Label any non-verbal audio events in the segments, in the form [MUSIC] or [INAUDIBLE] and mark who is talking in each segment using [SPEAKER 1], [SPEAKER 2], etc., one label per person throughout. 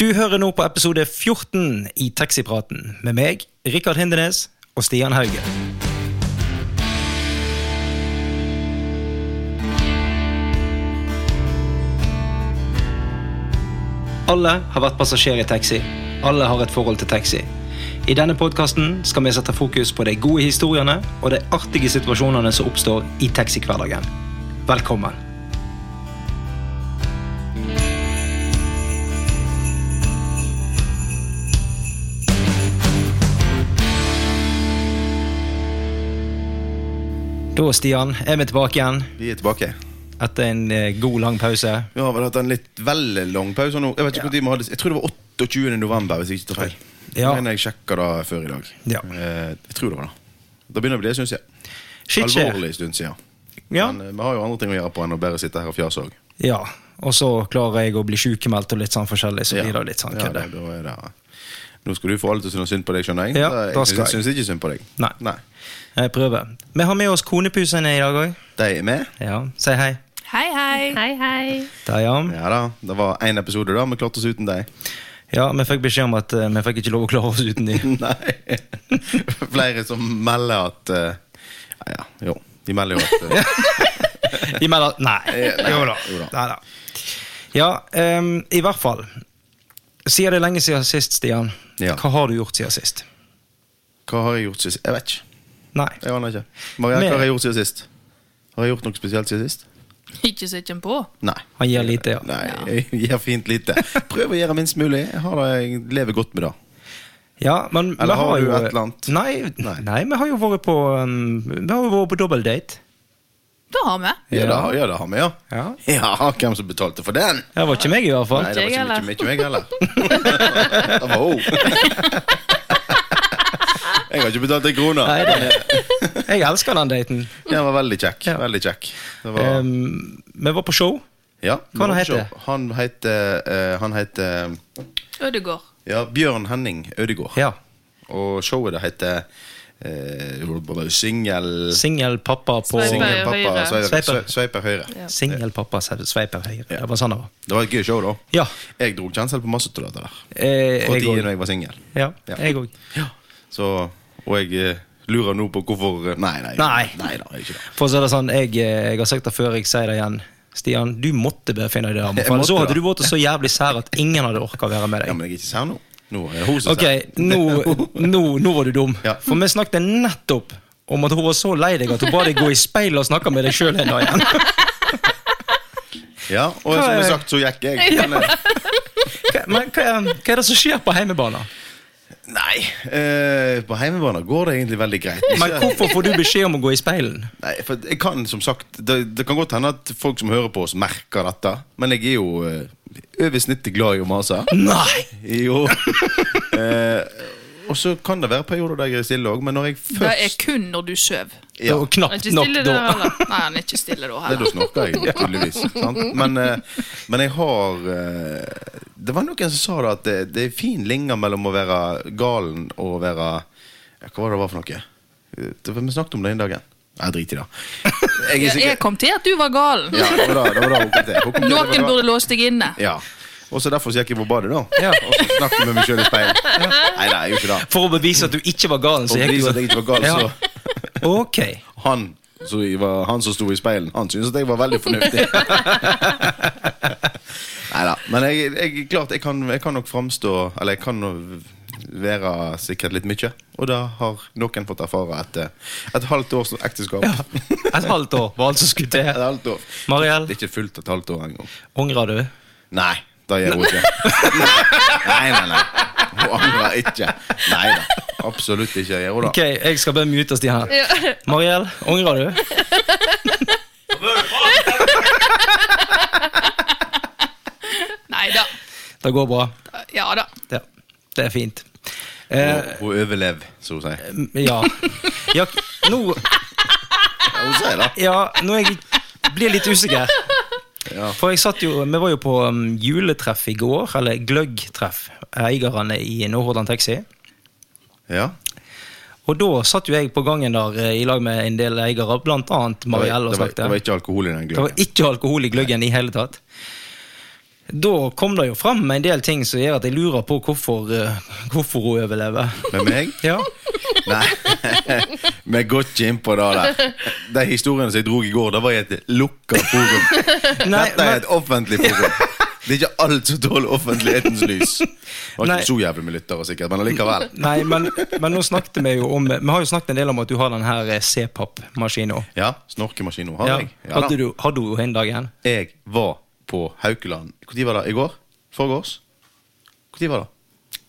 [SPEAKER 1] Du hører nå på episode 14 i Taxipraten med meg, Rikard Hindenes og Stian Hauge. Alle har vært passasjer i taxi. Alle har et forhold til taxi. I denne podkasten skal vi sette fokus på de gode historiene og de artige situasjonene som oppstår i taxihverdagen. Velkommen. Da, Stian, er vi tilbake igjen
[SPEAKER 2] Vi er tilbake.
[SPEAKER 1] etter en eh, god, lang pause.
[SPEAKER 2] Vi har vel hatt en litt vel lang pause nå. Jeg vet ikke hvor tid vi hadde Jeg tror det var 28. november, hvis jeg ikke tar feil.
[SPEAKER 1] Ja.
[SPEAKER 2] Men jeg sjekka det før i dag.
[SPEAKER 1] Ja.
[SPEAKER 2] Eh, jeg tror det var det. Da begynner vi det, syns jeg.
[SPEAKER 1] Shit skjer.
[SPEAKER 2] Alvorlig stund siden.
[SPEAKER 1] Ja.
[SPEAKER 2] Men eh, vi har jo andre ting å gjøre på enn å bare sitte her og fjase òg.
[SPEAKER 1] ja. Og så klarer jeg å bli sykemeldt og litt sånn forskjellig, så blir det litt sånn
[SPEAKER 2] Ja,
[SPEAKER 1] kødde.
[SPEAKER 2] det- da er det- Nå skal du få alle til å synes synd på deg, skjønner jeg.
[SPEAKER 1] Ja,
[SPEAKER 2] Da-
[SPEAKER 1] da skal
[SPEAKER 2] jeg.
[SPEAKER 1] jeg.
[SPEAKER 2] Syns ikke synd på deg.
[SPEAKER 1] Nei. Jeg prøver. Vi har med oss konepusene i dag òg.
[SPEAKER 2] De er med.
[SPEAKER 1] Ja, si hei.
[SPEAKER 3] Hei, hei.
[SPEAKER 4] Hei, hei.
[SPEAKER 1] Der, ja.
[SPEAKER 2] Ja da. Det var én episode, da. Vi klarte oss uten deg.
[SPEAKER 1] ja, vi fikk beskjed om at eh, vi fikk ikke lov å klare oss uten
[SPEAKER 2] [LAUGHS]
[SPEAKER 1] dem.
[SPEAKER 2] Nei. Flere som melder at eh, Ja, jo. De melder jo at eh,
[SPEAKER 1] De melder Nei.
[SPEAKER 2] nei,
[SPEAKER 1] Jo da.
[SPEAKER 2] jo da.
[SPEAKER 1] Neida. Ja, em, i hvert fall. Siden det er lenge siden sist, Stian,
[SPEAKER 2] Ja.
[SPEAKER 1] hva har du gjort siden sist?
[SPEAKER 2] Hva har jeg gjort siden sist? Jeg vet ikke.
[SPEAKER 1] Nei.
[SPEAKER 2] Jeg aner ikke. Maria,
[SPEAKER 1] Men-
[SPEAKER 2] hva har jeg gjort siden sist? Har jeg gjort noe spesielt siden sist?
[SPEAKER 3] Ikke sett en på.
[SPEAKER 2] Nei.
[SPEAKER 1] Han gir lite, ja.
[SPEAKER 2] Nei, jeg [LAUGHS] gjør fint lite. Prøv å gjøre minst mulig. Jeg, har det, jeg lever godt med det.
[SPEAKER 1] ja men, vi
[SPEAKER 2] Eller har du
[SPEAKER 1] jo,
[SPEAKER 2] et eller annet?
[SPEAKER 1] Nei, nei.
[SPEAKER 2] Nei.
[SPEAKER 1] vi har jo vært på um, Vi har jo vært på dobbeldate.
[SPEAKER 3] Da har vi.
[SPEAKER 2] Ja,
[SPEAKER 1] Ja.
[SPEAKER 2] det har, ja, det har vi, ja.
[SPEAKER 1] Ja.
[SPEAKER 2] Ja, hvem som betalte for den?
[SPEAKER 1] Det var ikke meg, i hvert fall.
[SPEAKER 2] Nei, det
[SPEAKER 3] jeg
[SPEAKER 2] var
[SPEAKER 3] heller.
[SPEAKER 2] ikke, ikke meg heller.
[SPEAKER 1] [LAUGHS]
[SPEAKER 2] det var hun. Jeg har ikke betalt en krone.
[SPEAKER 1] Nei, det, jeg elsker den daten.
[SPEAKER 2] Den var veldig kjekk.
[SPEAKER 1] Ja.
[SPEAKER 2] Veldig kjekk. Det var,
[SPEAKER 1] Um, vi var på show.
[SPEAKER 2] ja,
[SPEAKER 1] hva han
[SPEAKER 2] må vi
[SPEAKER 1] heter?
[SPEAKER 2] se. Han heter, eh, han heter
[SPEAKER 3] Ødegård.
[SPEAKER 2] ja, Bjørn Henning Ødegaard.
[SPEAKER 1] Ja.
[SPEAKER 2] Og showet det heter eh, Singel
[SPEAKER 1] Singel pappa på
[SPEAKER 3] Sveiper.
[SPEAKER 2] Singel pappa
[SPEAKER 3] høyre.
[SPEAKER 2] sveiper,
[SPEAKER 1] Sveiper.
[SPEAKER 2] sveiper høyre.
[SPEAKER 1] Singel pappa sve- sveiper høyre.
[SPEAKER 2] Ja.
[SPEAKER 1] Det var sånn det var.
[SPEAKER 2] Det var et gøy show, da.
[SPEAKER 1] Ja.
[SPEAKER 2] Jeg dro kjensel på masse av dette der.
[SPEAKER 1] Eh,
[SPEAKER 2] På
[SPEAKER 1] jeg
[SPEAKER 2] tiden
[SPEAKER 1] òg.
[SPEAKER 2] da jeg var singel.
[SPEAKER 1] Ja,
[SPEAKER 2] Ja.
[SPEAKER 1] jeg òg.
[SPEAKER 2] Så Og jeg eh, lurer nå på hvorfor eh, Nei, nei.
[SPEAKER 1] Nei.
[SPEAKER 2] da, jeg er ikke det.
[SPEAKER 1] For så er det sånn, jeg, eh, jeg har sagt det før, jeg sier det igjen. Stian, du måtte bare finne deg dame.
[SPEAKER 2] Jeg
[SPEAKER 1] For ellers
[SPEAKER 2] måtte
[SPEAKER 1] så hadde
[SPEAKER 2] det.
[SPEAKER 1] du vært så jævlig sær at ingen hadde orka å være med
[SPEAKER 2] Ja,
[SPEAKER 1] deg.
[SPEAKER 2] men jeg er ikke sær nå. Nå er det hun som
[SPEAKER 1] Ok, nå, nå, nå var du dum.
[SPEAKER 2] Ja.
[SPEAKER 1] For vi snakket nettopp om at hun var så lei deg at hun ba deg gå i speilet og snakke med deg sjøl en dag igjen.
[SPEAKER 2] sær. Ja, og
[SPEAKER 1] Hva
[SPEAKER 2] som
[SPEAKER 1] er-
[SPEAKER 2] jeg sagt, så gikk jeg. Men, eh,
[SPEAKER 1] Hva, men hva, er- hva er det som skjer på heimebane?
[SPEAKER 2] nei. Eh, på hjemmebane går det egentlig veldig greit.
[SPEAKER 1] Men hvorfor får du beskjed om å gå i speilen?
[SPEAKER 2] Nei, for jeg kan som sagt det, det kan godt hende at folk som hører på oss, merker dette. Men jeg er jo eh, over snittet glad i å mase.
[SPEAKER 1] Nei!
[SPEAKER 2] Jo. [LAUGHS] eh, og så kan det være perioder der jeg er stille òg, men når jeg
[SPEAKER 3] Det er
[SPEAKER 2] først
[SPEAKER 3] kun når du sover.
[SPEAKER 2] Ja,
[SPEAKER 1] Og
[SPEAKER 3] Han er
[SPEAKER 1] knapt
[SPEAKER 3] ikke
[SPEAKER 1] nok
[SPEAKER 3] stille da
[SPEAKER 1] da.
[SPEAKER 3] heller. Nei, han er ikke stille da
[SPEAKER 2] det, da
[SPEAKER 3] heller.
[SPEAKER 2] snakker jeg tydeligvis. Sant? Men, eh, men jeg har eh, Det var noen som sa det at det, det er fin linje mellom å være galen og å være ja, Hva var det det var for noe? Eh, det var- Vi snakket om det den dagen. Nei, drit i
[SPEAKER 3] [LAUGHS]
[SPEAKER 2] det. Jeg er
[SPEAKER 3] Jeg, jeg
[SPEAKER 2] sikker-
[SPEAKER 3] kom til at du var gal.
[SPEAKER 2] Ja, det var da- det var da hun kom til. Hun kom til- det var
[SPEAKER 3] Noen
[SPEAKER 2] da-
[SPEAKER 3] burde låst deg inne.
[SPEAKER 2] Ja. Og så derfor så gikk jeg på badet, da.
[SPEAKER 1] Ja.
[SPEAKER 2] Og så snakket jeg med meg sjøl i speilet. Nei, nei, jeg gjorde ikke det.
[SPEAKER 1] For å bevise at du ikke var galen,
[SPEAKER 2] Og
[SPEAKER 1] så gikk
[SPEAKER 2] fordi
[SPEAKER 1] du
[SPEAKER 2] at jeg ikke var gal,
[SPEAKER 1] Ja.
[SPEAKER 2] så
[SPEAKER 1] Ok.
[SPEAKER 2] han, så jeg var, han som sto i speilen, han syntes at jeg var veldig fornuftig.
[SPEAKER 1] [LAUGHS]
[SPEAKER 2] Nei da. Men jeg, jeg, klart, jeg, kan, jeg kan nok framstå Eller jeg kan nok være sikkert litt mye. Og da har noen fått erfare etter et halvt års ekteskap.
[SPEAKER 1] Ja. Et halvt år var alt som skulle
[SPEAKER 2] [LAUGHS] Et
[SPEAKER 1] til.
[SPEAKER 2] halvt år.
[SPEAKER 1] Mariell,
[SPEAKER 2] Det er ikke fullt et halvt år engang.
[SPEAKER 1] angrer du?
[SPEAKER 2] Nei, det gjør hun
[SPEAKER 1] [LAUGHS]
[SPEAKER 2] ikke. Nei, nei, nei. Hun angrer ikke. Nei da. Absolutt ikke. Gjør hun
[SPEAKER 1] Ok,
[SPEAKER 2] det?
[SPEAKER 1] jeg skal bare mute oss de her. Mariell, angrer du?
[SPEAKER 3] [LAUGHS] Nei da.
[SPEAKER 1] Det går bra.
[SPEAKER 3] Ja da.
[SPEAKER 1] Ja, det er fint. Eh,
[SPEAKER 2] Hun- Hun overlever, som hun sier.
[SPEAKER 1] ja. ja nå,
[SPEAKER 2] Ja, Hun sier det.
[SPEAKER 1] ja, nå jeg blir litt usikker.
[SPEAKER 2] Ja.
[SPEAKER 1] For jeg satt jo, Vi var jo på um, juletreff i går, eller gløggtreff, eierne i Nordhordland Taxi.
[SPEAKER 2] ja.
[SPEAKER 1] Og da satt jo jeg på gangen der eh, i lag med en del eiere, blant annet
[SPEAKER 2] Det var-
[SPEAKER 1] Marielle. og
[SPEAKER 2] det var-
[SPEAKER 1] snakket.
[SPEAKER 2] Det var ikke alkohol i
[SPEAKER 1] Det
[SPEAKER 2] den gløggen.
[SPEAKER 1] var ikke alkohol i gløggen i hele tatt. Da kom det jo fram en del ting som gjør at jeg lurer på hvorfor, eh, hvorfor hun overlever.
[SPEAKER 2] Med meg?
[SPEAKER 1] Ja.
[SPEAKER 2] Nei, [LAUGHS] vi går ikke inn på det der. De historiene som jeg dro i går, det var i et lukka forum.
[SPEAKER 1] Nei,
[SPEAKER 2] Dette er
[SPEAKER 1] men,
[SPEAKER 2] et offentlig forum. Det er ikke alt som tåler offentlighetens lys. Det var
[SPEAKER 1] Nei.
[SPEAKER 2] ikke så jævlig med lyttere, sikkert, men allikevel.
[SPEAKER 1] nei men, men nå snakket vi jo om Vi har jo snakket en del om at du har den her eh, C-pap-maskina.
[SPEAKER 2] Ja, snorkemaskina har
[SPEAKER 1] Ja.
[SPEAKER 2] jeg. Ja, da.
[SPEAKER 1] Hadde, du- hadde hun en dag igjen?
[SPEAKER 2] Jeg var på Haukeland Når var det? I går? Foregårs? Når var det?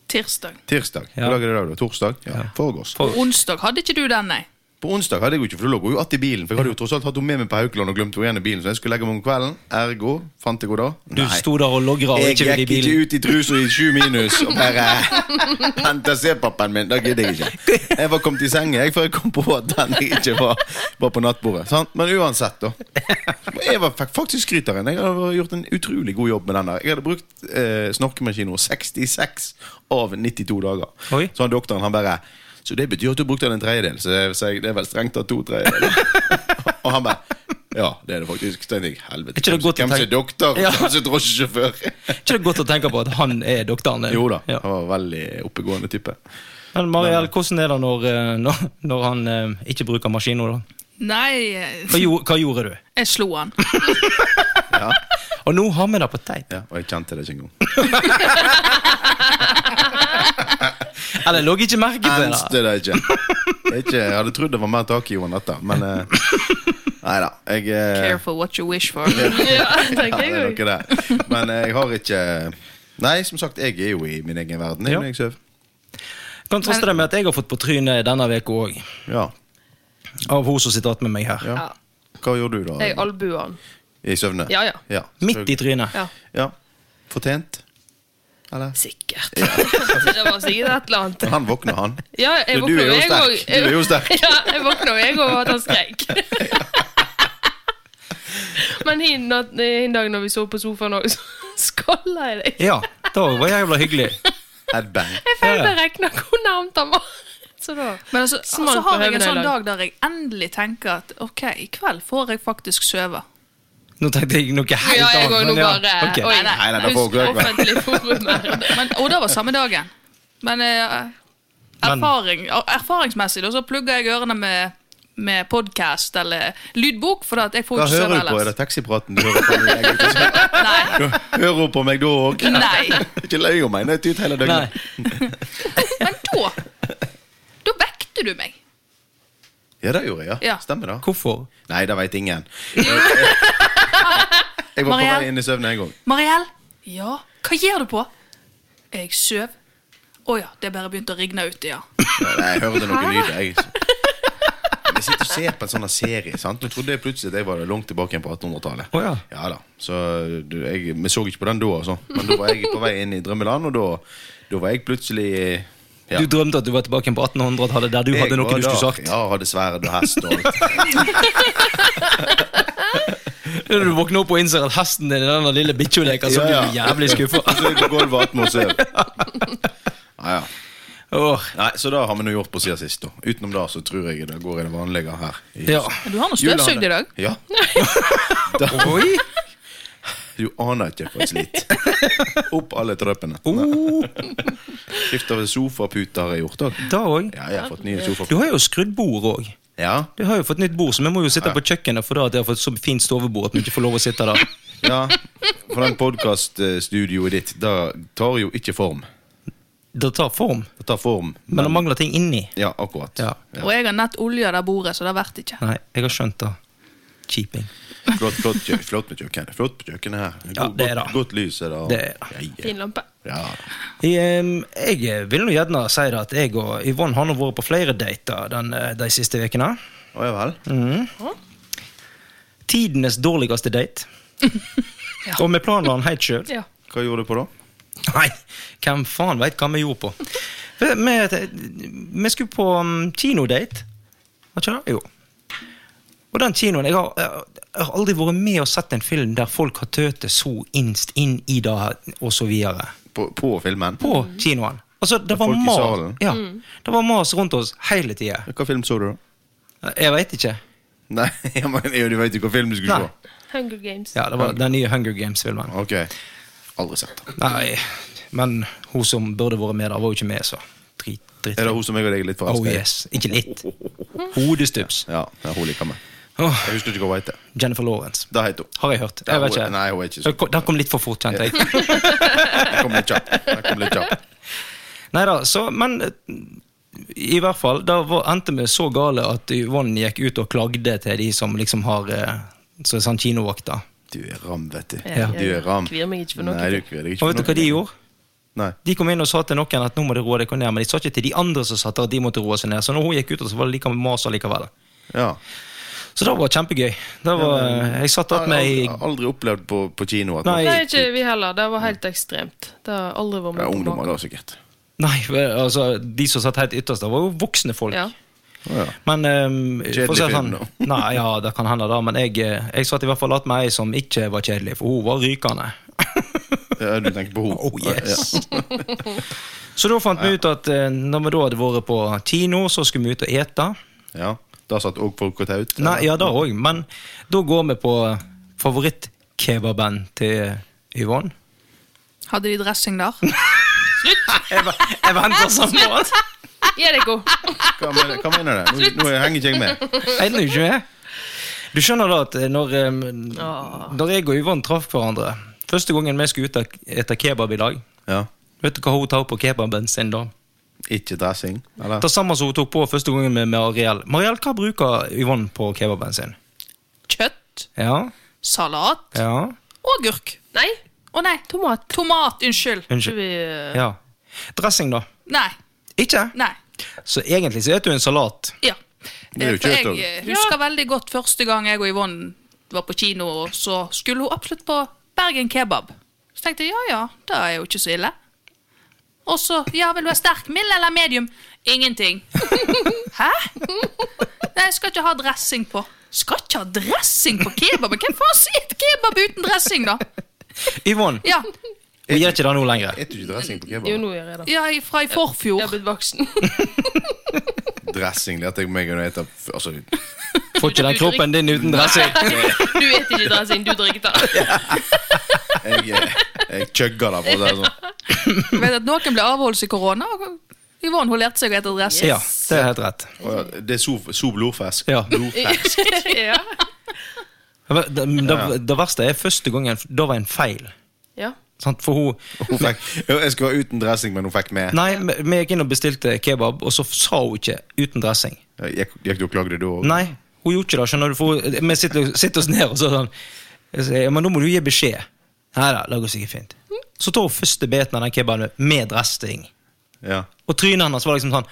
[SPEAKER 3] Tirsdag.
[SPEAKER 2] Tirsdag.
[SPEAKER 1] Ja.
[SPEAKER 2] Hva dag er det i dag? da? Torsdag? Ja,
[SPEAKER 1] Ja.
[SPEAKER 2] Foregårs.
[SPEAKER 1] For-
[SPEAKER 3] Onsdag hadde ikke du den, nei.
[SPEAKER 2] På onsdag hadde jeg jo ikke, for da lå hun jo att i bilen. For jeg hadde jo tross alt hatt henne med meg på Haukeland og glemt henne igjen i bilen. Så jeg skulle legge meg om kvelden. Ergo fant jeg henne da.
[SPEAKER 1] Du sto der og logra og
[SPEAKER 2] Jeg
[SPEAKER 1] ikke ville i
[SPEAKER 2] gikk ikke
[SPEAKER 1] bilen.
[SPEAKER 2] ut i trusa i sju minus og bare henta C-pappen min. Det gidder jeg ikke. Jeg var kommet i senga jeg, før jeg kom på at den ikke var, var på nattbordet. Sant? Men uansett, da. Jeg var fak- faktisk skryteren. Jeg hadde gjort en utrolig god jobb med den der. Jeg hadde brukt eh, snorkemaskina 66 av 92 dager.
[SPEAKER 1] Oi.
[SPEAKER 2] Så han doktoren han bare Så det betyr at du brukte den en tredjedel? Så jeg, så jeg, det er vel strengt tatt to tredjedeler. [LAUGHS] og han bare Ja, det er det faktisk. Så tenkte jeg, helvete.
[SPEAKER 1] Er ikke det godt å
[SPEAKER 2] Hvem som er
[SPEAKER 1] tenke-
[SPEAKER 2] doktor?
[SPEAKER 1] Ja.
[SPEAKER 2] Hvem som er drosjesjåfør?
[SPEAKER 1] Ikke det godt å tenke på at han er doktoren din?
[SPEAKER 2] [LAUGHS] Jo da,
[SPEAKER 1] Ja.
[SPEAKER 2] han var veldig oppegående type.
[SPEAKER 1] Men Mariell, hvordan er det når, eh, når, når han eh, ikke bruker maskina, da?
[SPEAKER 3] Nei, eh,
[SPEAKER 1] Hva, gjo- hva gjorde du?
[SPEAKER 3] jeg slo han.
[SPEAKER 2] Ja,
[SPEAKER 1] Og nå har vi det på teip.
[SPEAKER 2] ja, og jeg kjente det ikke engang.
[SPEAKER 1] Eller lå ikke merke til det?
[SPEAKER 2] Enste det ikke. [LAUGHS] ikke. Jeg hadde trodd det var mer tak i henne enn dette, men eh, Nei da. Jeg eh,
[SPEAKER 3] Careful what you wish for. [LAUGHS] ja,
[SPEAKER 2] ja, det
[SPEAKER 3] tenker
[SPEAKER 2] er
[SPEAKER 3] jeg også.
[SPEAKER 2] noe der. Men eh, jeg har ikke Nei, som sagt, jeg er jo i min egen verden. Jeg,
[SPEAKER 1] Ja.
[SPEAKER 2] når jeg sover.
[SPEAKER 1] Kan trøste deg med at jeg har fått på trynet denne uka òg.
[SPEAKER 2] Ja.
[SPEAKER 1] Av hun som sitter attmed meg her.
[SPEAKER 2] ja.
[SPEAKER 4] Ja.
[SPEAKER 2] Hva gjorde du
[SPEAKER 4] Jeg
[SPEAKER 2] da?
[SPEAKER 4] albuer han.
[SPEAKER 2] I søvne?
[SPEAKER 4] Ja, ja.
[SPEAKER 1] Midt i trynet.
[SPEAKER 4] Ja.
[SPEAKER 2] Ja. Fortjent? Eller?
[SPEAKER 4] Sikkert. [LAUGHS] det var sikkert et eller annet.
[SPEAKER 2] Han våkner, han.
[SPEAKER 4] Ja, jeg
[SPEAKER 2] Du- du er jo
[SPEAKER 4] våkner jeg
[SPEAKER 2] sterk.
[SPEAKER 4] og-
[SPEAKER 2] Du er jo sterk.
[SPEAKER 4] [LAUGHS] ja, jeg våkner jo jeg og at han
[SPEAKER 2] [LAUGHS]
[SPEAKER 4] skrek. Men hin nat- hin dagen når vi sov på sofaen òg, [LAUGHS] så skalla jeg deg.
[SPEAKER 1] Ja, da var jeg jævla hyggelig.
[SPEAKER 2] Headbang.
[SPEAKER 4] Jeg
[SPEAKER 1] Ja,
[SPEAKER 4] feil
[SPEAKER 1] ja.
[SPEAKER 4] beregna hvor nærmt han var. [LAUGHS] Så da
[SPEAKER 3] Men altså,
[SPEAKER 4] Smalt
[SPEAKER 3] så har
[SPEAKER 4] på
[SPEAKER 3] jeg en
[SPEAKER 4] høvene i
[SPEAKER 3] sånn dag
[SPEAKER 4] dag.
[SPEAKER 3] der jeg endelig tenker at ok, i kveld får jeg faktisk sove.
[SPEAKER 1] Nå tenkte jeg noe helt
[SPEAKER 4] Ja, jeg
[SPEAKER 1] annet,
[SPEAKER 4] går nå
[SPEAKER 1] men ja,
[SPEAKER 4] bare
[SPEAKER 1] ok.
[SPEAKER 4] Oi,
[SPEAKER 2] Nei, nei, det får
[SPEAKER 4] husk
[SPEAKER 2] ikke være.
[SPEAKER 4] offentlig forum her.
[SPEAKER 3] Men, og det var samme dagen. Men eh, erfaring, erfaringsmessig da, så plugger jeg ørene med, med podkast eller lydbok, for at jeg får
[SPEAKER 2] Hva
[SPEAKER 3] ikke
[SPEAKER 2] hører du
[SPEAKER 3] søvn
[SPEAKER 2] på? Er
[SPEAKER 3] ellers.
[SPEAKER 2] det taxipraten du
[SPEAKER 3] [LAUGHS]
[SPEAKER 2] hører på? Jeg er ikke så-
[SPEAKER 3] Nei.
[SPEAKER 2] Hører hun på meg da òg?
[SPEAKER 3] Nei.
[SPEAKER 2] [LAUGHS] Ikke løy om meg nødt ut hele døgnet.
[SPEAKER 1] Nei,
[SPEAKER 3] Men da Da vekte du meg.
[SPEAKER 2] Ja, det gjorde jeg. ja.
[SPEAKER 3] Ja.
[SPEAKER 2] Stemmer det.
[SPEAKER 1] hvorfor?
[SPEAKER 2] Nei, det veit
[SPEAKER 3] [LAUGHS]
[SPEAKER 2] ingen. Jeg var på
[SPEAKER 3] Marianne?
[SPEAKER 2] vei inn i søvn en gang.
[SPEAKER 3] Mariell? Ja? Hva gjør du på? Jeg søv. Å ja, det bare begynte å rigne ute, ja.
[SPEAKER 2] Nei, Jeg hørte noen lyder. Jeg Jeg sitter og ser på en sånn serie. sant? Nå trodde jeg plutselig at jeg var langt tilbake igjen på 1800-tallet.
[SPEAKER 1] Å ja.
[SPEAKER 2] da. Så du, jeg, Vi så ikke på den da, altså. Men da var jeg på vei inn i drømmeland, og da, da var jeg plutselig ja.
[SPEAKER 1] Du drømte at du var tilbake igjen på 1800-tallet, der du
[SPEAKER 2] Jeg
[SPEAKER 1] hadde noe
[SPEAKER 2] var
[SPEAKER 1] du skulle
[SPEAKER 2] da-
[SPEAKER 1] sagt.
[SPEAKER 2] Ja, hadde sverd og hest og alt.
[SPEAKER 1] Når du våkner opp og innser at hesten din er den der lille bikkjeleka, så blir du jævlig
[SPEAKER 2] [LAUGHS]
[SPEAKER 1] skuffa.
[SPEAKER 2] Så ligger du på gulvet attmed og sover. Ja, ja.
[SPEAKER 1] Åh,
[SPEAKER 2] Nei, så det har vi nå gjort på siden sist. da Utenom det så tror jeg det går i det vanlige her. I
[SPEAKER 1] ja.
[SPEAKER 3] Men du har nå støvsugd i dag. [LAUGHS]
[SPEAKER 2] Ja.
[SPEAKER 1] Oi!
[SPEAKER 2] Du aner ikke hvor jeg sliter. Opp alle trøppene.
[SPEAKER 1] Oh,
[SPEAKER 2] Skifter over sofaputer har jeg gjort òg.
[SPEAKER 1] da òg.
[SPEAKER 2] Ja, jeg har fått nye
[SPEAKER 1] Du
[SPEAKER 2] sofaputer.
[SPEAKER 1] har jo skrudd bord òg.
[SPEAKER 2] Ja,
[SPEAKER 1] Du har jo fått nytt bord, så vi må jo sitte på kjøkkenet fordi at jeg har fått så fint stovebord at vi ikke får lov å sitte der.
[SPEAKER 2] ja. For den podkaststudioet ditt, det tar jo ikke form.
[SPEAKER 1] Det tar form,
[SPEAKER 2] Det tar form.
[SPEAKER 1] men det mangler ting inni.
[SPEAKER 2] Ja, akkurat.
[SPEAKER 1] Ja.
[SPEAKER 3] Og jeg har nett olje der bordet, så det har vært ikke.
[SPEAKER 1] Nei, jeg har skjønt det. Keeping.
[SPEAKER 2] Flott, flott, kjø- flott med kjøkkenet. Flott på kjøkkenet her. God,
[SPEAKER 1] Ja, det er det.
[SPEAKER 2] godt, godt lys er det. og-
[SPEAKER 1] Det er det.
[SPEAKER 2] Ja, ja.
[SPEAKER 4] Fin lampe.
[SPEAKER 2] Ja.
[SPEAKER 1] Jeg, em, jeg vil nå gjerne si det at jeg og Yvonne har nå vært på flere dater den, eh, de siste ukene.
[SPEAKER 2] Å ja vel.
[SPEAKER 1] Tidenes dårligste [LAUGHS] date. Og vi planla den helt sjøl.
[SPEAKER 4] Ja.
[SPEAKER 2] Hva gjorde du på da?
[SPEAKER 1] Nei, hvem faen veit hva vi gjorde på? Vi, vi, vi skulle på um, kinodate. Var ikke det? Jo. Og den kinoen jeg har, jeg har aldri vært med og sett en film der folk har tøtet så innst inn i det, og så videre.
[SPEAKER 2] På, på filmen?
[SPEAKER 1] På kinoen. Altså, det var,
[SPEAKER 2] Mm. folk i
[SPEAKER 1] mas,
[SPEAKER 2] salen. Mm.
[SPEAKER 1] ja, det var mas rundt oss hele tida.
[SPEAKER 2] Hva film så du, da?
[SPEAKER 1] Jeg veit ikke.
[SPEAKER 2] Nei, [LAUGHS] jeg mener, du vet jo hva film du skulle
[SPEAKER 1] Nei.
[SPEAKER 2] se.
[SPEAKER 4] Hunger Games.
[SPEAKER 1] Ja, det var den nye Hunger Games-filmen.
[SPEAKER 2] Ok. Aldri sett den.
[SPEAKER 1] Nei, men hun som burde vært med der, var jo ikke med, så drit, drit.
[SPEAKER 2] Er det hun som jeg og deg er litt
[SPEAKER 1] Oh
[SPEAKER 2] forelska i?
[SPEAKER 1] yes. Ikke
[SPEAKER 2] [LAUGHS]
[SPEAKER 1] litt. Hodestups.
[SPEAKER 2] Ja, ja, hun liker meg.
[SPEAKER 1] Åh,
[SPEAKER 2] Jeg husker ikke hva hun heter.
[SPEAKER 1] Jennifer Lawrence.
[SPEAKER 2] Det heter hun.
[SPEAKER 1] Har jeg hørt.
[SPEAKER 2] Ja,
[SPEAKER 1] Jeg vet
[SPEAKER 2] hun-
[SPEAKER 1] ikke.
[SPEAKER 2] Nei, hun er ikke så
[SPEAKER 1] Den kom- Den kom litt for fort, kjente
[SPEAKER 2] [LAUGHS]
[SPEAKER 1] jeg.
[SPEAKER 2] Jeg kom litt kjapt. Jeg kom litt kjapt.
[SPEAKER 1] Neida, så Men eh, i hvert fall, det var- endte vi så gale at Yvonne gikk ut og klagde til de som liksom har eh, så er sånn kinovakter.
[SPEAKER 2] Du er ram, vet du.
[SPEAKER 4] Ja.
[SPEAKER 2] Du er ram.
[SPEAKER 4] Kvir meg ikke for noe.
[SPEAKER 2] Nei, du kvir deg ikke
[SPEAKER 1] Og vet du
[SPEAKER 2] for
[SPEAKER 1] hva de
[SPEAKER 2] noe.
[SPEAKER 1] gjorde?
[SPEAKER 2] Nei.
[SPEAKER 1] De kom inn og sa til noen at nå må de roe dere ned, men de sa ikke til de andre som satt der at de måtte roe seg ned. Så når hun gikk ut, så var det like mas allikevel.
[SPEAKER 2] Ja.
[SPEAKER 1] Så det var kjempegøy. Det var, jeg satt
[SPEAKER 2] Jeg har
[SPEAKER 1] attmed i
[SPEAKER 2] aldri, aldri opplevd på, på kino at
[SPEAKER 1] Nei.
[SPEAKER 2] noen-
[SPEAKER 4] Nei, ikke vi heller. Det var helt ekstremt. Det har aldri vært
[SPEAKER 2] Det er
[SPEAKER 4] med på
[SPEAKER 2] ungdommer,
[SPEAKER 4] maken.
[SPEAKER 2] da, sikkert.
[SPEAKER 1] Nei, [LAUGHS] altså, de som satt helt ytterst der, var jo voksne folk.
[SPEAKER 4] Ja.
[SPEAKER 2] Ja.
[SPEAKER 1] Men um,
[SPEAKER 2] Kjedelig film, da.
[SPEAKER 1] [LAUGHS] Nei, ja, det kan hende, da. Men jeg, eh, jeg satt i hvert fall att med ei som ikke var kjedelig, for hun var rykende.
[SPEAKER 2] Ja, Du tenker på henne?
[SPEAKER 1] [LAUGHS] Oh, yes. så da fant vi ut at eh, når vi da hadde vært på kino, så skulle vi ut og ete.
[SPEAKER 2] Ja. ja. Da satt òg folk og taut?
[SPEAKER 1] Nei, ja, det òg, men da går vi på favorittkebaben til Yvonne.
[SPEAKER 3] Hadde de
[SPEAKER 2] [LAUGHS]
[SPEAKER 3] dressing der?
[SPEAKER 1] Jeg, va- [LAUGHS] jeg venter sånn på han!
[SPEAKER 4] Gi deg god.
[SPEAKER 2] Hva mener, hva mener du? Nå, nå henger ikke jeg med.
[SPEAKER 1] Jeg er jo ikke med. Du skjønner da at når, um, når jeg og Yvonne traff hverandre Første gangen vi skulle ut og ete kebab i lag,
[SPEAKER 2] Ja.
[SPEAKER 1] vet du hva hun tar på kebaben sin da?
[SPEAKER 2] Ikke dressing? Eller?
[SPEAKER 1] Det samme som hun tok på første gangen med Mariell. Mariell, hva bruker Yvonne på kebaben sin?
[SPEAKER 3] Kjøtt,
[SPEAKER 1] Ja,
[SPEAKER 3] salat
[SPEAKER 1] ja,
[SPEAKER 3] og agurk.
[SPEAKER 4] Nei,
[SPEAKER 3] Å nei,
[SPEAKER 4] tomat.
[SPEAKER 3] tomat. Unnskyld.
[SPEAKER 4] Tror
[SPEAKER 1] unnskyld.
[SPEAKER 4] vi eh,
[SPEAKER 1] Ja. Dressing, da?
[SPEAKER 3] Nei.
[SPEAKER 1] Ikke?
[SPEAKER 3] Nei.
[SPEAKER 1] Så egentlig så spiser du en salat.
[SPEAKER 3] Ja.
[SPEAKER 2] Det er jo
[SPEAKER 3] Eh, For
[SPEAKER 2] kjøtt,
[SPEAKER 3] jeg
[SPEAKER 2] da.
[SPEAKER 3] eh, husker veldig godt første gang jeg og Yvonne var på kino, og så skulle hun absolutt på Bergen kebab. Så tenkte jeg ja ja, det er jo ikke så ille. Og så ja, vil du ha sterk, mild eller medium? Ingenting. [LAUGHS] Hæ? Nei, jeg skal ikke ha dressing på. Skal ikke ha dressing på kebaben? Hvem faen spiser kebab uten dressing, da?
[SPEAKER 1] Yvonne,
[SPEAKER 3] Ja,
[SPEAKER 1] vi gjør ikke det nå lenger.
[SPEAKER 2] Spiser du ikke dressing på
[SPEAKER 4] Jo,
[SPEAKER 2] kebab?
[SPEAKER 4] nå gjør jeg det.
[SPEAKER 3] ja fra i
[SPEAKER 4] Jeg har
[SPEAKER 3] forfjor.
[SPEAKER 4] blitt
[SPEAKER 1] [LAUGHS]
[SPEAKER 4] voksen.
[SPEAKER 2] Dressing lærte jeg meg å spise. Altså,
[SPEAKER 1] Får ikke den kroppen din uten dressing.
[SPEAKER 4] Du vet ikke dressing, du drikker [LAUGHS] det.
[SPEAKER 2] jeg, eh, jeg chugger det, for å si det sånn.
[SPEAKER 3] Jeg vet at Noen ble avholds i korona, og Yvonne hun lærte seg å hete dressing.
[SPEAKER 1] Ja, det er helt rett.
[SPEAKER 2] Å ja, Det er so, so blodfersk.
[SPEAKER 1] Ja.
[SPEAKER 2] Blodfersk.
[SPEAKER 4] Ja.
[SPEAKER 1] Det, det, det verste er første gangen, da var en feil.
[SPEAKER 4] ja.
[SPEAKER 1] Sant? For hun
[SPEAKER 2] Hun fikk, jeg skulle ha uten dressing, men hun fikk med.
[SPEAKER 1] Nei, vi vi gikk inn og bestilte kebab, og så sa hun ikke 'uten dressing'.
[SPEAKER 2] Gikk, gikk du og klagde da?
[SPEAKER 1] Nei, hun gjorde ikke det. skjønner du For hun- Vi sitter, sitter oss ned og så sånn jeg sier, «Ja, Men nå må du gi beskjed. Nei da, det går sikkert fint. Så tar hun første beten av den kebaben med dressing.
[SPEAKER 2] Ja.
[SPEAKER 1] Og trynet hennes var liksom sånn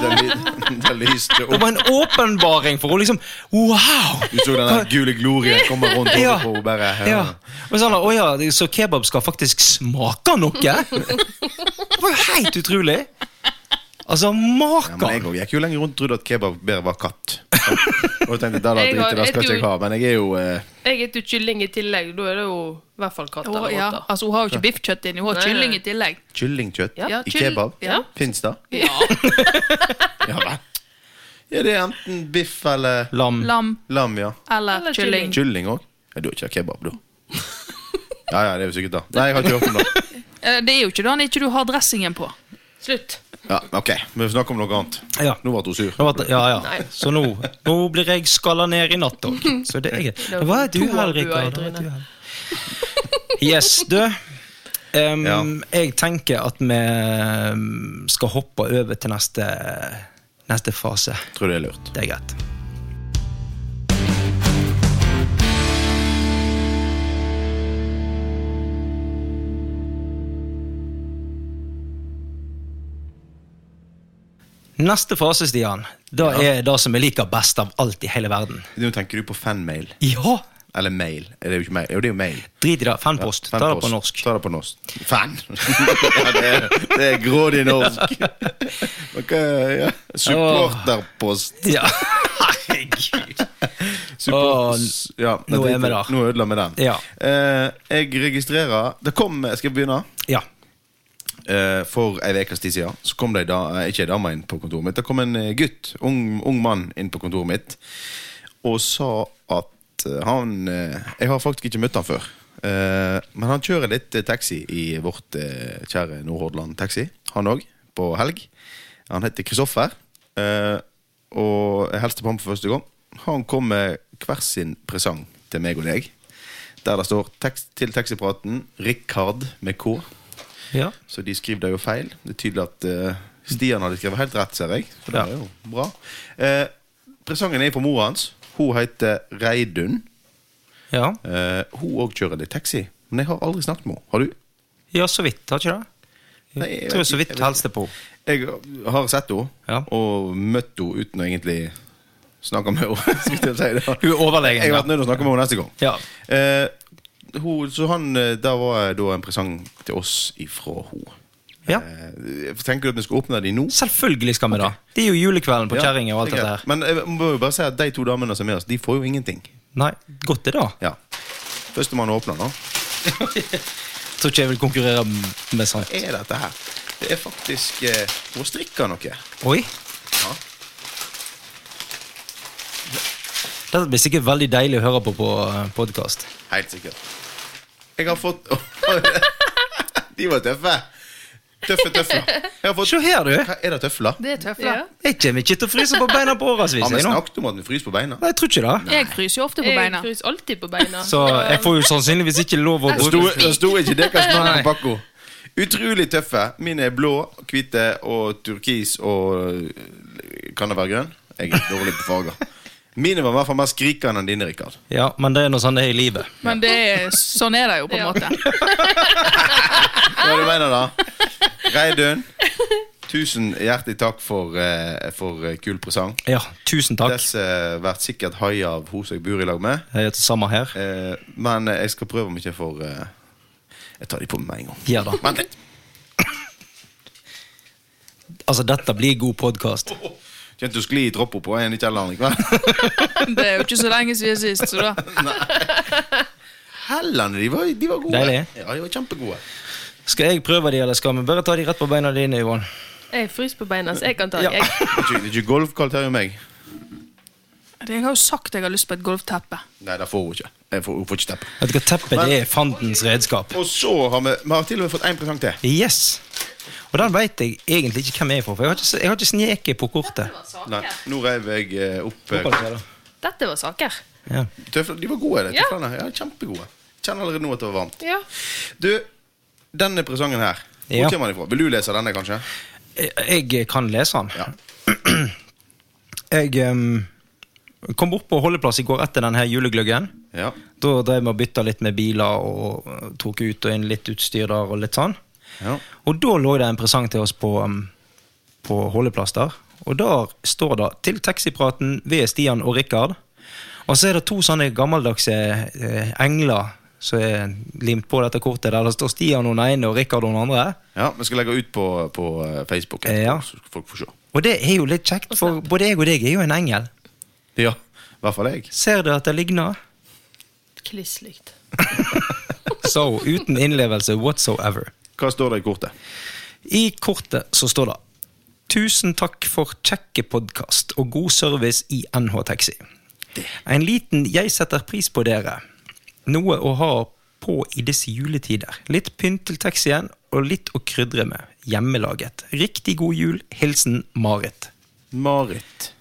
[SPEAKER 2] Det, ly- det lyste
[SPEAKER 1] Det
[SPEAKER 2] opp.
[SPEAKER 1] var en åpenbaring for henne. Liksom, wow!
[SPEAKER 2] Du så den der gule glorien komme rundt hodet
[SPEAKER 1] Ja.
[SPEAKER 2] på henne. bare
[SPEAKER 1] Ja. Og sånn, å ja, så kebab skal faktisk smake noe? Det var jo helt utrolig! Altså,
[SPEAKER 2] Ja, men jeg
[SPEAKER 1] maken!
[SPEAKER 2] også gikk jo lenge rundt og trodde at kebab bedre var katt. Og jeg tenkte, det der
[SPEAKER 4] Jeg har-
[SPEAKER 2] dritet, det skal
[SPEAKER 4] jeg
[SPEAKER 2] ikke jeg ha. Men jeg er jo eh,
[SPEAKER 4] Jeg spiser kylling i tillegg. Da er det jo i hvert fall katt
[SPEAKER 3] Hun,
[SPEAKER 4] eller
[SPEAKER 3] ja,
[SPEAKER 4] rotter.
[SPEAKER 3] altså, hun har jo ikke biffkjøtt inni, hun har
[SPEAKER 4] Nei, nei.
[SPEAKER 3] kylling i tillegg.
[SPEAKER 2] kyllingkjøtt
[SPEAKER 4] Ja,
[SPEAKER 2] i
[SPEAKER 3] kyll-
[SPEAKER 2] kebab.
[SPEAKER 3] ja.
[SPEAKER 2] Fins det?
[SPEAKER 3] Ja.
[SPEAKER 2] [LAUGHS] Ja vel. Ja, det er enten biff eller
[SPEAKER 1] Lam.
[SPEAKER 3] Lam
[SPEAKER 2] lam, ja.
[SPEAKER 3] eller,
[SPEAKER 4] Eller
[SPEAKER 3] kylling.
[SPEAKER 2] Kylling òg? Ja, du har ikke kebab, da?
[SPEAKER 4] [LAUGHS]
[SPEAKER 2] Ja, ja, det er jo sikkert det. Nei, jeg har ikke hørt om det.
[SPEAKER 3] Eh, Det er jo ikke da når ikke du har dressingen på.
[SPEAKER 4] Slutt.
[SPEAKER 2] Ja, Ok, vi får snakke om noe annet.
[SPEAKER 1] Ja.
[SPEAKER 2] Nå ble hun sur.
[SPEAKER 1] Nå ble det- Ja, ja. Så nå, nå blir jeg skalla ned i natt òg. Så det er greit. Det var et
[SPEAKER 4] To
[SPEAKER 1] uhell,
[SPEAKER 4] albuer i
[SPEAKER 1] Rikard. Det var et
[SPEAKER 4] trynet.
[SPEAKER 1] uhell. Yes, du. Em,
[SPEAKER 2] Ja.
[SPEAKER 1] Jeg tenker at vi em, skal hoppe over til neste, neste fase.
[SPEAKER 2] Tror det er lurt.
[SPEAKER 1] Det er greit. Neste fase, Stian, da er det som jeg liker best av alt i hele verden.
[SPEAKER 2] Nå tenker du på fanmail.
[SPEAKER 1] Ja!
[SPEAKER 2] Eller mail. Er det jo ikke mail? Jo, det er jo mail.
[SPEAKER 1] Drit i det. Fanpost. Ta det på
[SPEAKER 2] Fanpost.
[SPEAKER 1] norsk.
[SPEAKER 2] Ta det på norsk. Fan! [LAUGHS] ja, det, er, det er grådig
[SPEAKER 1] [LAUGHS]
[SPEAKER 2] norsk. Ok, ja. Supporterpost.
[SPEAKER 1] Ja. Herregud.
[SPEAKER 2] Support-
[SPEAKER 1] Åh,
[SPEAKER 2] ja,
[SPEAKER 1] nå
[SPEAKER 2] det-
[SPEAKER 1] er vi der.
[SPEAKER 2] Nå ødela vi den.
[SPEAKER 1] Ja.
[SPEAKER 2] Eh, jeg registrerer Det kom Skal jeg begynne?
[SPEAKER 1] Ja.
[SPEAKER 2] Eh, for ei ukes tid siden så kom det ei da, eh, ikke ei dame inn på kontoret mitt. Det kom en eh, gutt, ung, ung mann, inn på kontoret mitt og sa at at eh, han eh, Jeg har faktisk ikke møtt han før. Eh, men han kjører litt eh, taxi i vårt eh, kjære Nordhordland Taxi, han òg, på helg. Han heter Kristoffer, eh, og jeg hilste på ham for første gang. Han kom med hver sin presang til meg og deg, der det står tekst, 'Til taxipraten', Rikard med K.
[SPEAKER 1] Ja.
[SPEAKER 2] Så de skriver det jo feil. Det er tydelig at eh, Stian hadde skrevet helt rett, ser jeg. Så det er jo bra. Eh, presangen er fra mora hans. Hun heter Reidun.
[SPEAKER 1] Ja.
[SPEAKER 2] Eh, hun òg kjører litt taxi. Men jeg har aldri snakket med henne. Har du?
[SPEAKER 1] ja, så vidt, har ikke det?
[SPEAKER 2] Nei, jeg
[SPEAKER 1] Jeg tror
[SPEAKER 2] vet
[SPEAKER 1] så
[SPEAKER 2] ikke, jeg
[SPEAKER 1] vidt
[SPEAKER 2] vet
[SPEAKER 1] helste på.
[SPEAKER 2] Jeg har sett henne,
[SPEAKER 1] Ja.
[SPEAKER 2] og møtt henne uten å egentlig snakke med henne. [LAUGHS] skulle jeg til å si det.
[SPEAKER 1] Hun er overlegen,
[SPEAKER 2] Jeg har
[SPEAKER 1] ja.
[SPEAKER 2] vært nødt til å snakke med henne neste gang.
[SPEAKER 1] Ja.
[SPEAKER 2] Eh, hun, så han, eh, der var da en presang til oss ifra henne.
[SPEAKER 1] Ja.
[SPEAKER 2] Eh, tenker du at vi skal åpne de nå?
[SPEAKER 1] Selvfølgelig skal vi da. Det er jo julekvelden på
[SPEAKER 2] Ja,
[SPEAKER 1] kjerringa og alt
[SPEAKER 2] det er
[SPEAKER 1] dette
[SPEAKER 2] greit.
[SPEAKER 1] her.
[SPEAKER 2] Men jeg må jo bare si at de to damene som er med oss, de får jo ingenting.
[SPEAKER 1] Nei, godt det, da.
[SPEAKER 2] Ja. Førstemann åpner nå.
[SPEAKER 1] Jeg tror ikke jeg vil konkurrere med sånn. sånt.
[SPEAKER 2] Er dette her? Det er faktisk eh, Hun strikker noe.
[SPEAKER 1] Oi.
[SPEAKER 2] Ja.
[SPEAKER 1] Dette blir sikkert veldig deilig å høre på eh, på podkast.
[SPEAKER 2] Helt sikkert. Jeg har fått [LAUGHS] De var tøffe. Tøffe tøfler. Jeg har fått
[SPEAKER 1] Se her, du.
[SPEAKER 2] Hva er det tøfler?
[SPEAKER 4] Det er tøfler.
[SPEAKER 1] Jeg kommer ikke til å fryse på beina på årevis.
[SPEAKER 2] Har vi
[SPEAKER 1] jeg nå.
[SPEAKER 2] snakket om at vi fryser på beina?
[SPEAKER 1] Nei, jeg tror ikke det.
[SPEAKER 3] Jeg fryser jo ofte på
[SPEAKER 4] Jeg
[SPEAKER 3] beina.
[SPEAKER 4] fryser alltid på beina.
[SPEAKER 1] Så jeg får jo sannsynligvis ikke lov å
[SPEAKER 2] Det sto,
[SPEAKER 1] bruke
[SPEAKER 2] det sto ikke det hva som var
[SPEAKER 1] Nei.
[SPEAKER 2] på pakka. Utrolig tøffe. Mine er blå, hvite og turkis og eh, Kan det være grønn? Jeg er dårlig på farger. Mine var i hvert fall mer skrikende enn dine, Rikard.
[SPEAKER 1] Ja, men det er nå sånn det er i livet.
[SPEAKER 3] Men det
[SPEAKER 4] [LAUGHS]
[SPEAKER 3] er, sånn er det jo, på en
[SPEAKER 4] Ja.
[SPEAKER 3] måte.
[SPEAKER 2] Hva er det du mener da? Reidun, tusen hjertelig takk for, eh, for eh, kul presang.
[SPEAKER 1] Ja, tusen takk.
[SPEAKER 2] Dess eh, vært sikkert hai av hun som jeg bor i lag med.
[SPEAKER 1] Jeg gjør det samme her.
[SPEAKER 2] Eh, men eh, jeg skal prøve om ikke jeg får eh, Jeg tar de på meg med en gang.
[SPEAKER 1] Ja da.
[SPEAKER 2] Vent litt.
[SPEAKER 1] Altså, dette blir god podkast.
[SPEAKER 2] Kjente du skli i troppa på en i kjelleren i kveld?
[SPEAKER 3] Det er jo ikke så lenge siden sist, så da
[SPEAKER 2] Hellene, de var, de var gode.
[SPEAKER 1] Deilig.
[SPEAKER 2] Ja, de var kjempegode.
[SPEAKER 1] Skal jeg prøve de, eller skal vi bare ta de rett på beina dine, Yvonne?
[SPEAKER 4] Jeg fryser på beina, så jeg kan ta
[SPEAKER 1] Ja.
[SPEAKER 4] det. Jeg-
[SPEAKER 2] Det er ikke, det er ikke golfkaldt her i meg.
[SPEAKER 3] Jeg har jo sagt jeg har lyst på et golfteppe.
[SPEAKER 2] Nei, det får hun ikke. Jeg får, hun får ikke steppe.
[SPEAKER 1] Vet du hva teppet det er? Fandens redskap.
[SPEAKER 2] Og så har vi, vi har til og med fått en presang til.
[SPEAKER 1] Yes. Og den veit jeg egentlig ikke hvem jeg er fra, for jeg har ikke, jeg har ikke sneket på kortet.
[SPEAKER 2] Nei, nå reiv jeg eh, opp eh,
[SPEAKER 4] Dette var saker.
[SPEAKER 1] Ja.
[SPEAKER 2] Tøfler, de var gode, de
[SPEAKER 4] Ja.
[SPEAKER 2] tøflene. Ja, kjempegode. Kjenner allerede nå at det var varmt.
[SPEAKER 4] Ja.
[SPEAKER 2] Du, denne presangen her, hvor
[SPEAKER 1] Ja.
[SPEAKER 2] kommer den ifra? Vil du lese denne, kanskje?
[SPEAKER 1] Jeg jeg kan lese den.
[SPEAKER 2] Ja.
[SPEAKER 1] [CLEARS THROAT] Jeg em, kom opp på holdeplass i går etter denne her julegløggen.
[SPEAKER 2] ja.
[SPEAKER 1] Da drev vi og bytta litt med biler og eh, tok ut og inn litt utstyr der og litt sånn.
[SPEAKER 2] Ja.
[SPEAKER 1] Og da lå det en presang til oss på, em, på holdeplass der. Og der står det 'Til taxipraten ved Stian og Rikard'. Og så er det to sånne gammeldagse eh, engler som er limt på dette kortet, der det står Stian og den ene og Rikard og den andre.
[SPEAKER 2] ja, vi skal legge ut på, på eh, Facebook, etterpå,
[SPEAKER 1] Ja.
[SPEAKER 2] så skal folk får se.
[SPEAKER 1] Og det er jo litt kjekt, for både jeg og deg er jo en engel.
[SPEAKER 2] Ja, i hvert fall jeg.
[SPEAKER 1] Ser du at det ligner?
[SPEAKER 4] Kliss likt.
[SPEAKER 1] So, uten innlevelse whatsoever.
[SPEAKER 2] Hva står det i kortet?
[SPEAKER 1] I kortet så står det Tusen takk for kjekke podkast og god service i NH Taxi. En liten 'jeg setter pris på dere'. Noe å ha på i disse juletider. Litt pynt til taxien og litt å krydre med. Hjemmelaget. Riktig god jul. Hilsen Marit.
[SPEAKER 2] Marit.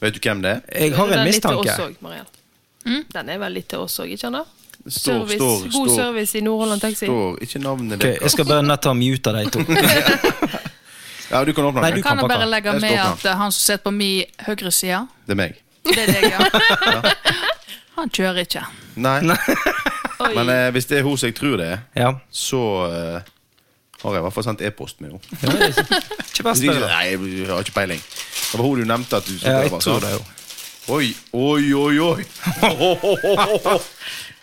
[SPEAKER 2] Vet du hvem det er?
[SPEAKER 1] Jeg har
[SPEAKER 4] Den
[SPEAKER 1] en
[SPEAKER 4] er litt til oss
[SPEAKER 1] mistanke.
[SPEAKER 4] også, Marielle. Den er vel litt til oss òg, ikke sant? da?
[SPEAKER 2] Står-
[SPEAKER 4] Service-
[SPEAKER 2] står-
[SPEAKER 4] God
[SPEAKER 2] står-
[SPEAKER 4] service i Nordhordland Taxi.
[SPEAKER 2] Står ikke navnet
[SPEAKER 1] Ok, jeg
[SPEAKER 2] deres.
[SPEAKER 1] skal bare nett ha muta [LAUGHS] de to.
[SPEAKER 2] Ja, du kan åpne
[SPEAKER 1] Nei,
[SPEAKER 2] den.
[SPEAKER 1] du-
[SPEAKER 3] Kan jeg
[SPEAKER 1] pakke.
[SPEAKER 3] bare legge
[SPEAKER 2] Jeg
[SPEAKER 3] med
[SPEAKER 2] står klar.
[SPEAKER 3] at eh, han som sitter på min høyre
[SPEAKER 4] [LAUGHS]
[SPEAKER 3] side,
[SPEAKER 2] Det er meg.
[SPEAKER 3] det er deg, ja. Han kjører ikke.
[SPEAKER 2] Nei,
[SPEAKER 4] Oi.
[SPEAKER 2] men eh, hvis det er hun som jeg tror det er,
[SPEAKER 1] Ja.
[SPEAKER 2] så eh, har jeg i hvert fall sendt e-post med henne.
[SPEAKER 1] Ja, det er Ikke verst,
[SPEAKER 2] Nei,
[SPEAKER 1] det.
[SPEAKER 2] jeg har ikke peiling. Det var hun du nevnte at du
[SPEAKER 1] Ja, jeg tror det sånn. jo.
[SPEAKER 2] Oi, oi, oi,
[SPEAKER 1] [LAUGHS]
[SPEAKER 2] oi.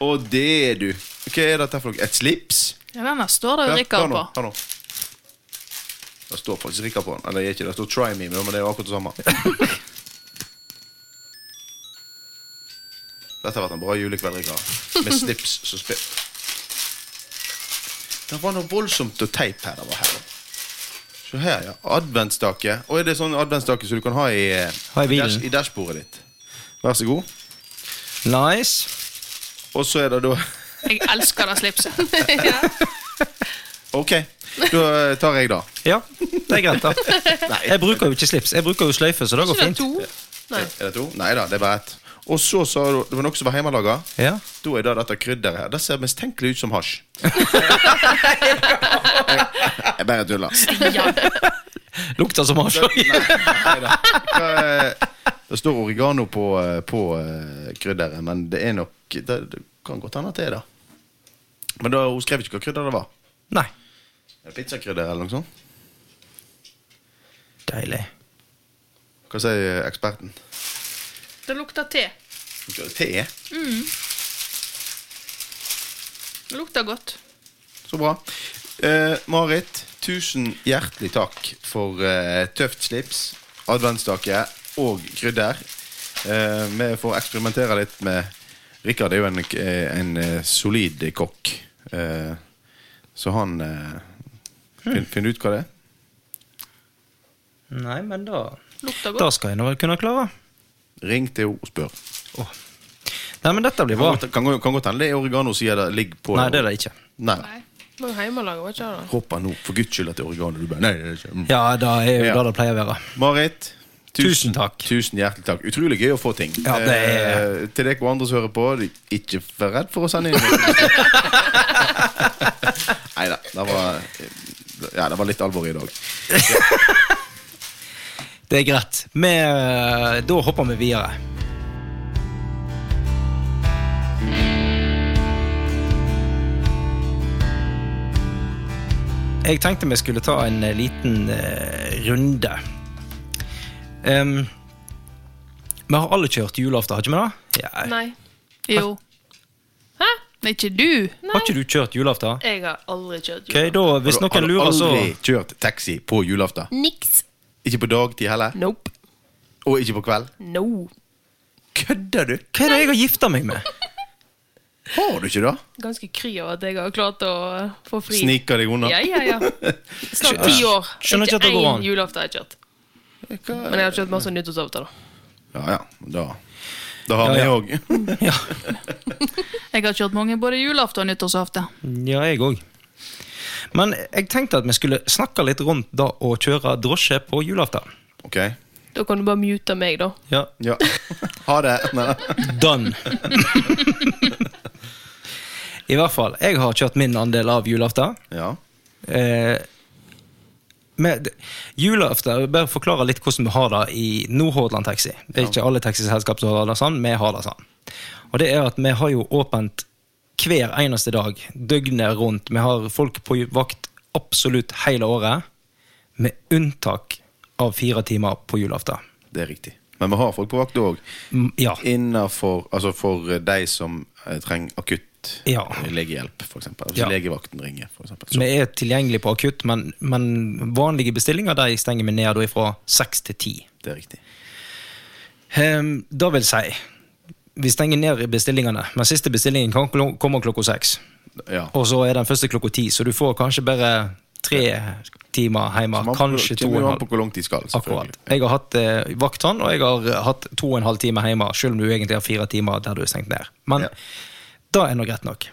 [SPEAKER 2] Og det er du. Hva er dette for noe? Et slips?
[SPEAKER 3] Ja, denne står det jo Rikard på.
[SPEAKER 2] Ta nå. Det står faktisk Rikard på den. Eller det er ikke det, det står Try Me, men det er jo akkurat det samme. Dette har vært en bra julekveld, Rikard. Med slips som spill. Det var noe voldsomt og teip her. det var her. Se her, ja. Adventstake. Og er det sånn adventstake som du kan ha i,
[SPEAKER 1] Ha i bilen.
[SPEAKER 2] dash- i dashbordet ditt? Vær så god.
[SPEAKER 1] Nice.
[SPEAKER 2] Og så er det da [LAUGHS]
[SPEAKER 3] Jeg elsker det slipset.
[SPEAKER 4] [LAUGHS] ja.
[SPEAKER 2] Ok, da eh, tar jeg det.
[SPEAKER 1] Ja, det er [LAUGHS] greit, da. Jeg bruker jo ikke slips. Jeg bruker jo sløyfe, så det går
[SPEAKER 4] Ikke det
[SPEAKER 1] fint.
[SPEAKER 4] to? Nei.
[SPEAKER 2] Er det to? Nei da, det er bare ett. Og så sa du det var noe som var hjemmelaga.
[SPEAKER 1] Ja.
[SPEAKER 2] Da er det dette krydderet her. Det ser mistenkelig ut som hasj. [LAUGHS] jeg, jeg bare tuller.
[SPEAKER 1] Lukter som hasj.
[SPEAKER 2] Eh, Det står oregano på, eh, på eh, krydderet, men det er nok Det, det kan godt hende at det er det. Men da, hun skrev ikke hva krydder det var.
[SPEAKER 1] [LAUGHS] Nei.
[SPEAKER 2] Er det Pizzakrydder eller noe sånt?
[SPEAKER 1] Deilig.
[SPEAKER 2] Hva sier eksperten?
[SPEAKER 4] Det lukter te.
[SPEAKER 2] Te?
[SPEAKER 4] Det lukter godt.
[SPEAKER 2] Så bra. Eh, Marit, tusen hjertelig takk for eh, tøft slips, adventsstake og krydder. Eh, vi får eksperimentere litt med Rikard er jo en, en eh, solid kokk, eh, så han eh, fin- finner ut hva det er.
[SPEAKER 1] Nei, men da
[SPEAKER 4] Lukter
[SPEAKER 1] Da
[SPEAKER 4] godt.
[SPEAKER 1] skal jeg nå vel kunne klare.
[SPEAKER 2] Ring til henne og spør.
[SPEAKER 1] Åh. Nei, men dette blir bra.
[SPEAKER 2] Kan, kan, kan godt hende det er oregano som gjør det ligger på
[SPEAKER 1] Nei, det er det ikke.
[SPEAKER 2] Nei.
[SPEAKER 4] Nei. Men hjemmelaga var ikke det. da.
[SPEAKER 2] Håper nå, for guds skyld, at det er oregano. Du bare, nei, det er ikke. Mm.
[SPEAKER 1] Ja, da er jo
[SPEAKER 2] Ja.
[SPEAKER 1] det det pleier å være.
[SPEAKER 2] Marit,
[SPEAKER 1] Tusen takk.
[SPEAKER 2] Tusen hjertelig takk. Utrolig gøy å få ting.
[SPEAKER 1] Ja, det er-
[SPEAKER 2] eh, til dere og andre som hører på, de- ikke vær redd for å sende inn
[SPEAKER 1] [LAUGHS]
[SPEAKER 2] Nei da, det var Ja, det var litt alvor i dag.
[SPEAKER 1] Det er greit. Vi, eh, da hopper vi videre. Jeg tenkte vi skulle ta en eh, liten eh, runde. Em, vi har alle kjørt julaften, har ikke vi det? Ja.
[SPEAKER 4] Nei.
[SPEAKER 3] Jo.
[SPEAKER 4] Hæ?
[SPEAKER 3] Nei, ikke du.
[SPEAKER 1] Har ikke du kjørt julaften?
[SPEAKER 4] Jeg har aldri kjørt
[SPEAKER 1] Ok, da, hvis
[SPEAKER 2] Har
[SPEAKER 1] noen
[SPEAKER 2] du
[SPEAKER 1] lurer, så
[SPEAKER 2] aldri kjørt taxi på julaften?
[SPEAKER 4] Niks.
[SPEAKER 2] Ikke på dagtid heller?
[SPEAKER 4] Nope.
[SPEAKER 2] Og ikke på kveld?
[SPEAKER 4] No.
[SPEAKER 2] Kødder du?
[SPEAKER 1] Hva er det jeg har gifta meg
[SPEAKER 2] [LAUGHS]
[SPEAKER 1] med?
[SPEAKER 2] Har du ikke det?
[SPEAKER 4] Ganske kry av at jeg har klart å eh, få fri.
[SPEAKER 2] Sniker deg unna.
[SPEAKER 4] Ja, ja,
[SPEAKER 1] [LAUGHS]
[SPEAKER 4] ja. Snart ti år.
[SPEAKER 1] Skjønner ikke at det går an.
[SPEAKER 4] én julaften har jeg kjørt.
[SPEAKER 2] Hva-
[SPEAKER 4] Men jeg har kjørt masse nyttårsaften. da.
[SPEAKER 2] Ja, ja. Da, da
[SPEAKER 1] Ja,
[SPEAKER 2] har vi
[SPEAKER 1] ja.
[SPEAKER 2] òg.
[SPEAKER 1] Ja,
[SPEAKER 3] Jeg har kjørt mange både julaften og nyttårsaften.
[SPEAKER 1] ja jeg òg. Men jeg tenkte at vi skulle snakke litt rundt da å kjøre drosje på julaften.
[SPEAKER 2] Ok.
[SPEAKER 4] Da kan du bare mute meg, da.
[SPEAKER 1] Ja,
[SPEAKER 2] Ja. [LAUGHS] Ha det. Nei.
[SPEAKER 1] [LAUGHS] done. I hvert fall. Jeg har kjørt min andel av julaften.
[SPEAKER 2] Ja.
[SPEAKER 1] Eh, med, julaften Bare forklare litt hvordan vi har det i Nordhordland Taxi. Det er ikke alle taxiselskap som har det sånn. Vi har det sånn. Og det er at vi har jo åpent hver eneste dag, døgnet rundt. Vi har folk på vakt absolutt hele året, med unntak av fire timer på julaften.
[SPEAKER 2] Det er riktig. Men vi har folk på vakt òg.
[SPEAKER 1] Mm, Ja.
[SPEAKER 2] Innenfor Altså for eh, de som eh, trenger akutt
[SPEAKER 1] Ja.
[SPEAKER 2] eh, legehjelp, f.eks. Hvis
[SPEAKER 1] Ja.
[SPEAKER 2] legevakten ringer, f.eks.
[SPEAKER 1] Vi er tilgjengelig på akutt, men, men vanlige bestillinger de stenger vi ned fra seks til ti.
[SPEAKER 2] Det er riktig.
[SPEAKER 1] Ehm, det vil si Vi stenger ned i bestillingene, men siste bestillingen kan klo- komme klokka seks.
[SPEAKER 2] Ja.
[SPEAKER 1] Og så er den første klokka ti, så du får kanskje bare tre timer hjemme.
[SPEAKER 2] Man-
[SPEAKER 1] Kanskje to og
[SPEAKER 2] kommer
[SPEAKER 1] en
[SPEAKER 2] jo an
[SPEAKER 1] halv.
[SPEAKER 2] på hvor langt de skal.
[SPEAKER 1] Akkurat.
[SPEAKER 2] selvfølgelig.
[SPEAKER 1] Jeg har hatt eh, vakt sånn, og jeg har eh, hatt to og en halv time hjemme, selv om du egentlig har fire timer der du er stengt ned. Men
[SPEAKER 2] Ja.
[SPEAKER 1] da er nå greit nok.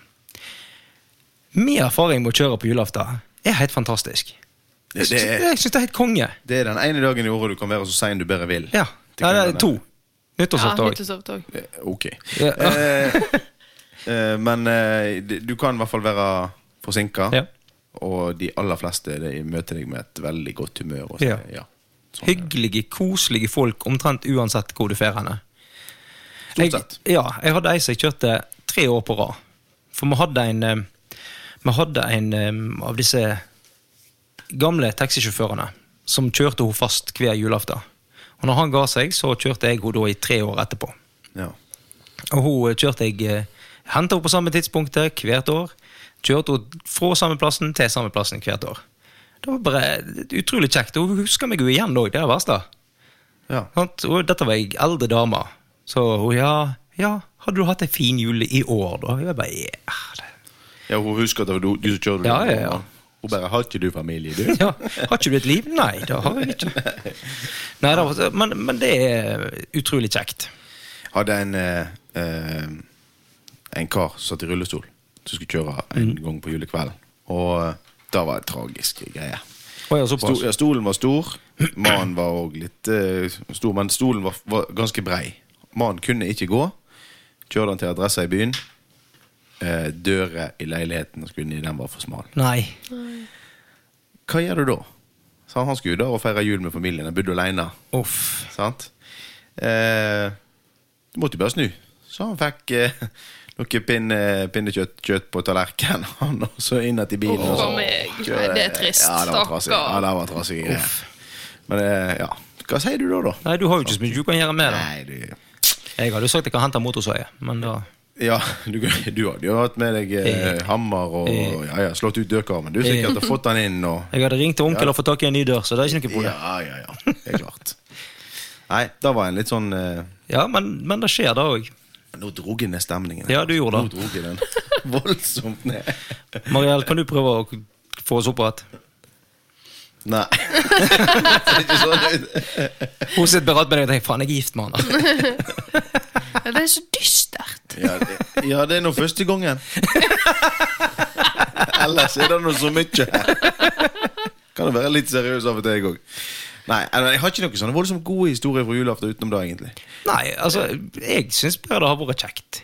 [SPEAKER 1] Min erfaring med å kjøre på julaften er helt fantastisk. Jeg
[SPEAKER 2] Det, det,
[SPEAKER 1] syns
[SPEAKER 2] er,
[SPEAKER 1] jeg syns det er helt konge.
[SPEAKER 2] det er den ene dagen i året du kan være så sein du bare vil.
[SPEAKER 1] Ja.
[SPEAKER 2] Til
[SPEAKER 1] Nei, det
[SPEAKER 2] kundene.
[SPEAKER 1] er to.
[SPEAKER 4] Ja,
[SPEAKER 1] Nyttårsaften òg.
[SPEAKER 4] nyttårsaften òg.
[SPEAKER 2] Eh, Ok.
[SPEAKER 1] Ja.
[SPEAKER 2] [LAUGHS] Eh, eh, men eh, d- du kan i hvert fall være forsinka,
[SPEAKER 1] Ja.
[SPEAKER 2] og de aller fleste de møter deg med et veldig godt humør. Og så,
[SPEAKER 1] Ja.
[SPEAKER 2] ja. Sånn er det.
[SPEAKER 1] Hyggelige, koselige folk omtrent uansett hvor du fer henne.
[SPEAKER 2] Stort sett.
[SPEAKER 1] Jeg, ja, jeg hadde ei som jeg kjørte tre år på rad. For vi hadde en eh, Vi hadde en eh, av disse gamle taxisjåførene som kjørte henne fast hver julaften. Og når han ga seg, så kjørte jeg henne da i tre år etterpå.
[SPEAKER 2] Ja.
[SPEAKER 1] Og hun eh, kjørte jeg Henta henne på samme tidspunktet hvert år. Kjørte henne fra samme plassen til samme plassen hvert år. Det var bare utrolig kjekt. Og hun husker meg jo igjen òg, det er det verste.
[SPEAKER 2] Ja.
[SPEAKER 1] Sant? Og dette var ei eldre dame. Så hun ja, ja, hadde du hatt ei fin jul i år, da? Jeg bare, ja, det,
[SPEAKER 2] ja, hun husker at det var du, du som kjørte.
[SPEAKER 1] Ja, ja, ja.
[SPEAKER 2] Hun bare 'Har ikke du familie, [LAUGHS] du?'
[SPEAKER 1] ja, Har ikke du et liv? Nei, det har jeg ikke. Nei, det var, men, men det er utrolig kjekt.
[SPEAKER 2] Hadde en eh, eh, en kar som satt i rullestol, som skulle kjøre en
[SPEAKER 1] Mm.
[SPEAKER 2] gang på julekvelden. Og eh, det var en tragisk greie.
[SPEAKER 1] Å ja,
[SPEAKER 2] Sto,
[SPEAKER 1] såpass.
[SPEAKER 2] ja, stolen var stor. Mannen var òg litt eh, stor, men stolen var, var ganske brei. Mannen kunne ikke gå. Kjørte han til adressa i byen. Eh, døra i leiligheten og skulle inn i den var for smal.
[SPEAKER 1] Nei.
[SPEAKER 2] Hva gjør du da? Så han skulle jo da og feire jul med familien. Han bodde aleine.
[SPEAKER 1] Uff.
[SPEAKER 2] Sant? Eh, du måtte jo bare snu. Så han fikk eh, noe pinne, pinnekjøtt kjøtt på tallerkenen, [LAUGHS] han, og så inn igjen i bilen.
[SPEAKER 4] Uff,
[SPEAKER 2] og så-
[SPEAKER 4] for meg. Nei, det er trist.
[SPEAKER 2] Ja, det var trasig.
[SPEAKER 4] Stakkar.
[SPEAKER 2] Ja, det var trasig greier. Men eh, ja, hva sier du da, da?
[SPEAKER 1] Nei, du har jo ikke så mye du kan gjøre med det.
[SPEAKER 2] Nei, du...
[SPEAKER 1] Jeg hadde jo sagt jeg kan hente motorsøye, men da
[SPEAKER 2] Ja, [LAUGHS] du, du hadde jo hatt med deg eh, hammer og ja, ja, slått ut dørkarmen. Du sikkert har fått den inn og
[SPEAKER 1] Jeg hadde ringt til onkel og fått tak i en ny dør, så det er ikke noe problem.
[SPEAKER 2] Ja, ja, ja. Det er klart. Nei, det var en litt sånn eh,
[SPEAKER 1] Ja, men, men det skjer, det òg.
[SPEAKER 2] Nå drog jeg ned stemningen.
[SPEAKER 1] Ja, du gjorde
[SPEAKER 2] Nå
[SPEAKER 1] det.
[SPEAKER 2] drog jeg den [LAUGHS] voldsomt ned.
[SPEAKER 1] Mariell, kan du prøve å få oss opp på rett? [LAUGHS]
[SPEAKER 2] Nei. Det er ikke sånn.
[SPEAKER 1] Hun sitter beratt med deg og tenker 'faen, jeg er gift med han'. da».
[SPEAKER 3] Det er så dystert.
[SPEAKER 2] Ja, det, ja, det er nå første gangen. [LAUGHS] Ellers er det nå så mye. Kan det være litt seriøs av og til, jeg òg. Nei, eller, jeg har ikke noen sånne voldsomt gode historier fra julaften utenom det, egentlig.
[SPEAKER 1] Nei, altså, jeg syns bare det har vært kjekt.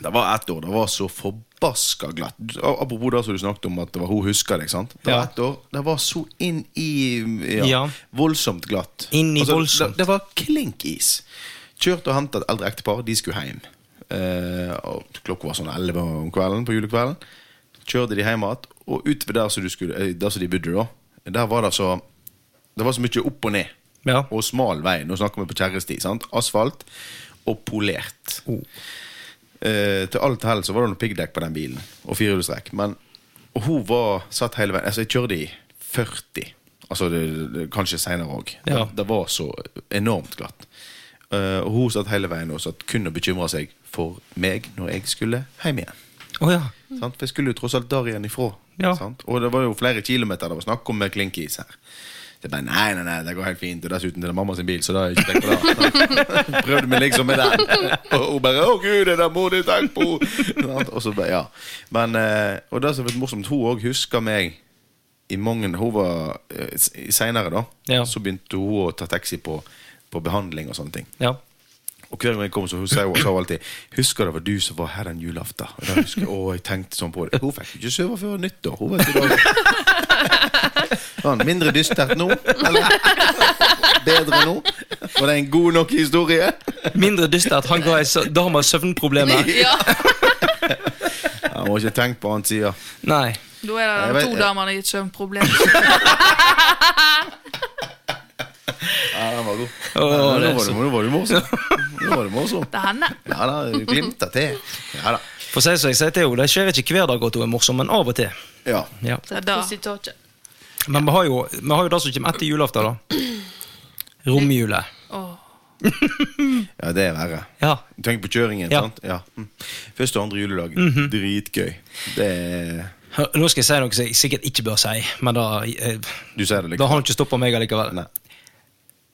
[SPEAKER 2] Det var ett år, det var så forbaska glatt. A- Apropos det som du snakket om, at det var hun husker deg. sant? Det
[SPEAKER 1] Ja.
[SPEAKER 2] var ett år, det var så inn i ja,
[SPEAKER 1] Ja.
[SPEAKER 2] voldsomt glatt.
[SPEAKER 1] Inn i
[SPEAKER 2] Altså,
[SPEAKER 1] voldsomt.
[SPEAKER 2] Det, det var klinkis. Kjørte og henta et eldre ektepar, de skulle hjem. Eh, og klokka var sånn 11 om kvelden på julekvelden. Kjørte de hjem igjen, og utover der som, du skulle, eh, der som de bodde, da, der var det så Det var så mye opp og ned.
[SPEAKER 1] Ja.
[SPEAKER 2] Og smal vei. Nå snakker vi på kjerresti. sant? Asfalt og polert.
[SPEAKER 1] Oh.
[SPEAKER 2] Eh, til alt hell så var det noen piggdekk på den bilen, og firehjulstrekk. Men og hun var satt hele veien Altså, jeg kjørte i 40. Altså det, det, kanskje seinere òg.
[SPEAKER 1] Ja.
[SPEAKER 2] Det, det var så enormt glatt. Eh, og hun satt hele veien og satt kun og bekymra seg for meg når jeg skulle hjem igjen.
[SPEAKER 1] Å ja.
[SPEAKER 2] Sant? For jeg skulle jo tross alt der igjen ifra.
[SPEAKER 1] Mm. Ja.
[SPEAKER 2] Sant? Og det var jo flere kilometer det var snakk om med klinkis her. Så jeg bare, nei, nei, nei, det går helt fint. Og dessuten er det mamma sin bil, så da har jeg ikke tenkt på
[SPEAKER 1] [LAUGHS]
[SPEAKER 2] det. Prøvde meg liksom med den. Og hun bare 'Å, gud, det der må du tenke på'. Sant? Og så bare, ja. Men, eh, og det som er litt morsomt, hun òg husker meg i mange Hun var eh, s- senere da.
[SPEAKER 1] Ja.
[SPEAKER 2] Så begynte hun å ta taxi på, på behandling og sånne ting.
[SPEAKER 1] ja.
[SPEAKER 2] Og hver gang jeg kom, så hun sa hun sa hun alltid 'Husker det var du som var her den julaften?' Og da husker jeg, å, jeg tenkte sånn på det. Hun fikk jo ikke sove før nyttår. Hun var ikke da. Sånn, mindre dystert nå, eller? Bedre nå? Var det en god nok historie?
[SPEAKER 1] Mindre dystert. Han ga ei sø- dame søvnproblemer.
[SPEAKER 3] Ja.
[SPEAKER 2] Jeg må ikke tenke på annet sida.
[SPEAKER 1] Nei.
[SPEAKER 3] Da er det
[SPEAKER 2] Jeg
[SPEAKER 3] de
[SPEAKER 2] vet-
[SPEAKER 3] to
[SPEAKER 2] jeg-
[SPEAKER 3] damene i et søvnproblem.
[SPEAKER 2] Ja, den var god.
[SPEAKER 1] Å,
[SPEAKER 2] Ja,
[SPEAKER 1] det
[SPEAKER 2] nå
[SPEAKER 1] er
[SPEAKER 2] var du-
[SPEAKER 1] så-
[SPEAKER 2] nå var du morsom. Nå var du morsom.
[SPEAKER 3] Det hender.
[SPEAKER 2] Ja da, du glimta til. Ja da.
[SPEAKER 1] For å si det som jeg sier til henne, det skjer ikke hver dag at hun er morsom, men av og til.
[SPEAKER 2] Ja.
[SPEAKER 1] Ja.
[SPEAKER 3] Det er da.
[SPEAKER 4] Sitatet.
[SPEAKER 1] Men vi har jo, vi har jo det som kommer etter julaften, da. Romjula.
[SPEAKER 3] Åh.
[SPEAKER 2] ja, det er verre.
[SPEAKER 1] Ja.
[SPEAKER 2] Du tenker på kjøringen,
[SPEAKER 1] Ja. Mhm.
[SPEAKER 2] sant? Ja. Mm. Første og andre juledag. Dritgøy. Det er
[SPEAKER 1] Hør, Nå skal jeg si noe som jeg sikkert ikke bør si, men da, eh,
[SPEAKER 2] Du sier det
[SPEAKER 1] da
[SPEAKER 2] liksom.
[SPEAKER 1] har hun ikke stoppa meg allikevel.
[SPEAKER 2] Nei.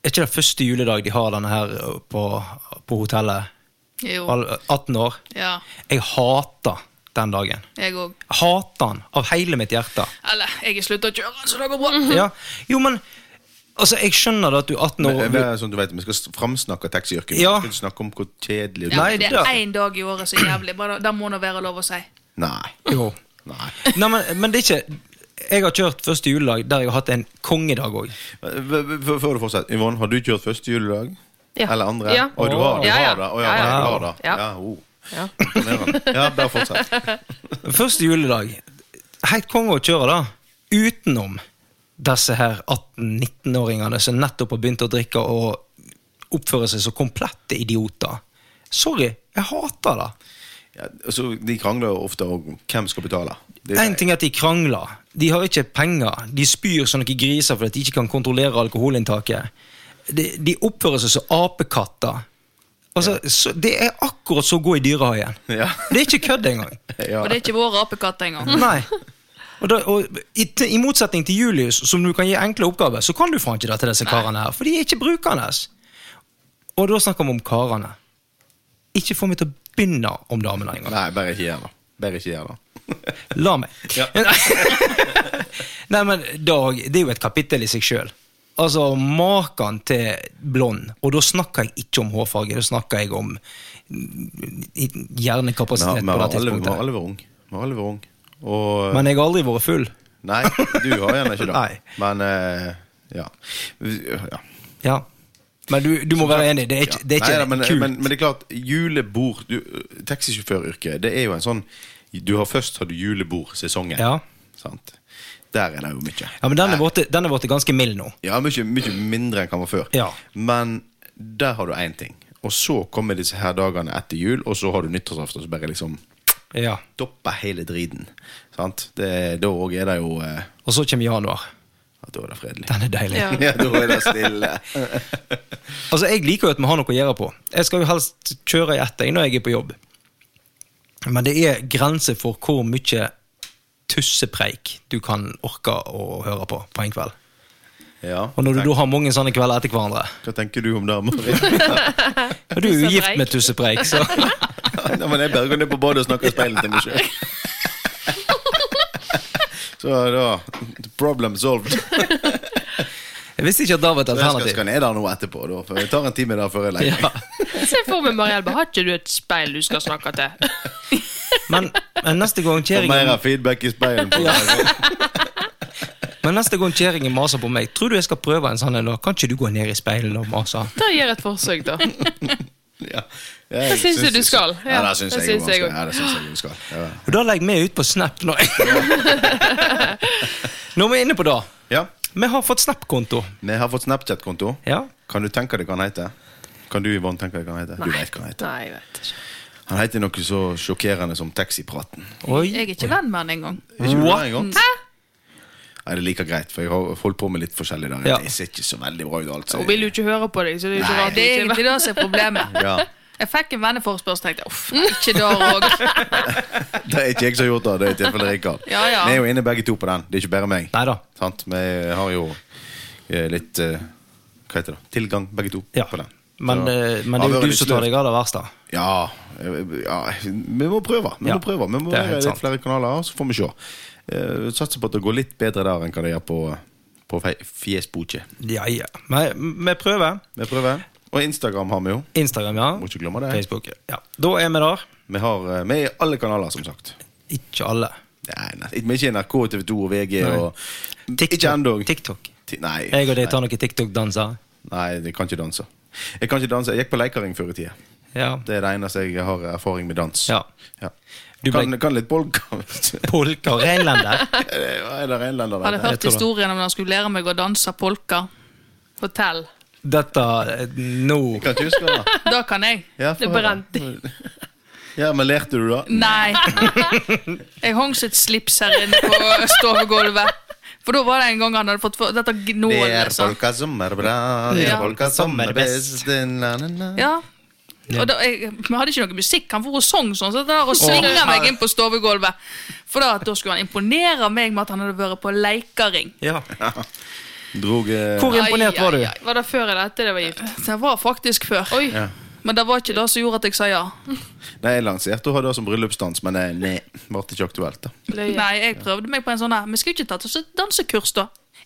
[SPEAKER 1] Er ikke det første juledag de har denne her eh, på, på hotellet?
[SPEAKER 3] Jo.
[SPEAKER 1] Al- 18 år.
[SPEAKER 3] Ja.
[SPEAKER 1] Jeg hater den dagen.
[SPEAKER 3] Jeg òg.
[SPEAKER 1] Jeg Hater den av hele mitt hjerte.
[SPEAKER 3] Eller, jeg er slutta å kjøre, så det går bra.
[SPEAKER 1] Ja. Jo, men altså, jeg skjønner det at du er 18 år
[SPEAKER 2] Men,
[SPEAKER 1] og
[SPEAKER 2] det er sånn du vet, Vi skal framsnakke taxiyrket.
[SPEAKER 1] Ja.
[SPEAKER 2] Vi skal ikke snakke om hvor kjedelig du
[SPEAKER 3] Ja,
[SPEAKER 1] Nei,
[SPEAKER 3] men det
[SPEAKER 1] det-
[SPEAKER 3] er én dag i året så jævlig. Bare, da må det være lov å si.
[SPEAKER 2] Nei.
[SPEAKER 1] Jo.
[SPEAKER 2] Nei.
[SPEAKER 1] Nei, men, men det er ikke Jeg har kjørt første juledag der jeg har hatt en kongedag òg.
[SPEAKER 2] V- v- f- Før du fortsetter, Yvonne, har du kjørt første juledag?
[SPEAKER 4] Ja.
[SPEAKER 2] Eller andre?
[SPEAKER 4] Ja.
[SPEAKER 2] Oi, du har, du
[SPEAKER 4] Ja,
[SPEAKER 2] har
[SPEAKER 4] ja.
[SPEAKER 2] det? Å, ja,
[SPEAKER 4] Ja, ja.
[SPEAKER 2] Du har det.
[SPEAKER 4] Ja.
[SPEAKER 2] Ja, oh.
[SPEAKER 4] Ja.
[SPEAKER 2] Imponerende. Ja, bare fortsett.
[SPEAKER 1] Første juledag. Helt konge å kjøre, da. Utenom disse her 18-19-åringene som nettopp har begynt å drikke og oppføre seg som komplette idioter. Sorry, jeg hater det.
[SPEAKER 2] Ja, altså, de krangler jo ofte om hvem skal betale. Det er-
[SPEAKER 1] En ting er at de krangler. De har ikke penger. De spyr som noen griser fordi at de ikke kan kontrollere alkoholinntaket. De, de oppfører seg som apekatter. Altså, så, Det er akkurat så god i dyrehagen.
[SPEAKER 4] [LAUGHS]
[SPEAKER 2] Ja.
[SPEAKER 1] Det er ikke kødd engang.
[SPEAKER 2] ja.
[SPEAKER 3] Og det er ikke vår apekatt engang.
[SPEAKER 1] Nei. Og, da, og i, t- I motsetning til Julius, som du kan gi enkle oppgaver, så kan du faen ikke det til disse karene her. For de er ikke brukende. Og da snakker vi om karene. Ikke få meg til å begynne om damene engang.
[SPEAKER 2] Nei, bare ikke gjør det. Bare ikke gjør det.
[SPEAKER 1] La meg.
[SPEAKER 2] Ja.
[SPEAKER 1] [LAUGHS] Nei, men Dag, det er jo et kapittel i seg sjøl. Altså, maken til blond, og da snakker jeg ikke om hårfarge, da snakker jeg om mm,
[SPEAKER 2] Men han-
[SPEAKER 1] hjernekapasitet
[SPEAKER 2] men
[SPEAKER 1] på det
[SPEAKER 2] alle- Vi har
[SPEAKER 1] tidspunktet.
[SPEAKER 2] alle vært unge. Vi har alle vært unge. Og
[SPEAKER 1] Men jeg har aldri vært full.
[SPEAKER 2] Nei, du har gjerne ikke
[SPEAKER 1] [LAUGHS]
[SPEAKER 2] det.
[SPEAKER 1] Nei.
[SPEAKER 2] Men eh, ja. ja.
[SPEAKER 1] Ja. Men du, du må være enig, det er ikke, det er ikke
[SPEAKER 2] Nei, da, men,
[SPEAKER 1] kult.
[SPEAKER 2] Men, men det er klart, julebord du, Taxisjåføryrket, det er jo en sånn du har Først har du julebordsesongen.
[SPEAKER 1] Ja.
[SPEAKER 2] Sant? Der er det jo mye.
[SPEAKER 1] ja, men den er
[SPEAKER 2] Nei,
[SPEAKER 1] blitt- den er blitt ganske mild nå.
[SPEAKER 2] ja, mye, mye mindre enn hva var før.
[SPEAKER 1] Ja.
[SPEAKER 2] Men der har du én ting. Og så kommer disse her dagene etter jul, og så har du nyttårsaften. Så bare liksom
[SPEAKER 1] Ja.
[SPEAKER 2] dopper hele driten. Sant? Det, da òg er det jo eh,
[SPEAKER 1] Og så kommer januar.
[SPEAKER 2] at Da er det fredelig. [LAUGHS]
[SPEAKER 1] Den er deilig.
[SPEAKER 4] Ja.
[SPEAKER 2] Ja, da er det stille.
[SPEAKER 1] [LAUGHS] Altså, Jeg liker jo at vi har noe å gjøre på. Jeg skal jo helst kjøre i ett jeg, når jeg er på jobb. Men det er grenser for hvor mye tussepreik du kan orke å høre på på en kveld.
[SPEAKER 2] Ja.
[SPEAKER 1] Og når du da har mange sånne kvelder etter hverandre
[SPEAKER 2] Hva tenker du om det,
[SPEAKER 4] [LAUGHS]
[SPEAKER 2] Mari?
[SPEAKER 1] Og du er jo
[SPEAKER 4] Tussepreik.
[SPEAKER 1] gift med tussepreik, så
[SPEAKER 2] Nei, men jeg bare går ned på badet og snakker i speilet til meg sjøl.
[SPEAKER 4] [LAUGHS]
[SPEAKER 2] Så da Problem solved.
[SPEAKER 1] Jeg visste ikke at det var et
[SPEAKER 2] Jeg skal,
[SPEAKER 1] alternativ.
[SPEAKER 2] skal ned der nå etterpå, da. For jeg tar en time der før jeg legger
[SPEAKER 1] Ja.
[SPEAKER 2] meg.
[SPEAKER 4] [LAUGHS] Se for meg, Marielle, bare, har ikke du et speil du skal snakke til? [LAUGHS]
[SPEAKER 1] Men, men neste gang
[SPEAKER 2] Får mer
[SPEAKER 1] kjerringen
[SPEAKER 2] av feedback i speilet. på meg. altså.
[SPEAKER 1] Men neste gang kjerringen maser på meg, tror du jeg skal prøve en sånn en? da? Kan ikke du gå ned i speilet og mase?
[SPEAKER 4] Da gjør et forsøk, da.
[SPEAKER 2] Ja.
[SPEAKER 4] Det syns jeg du skal.
[SPEAKER 2] Ja,
[SPEAKER 4] Ja,
[SPEAKER 2] det syns
[SPEAKER 4] det
[SPEAKER 2] jeg
[SPEAKER 4] syns
[SPEAKER 2] også.
[SPEAKER 4] jeg også.
[SPEAKER 2] Ja, det syns jeg du skal. Ja.
[SPEAKER 1] Og da legger vi ut på Snap
[SPEAKER 3] [LAUGHS]
[SPEAKER 1] når Når vi er inne på det.
[SPEAKER 2] ja.
[SPEAKER 1] Vi har fått Snap-konto.
[SPEAKER 2] Vi har fått Snapchat-konto.
[SPEAKER 1] Ja.
[SPEAKER 2] Kan du tenke deg hva han heter? Kan du Yvonne tenke deg hva han heter? Du vet hva han heter.
[SPEAKER 4] Nei, jeg vet ikke.
[SPEAKER 2] Han heter noe så sjokkerende som Taxipraten.
[SPEAKER 1] Oi.
[SPEAKER 3] Jeg er ikke venn med han engang.
[SPEAKER 2] Er ikke du
[SPEAKER 1] What?
[SPEAKER 2] det engang? Nei, det er like greit, for jeg har holdt på med litt forskjellig der.
[SPEAKER 1] Ja.
[SPEAKER 2] Det ser ikke så veldig bra ut, altså.
[SPEAKER 4] Hun vil jo ikke høre på deg, så det er jo ikke
[SPEAKER 2] Nei.
[SPEAKER 4] rart
[SPEAKER 3] Det er
[SPEAKER 4] hun ikke
[SPEAKER 3] egentlig det som er problemet.
[SPEAKER 2] Ja,
[SPEAKER 3] Jeg fikk en venneforespørsel og tenkte uff, ikke da òg.
[SPEAKER 2] Det er ikke jeg som har gjort det, det er i tilfelle
[SPEAKER 1] [LAUGHS]
[SPEAKER 2] Rikard.
[SPEAKER 3] Ja, ja.
[SPEAKER 2] Vi er jo inne begge to på den, det er ikke bare meg.
[SPEAKER 1] Neida.
[SPEAKER 2] Sant? Vi har jo eh, litt eh, Hva heter det? Tilgang, begge to,
[SPEAKER 1] Ja.
[SPEAKER 2] på den.
[SPEAKER 1] Men,
[SPEAKER 2] Så-
[SPEAKER 1] eh, men det
[SPEAKER 2] Ja,
[SPEAKER 1] er
[SPEAKER 2] vært
[SPEAKER 1] jo du
[SPEAKER 2] litt
[SPEAKER 1] som tar
[SPEAKER 2] sløvt.
[SPEAKER 1] deg av det verste.
[SPEAKER 2] Ja, eh, ja Vi må prøve. Vi
[SPEAKER 1] Ja,
[SPEAKER 2] må prøve Vi må
[SPEAKER 1] det er helt
[SPEAKER 2] gjøre
[SPEAKER 1] sant.
[SPEAKER 2] litt flere kanaler, så får vi se. Eh, Satser på at det går litt bedre der enn hva det gjør på, på fe- Fjesboche.
[SPEAKER 1] Ja, ja. Men vi prøver.
[SPEAKER 2] Vi prøver. Og Instagram har vi jo.
[SPEAKER 1] Instagram, ja.
[SPEAKER 2] Må ikke glemme det.
[SPEAKER 1] Facebook. Ja. Da er vi der.
[SPEAKER 2] Vi, har, eh, vi er i alle kanaler, som sagt.
[SPEAKER 1] Ikke alle.
[SPEAKER 2] Nei, nei. Ikke- men Ikke NRK, TV 2 og VG og Ikke ennå.
[SPEAKER 1] TikTok. TikTok.
[SPEAKER 2] Ti- Nei,
[SPEAKER 1] Jeg og deg tar noen TikTok-danser.
[SPEAKER 2] nei, jeg kan ikke danse. Jeg kan ikke danse. Jeg gikk på leikaring før i tida.
[SPEAKER 1] Ja.
[SPEAKER 2] Det er det eneste jeg har erfaring med dans.
[SPEAKER 1] Ja.
[SPEAKER 2] Ja.
[SPEAKER 1] Du ble-
[SPEAKER 2] kan, kan litt [LAUGHS] polka. vet du.
[SPEAKER 1] [LAUGHS] Polka og reinlender.
[SPEAKER 2] er det reinlender? der?
[SPEAKER 3] Hadde
[SPEAKER 1] Jeg
[SPEAKER 3] hørt
[SPEAKER 1] tror det.
[SPEAKER 3] historien om da han skulle lære meg å danse polka.
[SPEAKER 4] Fortell.
[SPEAKER 1] Dette eh, Nå
[SPEAKER 2] Jeg Kan ikke huske det.
[SPEAKER 3] Da kan jeg.
[SPEAKER 2] Ja,
[SPEAKER 4] Det
[SPEAKER 2] få høre.
[SPEAKER 4] brant.
[SPEAKER 2] [LAUGHS] Ja, men lærte du det?
[SPEAKER 3] Nei.
[SPEAKER 4] [LAUGHS]
[SPEAKER 3] Jeg hang sitt slips her inne på stovegulvet. For da var det en gang han hadde fått for- dette
[SPEAKER 2] Det
[SPEAKER 3] gnålet.
[SPEAKER 2] er
[SPEAKER 3] liksom.
[SPEAKER 2] folka som er bra, det er
[SPEAKER 3] Ja.
[SPEAKER 2] folka som er
[SPEAKER 1] Som er best.
[SPEAKER 2] best na, na, na.
[SPEAKER 3] Ja. Og da, jeg, vi hadde ikke noe musikk. Han for og sang sånn, så det der, og svinga
[SPEAKER 1] Åh.
[SPEAKER 3] meg inn på stovegulvet. For da, da skulle han imponere meg med at han hadde vært på leikaring.
[SPEAKER 1] ja.
[SPEAKER 2] Drog eh,
[SPEAKER 1] Hvor imponert
[SPEAKER 3] Ai, ai,
[SPEAKER 1] var du?
[SPEAKER 3] ai.
[SPEAKER 4] Var det før eller etter det var gift?
[SPEAKER 3] Det var faktisk før.
[SPEAKER 4] Oi.
[SPEAKER 2] ja.
[SPEAKER 3] Men det var ikke det som gjorde at jeg sa ja.
[SPEAKER 2] Nei, jeg lanserte å ha det som bryllupsdans, men eh, nei, ble ikke aktuelt. da
[SPEAKER 4] Løye.
[SPEAKER 3] Nei, jeg prøvde meg på en sånn her. Vi skulle ikke tatt oss et dansekurs, da.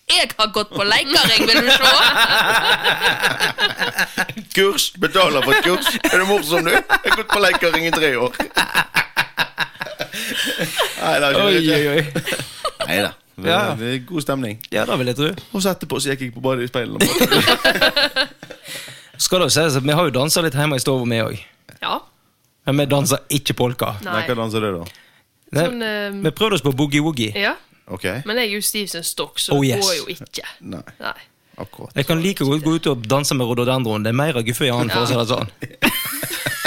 [SPEAKER 3] Jeg har gått på leikaring, vil
[SPEAKER 2] [LAUGHS]
[SPEAKER 3] du se!
[SPEAKER 2] Kurs! Betaler for et kurs! Er du morsom, du? Jeg har gått på leikaring i tre år. Nei da.
[SPEAKER 1] Oi, oi, oi.
[SPEAKER 2] Neida. Det,
[SPEAKER 1] Ja.
[SPEAKER 2] det er god stemning.
[SPEAKER 1] Ja, det vil jeg tro.
[SPEAKER 2] Og så etterpå så gikk jeg på badet i speilet. og bare-
[SPEAKER 1] Skal det jo sies at vi har jo dansa litt hjemme i stua, vi òg.
[SPEAKER 4] Ja.
[SPEAKER 1] Men vi danser ikke polka.
[SPEAKER 2] Nei,
[SPEAKER 4] Nei.
[SPEAKER 2] Hva danser du, da?
[SPEAKER 1] Nei,
[SPEAKER 4] Sånn, ehm,
[SPEAKER 1] Vi prøvde oss på boogie-woogie.
[SPEAKER 4] ja.
[SPEAKER 2] Ok?
[SPEAKER 4] Men jeg er jo stiv som stokk, så
[SPEAKER 1] Oh,
[SPEAKER 4] det
[SPEAKER 1] yes.
[SPEAKER 4] går jo ikke.
[SPEAKER 2] Nei,
[SPEAKER 4] Nei.
[SPEAKER 1] [LAUGHS]
[SPEAKER 2] akkurat.
[SPEAKER 1] Jeg kan like godt gå ut og danse med rododendron. Det er mer av guffe i hånden, for å si det sånn.